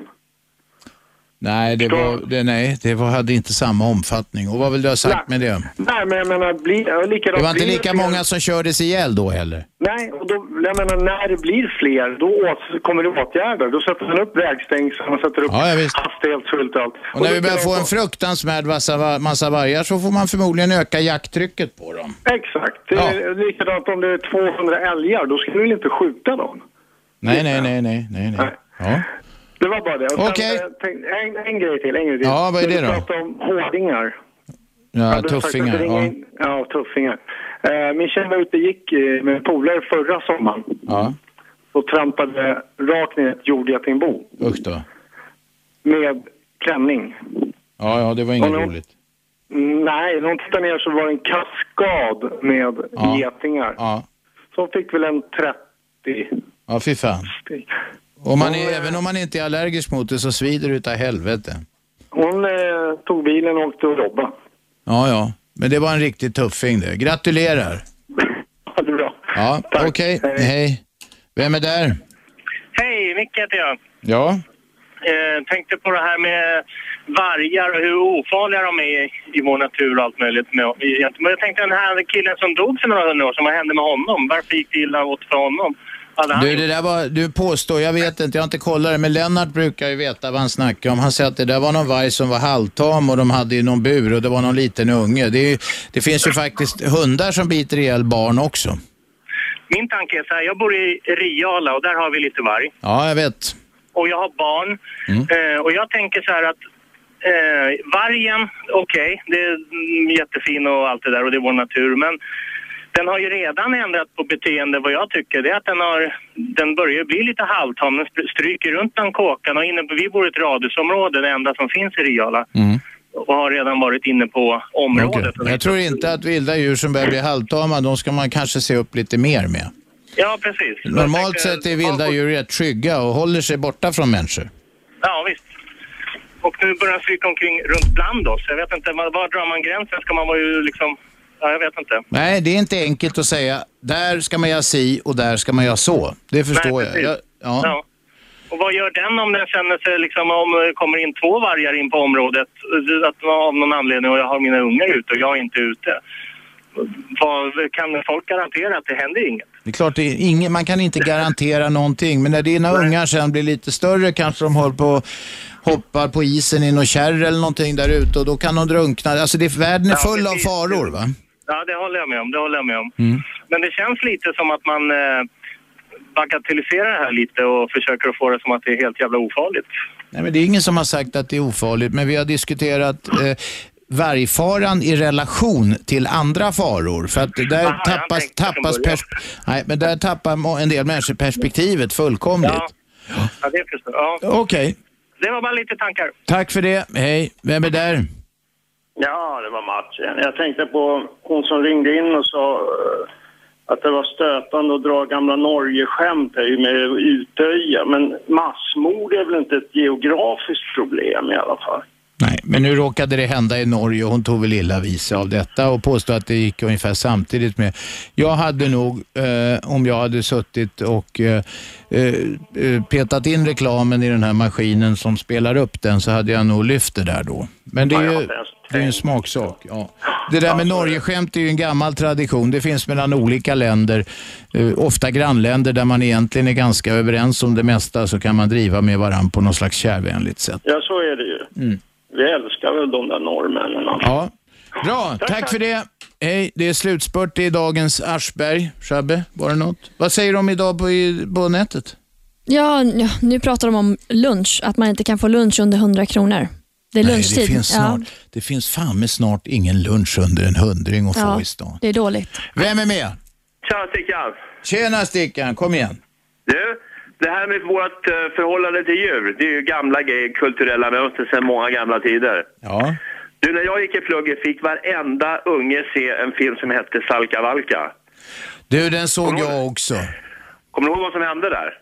S2: Nej, det, var, det, nej, det var, hade inte samma omfattning. Och vad vill du ha sagt med det?
S4: Nej, men jag menar, bli, ja, likadant...
S2: Det var inte
S4: blir
S2: lika
S4: fler-
S2: många som kördes ihjäl då heller.
S4: Nej, och då, jag menar när det blir fler, då åt, kommer det åtgärder. Då sätter man upp vägstängsel, man sätter upp hastighetsskyltar och allt.
S2: Och när
S4: då
S2: vi börjar
S4: ska de
S2: få en
S4: få-
S2: fruktansvärd massa, massa vargar så får man förmodligen öka jakttrycket på dem.
S4: Exakt. Det är likadant om det är 200 älgar, då ska du väl inte skjuta dem?
S2: Nej, nej, nej, nej, nej, nej. Ja.
S4: Det var bara det. Och sen,
S2: Okej.
S4: eh, tänk- En, en grej till, en grej till.
S2: Ja, vad är det då?
S4: Vi pratade om hårdingar.
S2: Ja,
S4: Hade du sagt att
S2: tuffingar.
S4: ringa
S2: Ja.
S4: in- ja, tuffingar. Eh, min tjej var ute och gick eh, med en polare förra sommaren
S2: ja.
S4: och trampade rakt ner ett jordgetingbo
S2: Usch då.
S4: med klänning.
S2: Ja, ja, det var inget
S4: Och nu-
S2: roligt.
S4: Nej, när hon tittade ner så var det en kaskad med
S2: Ja.
S4: getingar.
S2: Ja.
S4: Så hon fick väl en 30.
S2: Ja, fy fan. Om man är, även om man inte är allergisk mot det så svider det utav helvete.
S4: Hon eh, tog bilen och åkte och jobbade.
S2: Ja, ja. Men det var en riktig tuffing det. Gratulerar.
S4: Ha det bra.
S2: Ja, okej. Hej. Vem är där?
S11: Hej, Micke heter jag.
S2: Ja.
S11: Eh, tänkte på det här med vargar och hur ofarliga de är i vår natur och allt möjligt. Med, i- men jag tänkte den här killen som dog för några hundra år sedan, vad hände med honom? Varför gick det illa åt för honom? Hade han
S2: Du, det där var, du påstår, jag vet inte, jag har inte kollat det, men Lennart brukar ju veta vad han snackar om. Han säger att det där var någon varg som var halvtam och de hade i någon bur och det var någon liten unge. Det, är, ju- det finns ju faktiskt hundar som biter ihjäl barn också.
S11: Min tanke är så här, jag bor i Riala och där har vi lite varg.
S2: Ja, jag vet.
S11: och jag har barn.
S2: Mm.
S11: Eh, och jag tänker så här att eh, vargen, okej, det är mm, jättefin och allt det där och det är vår natur, men den har ju redan ändrat på beteende vad jag tycker. Det är att den har, den börjar ju bli lite halvtam, den stryker runt bland kåkan och inne på, vi bor i ett radhusområde, det enda som finns i Riala. och har redan varit inne på området.
S2: Mm. Okej. Jag tror inte att vilda djur som börjar bli halvtama, de ska man kanske se upp lite mer med.
S11: Ja, precis.
S2: Normalt
S11: Jag
S2: sett
S11: tänkte-
S2: är vilda
S11: Ja,
S2: djur rätt skygga och håller sig borta från människor.
S11: Ja, visst. Och nu börjar de flyga omkring runt bland oss. Jag vet inte, var, var drar man gränsen? Ska man vara ju liksom... Ja, jag vet inte.
S2: Nej, det är inte enkelt att säga där ska man göra si och där ska man göra så. Det förstår
S11: Nej,
S2: jag.
S11: precis.
S2: jag ja.
S11: Ja. Och vad gör den om den känner sig liksom, om det kommer in två vargar in på området eh, att av någon anledning och jag har mina ungar ute och jag är inte ute? Vad, kan folk garantera att det händer inget?
S2: Det är klart, det är ingen, man kan inte garantera någonting, men när dina ungar sen blir lite större kanske de håller på hoppar på isen i någon kärr eller någonting där ute och då kan de drunkna. Alltså det, världen är
S11: Ja,
S2: full av
S11: precis.
S2: faror va?
S11: Ja, det håller jag med om. Det håller jag med om.
S2: Mm.
S11: Men det känns lite som att man eh, bagatelliserar det här lite och försöker att få det som att det är helt jävla ofarligt.
S2: Nej, men det är ingen som har sagt att det är ofarligt, men vi har diskuterat eh, vargfaran i relation till andra faror. För att där
S11: Aha, jag
S2: tappas,
S11: tänkte från
S2: tappas
S11: början.
S2: pers- Nej, men där tappar må- en del människor perspektivet fullkomligt.
S11: Ja. Ja, det förstår jag. Ja.
S2: Okej,
S11: Det var bara lite tankar.
S2: tack för det. Hej, vem är där?
S5: Ja, det var Mats igen. Jag tänkte på hon som ringde in och sa eh, att det var stötande att dra gamla Norge-skämt här med Utöja. Men massmord är väl inte ett geografiskt problem i alla fall?
S2: Nej, men nu råkade det hända i Norge och hon tog väl illa vid sig av detta och påstod att det gick ungefär samtidigt med. Jag hade nog, eh, om jag hade suttit och eh, eh, eh, petat in reklamen i den här maskinen som spelar upp den så hade jag nog lyft det där då. Men det är ju det är ju en smaksak. Ja. Det där med Norgeskämt är ju en gammal tradition. Det finns mellan olika länder, eh, ofta grannländer där man egentligen är ganska överens om det mesta så kan man driva med varandra på något slags kärvänligt sätt.
S5: Ja, så är det ju.
S2: Mm.
S5: Vi älskar väl de där norrmännen. alltså.
S2: Ja. Bra, tack, för det. Hej, det är slutspurt i dagens Aschberg. Shabbe, var det något? Vad säger de idag på, i, på nätet?
S3: Ja, ja, nu pratar de om lunch, att man inte kan få lunch under 100 kronor. Det är lunchtid.
S2: Nej, det finns, snart, det finns fan med snart ingen lunch under en hundring att
S3: ja,
S2: få i stan.
S3: det är dåligt.
S2: Vem är med?
S20: Tja Stickan!
S2: Tjena Stickan, kom igen.
S20: Du, det här med vårt eh, förhållande till djur, det är ju gamla grejer, kulturella mönster sedan många gamla tider.
S2: Ja.
S20: Du, när jag gick i plugget fick varenda unge se en film som hette Salka Valka.
S2: Du, den såg jag också.
S20: Kommer du ihåg vad som hände där?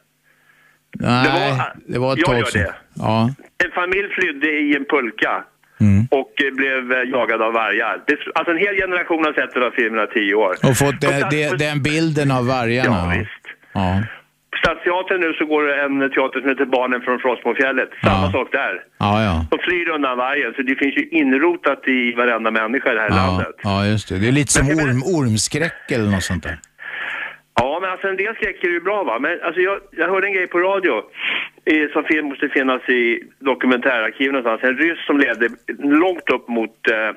S2: Nej, det var ett
S20: jag
S2: tag
S20: gör
S2: sedan.
S20: det.
S2: Ja.
S20: En familj flydde i en pulka
S2: Mm.
S20: och eh, blev eh, jagad av vargar. Det, alltså en hel generation har sett den här filmen i tio år.
S2: Och fått
S20: Och
S2: det,
S20: tack
S2: det,
S20: för-
S2: den bilden av vargarna.
S20: Ja,
S2: Ja.
S20: På Stadsteatern nu så går det en teater som heter Barnen från Frostmofjället. Samma sak där.
S2: Ja, ja.
S20: De flyr undan vargen, så det finns ju inrotat i varenda människa i det här
S2: Ja,
S20: landet.
S2: ja, just det. Det är lite som orm, ormskräck eller något sånt där.
S20: Ja, men alltså en del skräck är ju bra va. Men alltså jag, jag hörde en grej på radio eh, som fin, måste finnas i dokumentärarkiven någonstans. En ryss som ledde långt upp mot eh,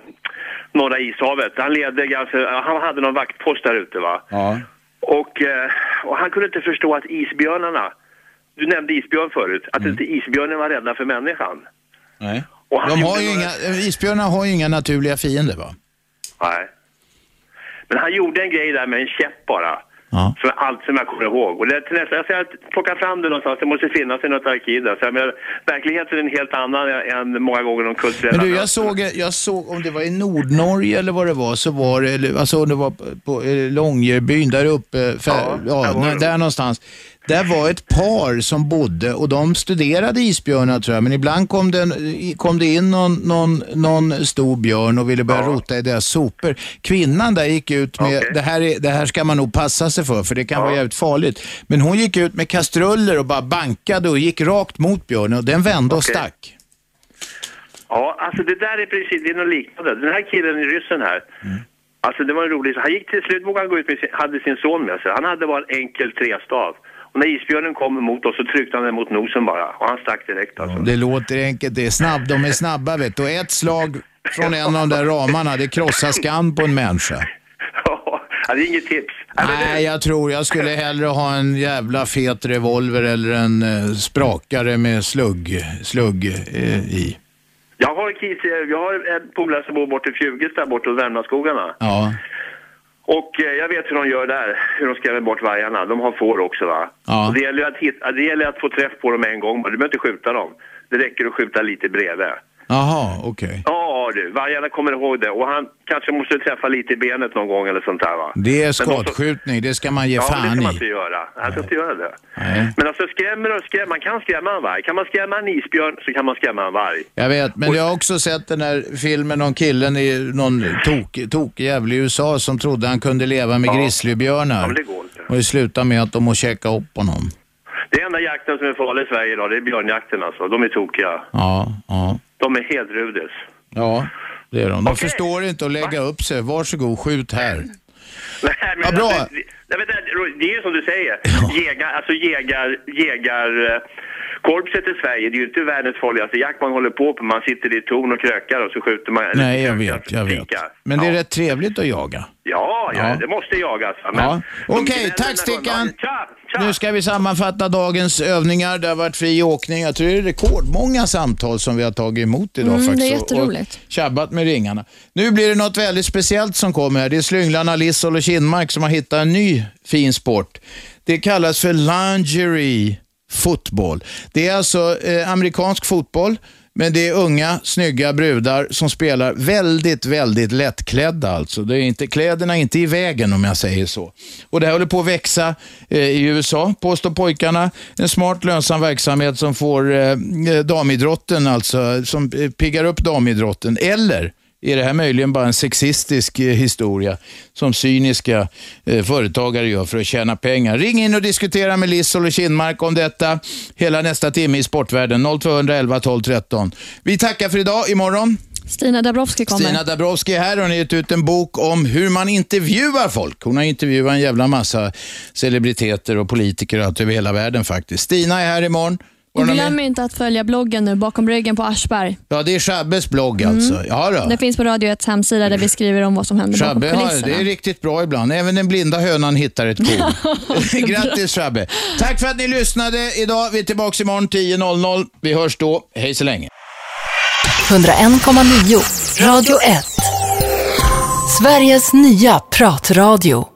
S20: Norra ishavet. Han ledde ganska, han hade någon vaktpost där ute va.
S2: Ja.
S20: Och, eh, och han kunde inte förstå att isbjörnarna, du nämnde isbjörn förut, att inte isbjörnen var rädda för människan.
S2: Mm. Nej.
S20: Och han
S2: De har
S20: gjorde
S2: ju
S20: några-
S2: inga, isbjörnar har ju inga naturliga fiender va?
S20: Nej. Men han gjorde en grej där med en käpp bara.
S2: Ja.
S20: Som allt som jag kommer ihåg. Och det, till nästa, jag säger att plocka fram det någonstans, det måste finnas i något arkiv där. Så jag menar, verkligheten är en helt annan än många gånger de kulturella.
S2: Men du, jag såg, jag såg, om det var i Nordnorge eller vad det var, så var det, eller, alltså om det var på, på eh, Långerbyn där uppe, för, ja, där, där någonstans. Där var ett par som bodde och de studerade isbjörnar tror jag, men ibland kom det, en- kom det in någon, någon, någon stor björn och ville börja rota i deras sopor. Kvinnan där gick ut med, det, här är, det här ska man nog passa sig för, för det kan vara jävligt farligt. Men hon gick ut med kastruller och bara bankade och gick rakt mot björnen och den vände och
S20: Okej.
S2: stack.
S20: Ja, alltså det där är precis, det är något liknande. Den här killen i ryssen här,
S2: Mm.
S20: alltså det var en rolig Han gick till slut, vågade han gå ut med sin, hade sin son med sig. Han hade bara en enkel trestav. Och när isbjörnen kom mot oss så tryckte han den mot nosen bara. Och han stack direkt alltså.
S2: Det låter enkelt. Det är snabb. De är snabba vet du. Och ett slag från en av de där ramarna, det krossar skam på en människa.
S20: Ja, det är inget tips.
S2: Nej, jag tror jag skulle hellre ha en jävla fet revolver eller en eh, sprakare med slugg, slugg eh, i.
S20: Jag har, kis, jag har en polare som bor borta i Fjugesta, borta hos Värmlandsskogarna.
S2: Ja,
S20: Och eh, jag vet hur de gör där, hur de skrämmer bort vargarna. De har får också va?
S2: Ja.
S20: Och det, gäller ju att hitta, det gäller att få träff på dem en gång. bara. Du behöver inte skjuta dem. Det räcker att skjuta lite bredvid.
S2: Jaha, okej.
S20: Ja du, vargarna kommer ihåg det. Och han kanske måste träffa lite i benet någon gång eller sånt där va.
S2: Det är
S20: Men de som-
S2: skottskjutning, det ska man ge
S20: ja, men det
S2: fan
S20: ska man
S2: i.
S20: inte göra. Han ska inte göra det.
S2: Nej.
S20: Men alltså skrämmer och skrämmer, man kan skrämma en varg. Kan man skrämma en isbjörn så kan man skrämma en varg.
S2: Jag vet, men jag har också sett den där filmen om killen i någon tok, tokjävel i USA som trodde han kunde leva med grizzlybjörnar.
S20: Ja, men det går inte.
S2: Och det slutade med att de må checka upp honom.
S20: Det enda jakten som är farlig i Sverige idag, det är björnjakten alltså. De är tokiga.
S2: Ja, ja,
S20: De är helt rudis.
S2: ja, det är de. De förstår inte att lägga upp sig. Varsågod, skjut här.
S20: Nej, men,
S2: Ja, bra.
S20: alltså, det- nej, men det, det är ju som du säger. Jägar, alltså jägar, jägar... eh, Korpset i Sverige, det är ju inte världens farligaste jakt man håller på med. Man sitter i ett torn och krökar och så skjuter man. eller
S2: Nej, jag
S20: krökar,
S2: vet, jag vet.
S20: pikar.
S2: Men det är rätt trevligt att jaga.
S20: Ja, ja,
S2: Ja.
S20: det måste jagas. va, men-
S2: Ja.
S20: de
S2: Okej,
S20: gnäller när
S2: tack
S20: de-
S2: Stickan.
S20: Tja!
S2: Nu ska vi sammanfatta dagens övningar. Det har varit fri åkning. Jag tror det är rekordmånga samtal som vi har tagit emot idag
S3: Mm, det är
S2: faktiskt.
S3: jätteroligt.
S2: Och tjabbat med ringarna. Nu blir det något väldigt speciellt som kommer här. Det är slynglarna Lissol och Kinmark som har hittat en ny fin sport. Det kallas för lingerie fotboll. Det är alltså eh, amerikansk fotboll. Men det är unga, snygga brudar som spelar väldigt, väldigt lättklädda alltså. Det är inte, kläderna är inte i vägen om jag säger så. Och det här håller på att växa eh, i USA, påstår pojkarna. En smart lönsam verksamhet som får eh, damidrotten, alltså, som eh, piggar upp damidrotten. Eller är det här möjligen bara en sexistisk eh, historia som cyniska eh, företagare gör för att tjäna pengar? Ring in och diskutera med Lissol och Kinmark om detta hela nästa timme i Sportvärlden. 0211 12 13. Vi tackar för idag. Imorgon
S3: Stina Dabrowski kommer.
S2: Stina Dabrowski är här. Hon har gett ut en bok om hur man intervjuar folk. Hon har intervjuat en jävla massa celebriteter och politiker och allt över hela världen faktiskt. Stina är här imorgon. Var
S3: Och
S2: det någon
S3: glöm
S2: mer?
S3: inte att följa bloggen nu, bakom ryggen på Aschberg.
S2: Ja, det är Schabbes blogg alltså. Ja, då.
S3: Mm. Det finns på Radio 1 hemsida där vi skriver om vad som händer bakom
S2: Shabbe, ja,
S3: kulisserna.
S2: det är riktigt bra ibland. Även den blinda hönan hittar ett korn. Grattis Shabbe. Tack för att ni lyssnade idag. Vi är tillbaka imorgon 10.00. Vi hörs då. Hej så länge.
S1: 101,9 Radio 1. Sveriges nya pratradio.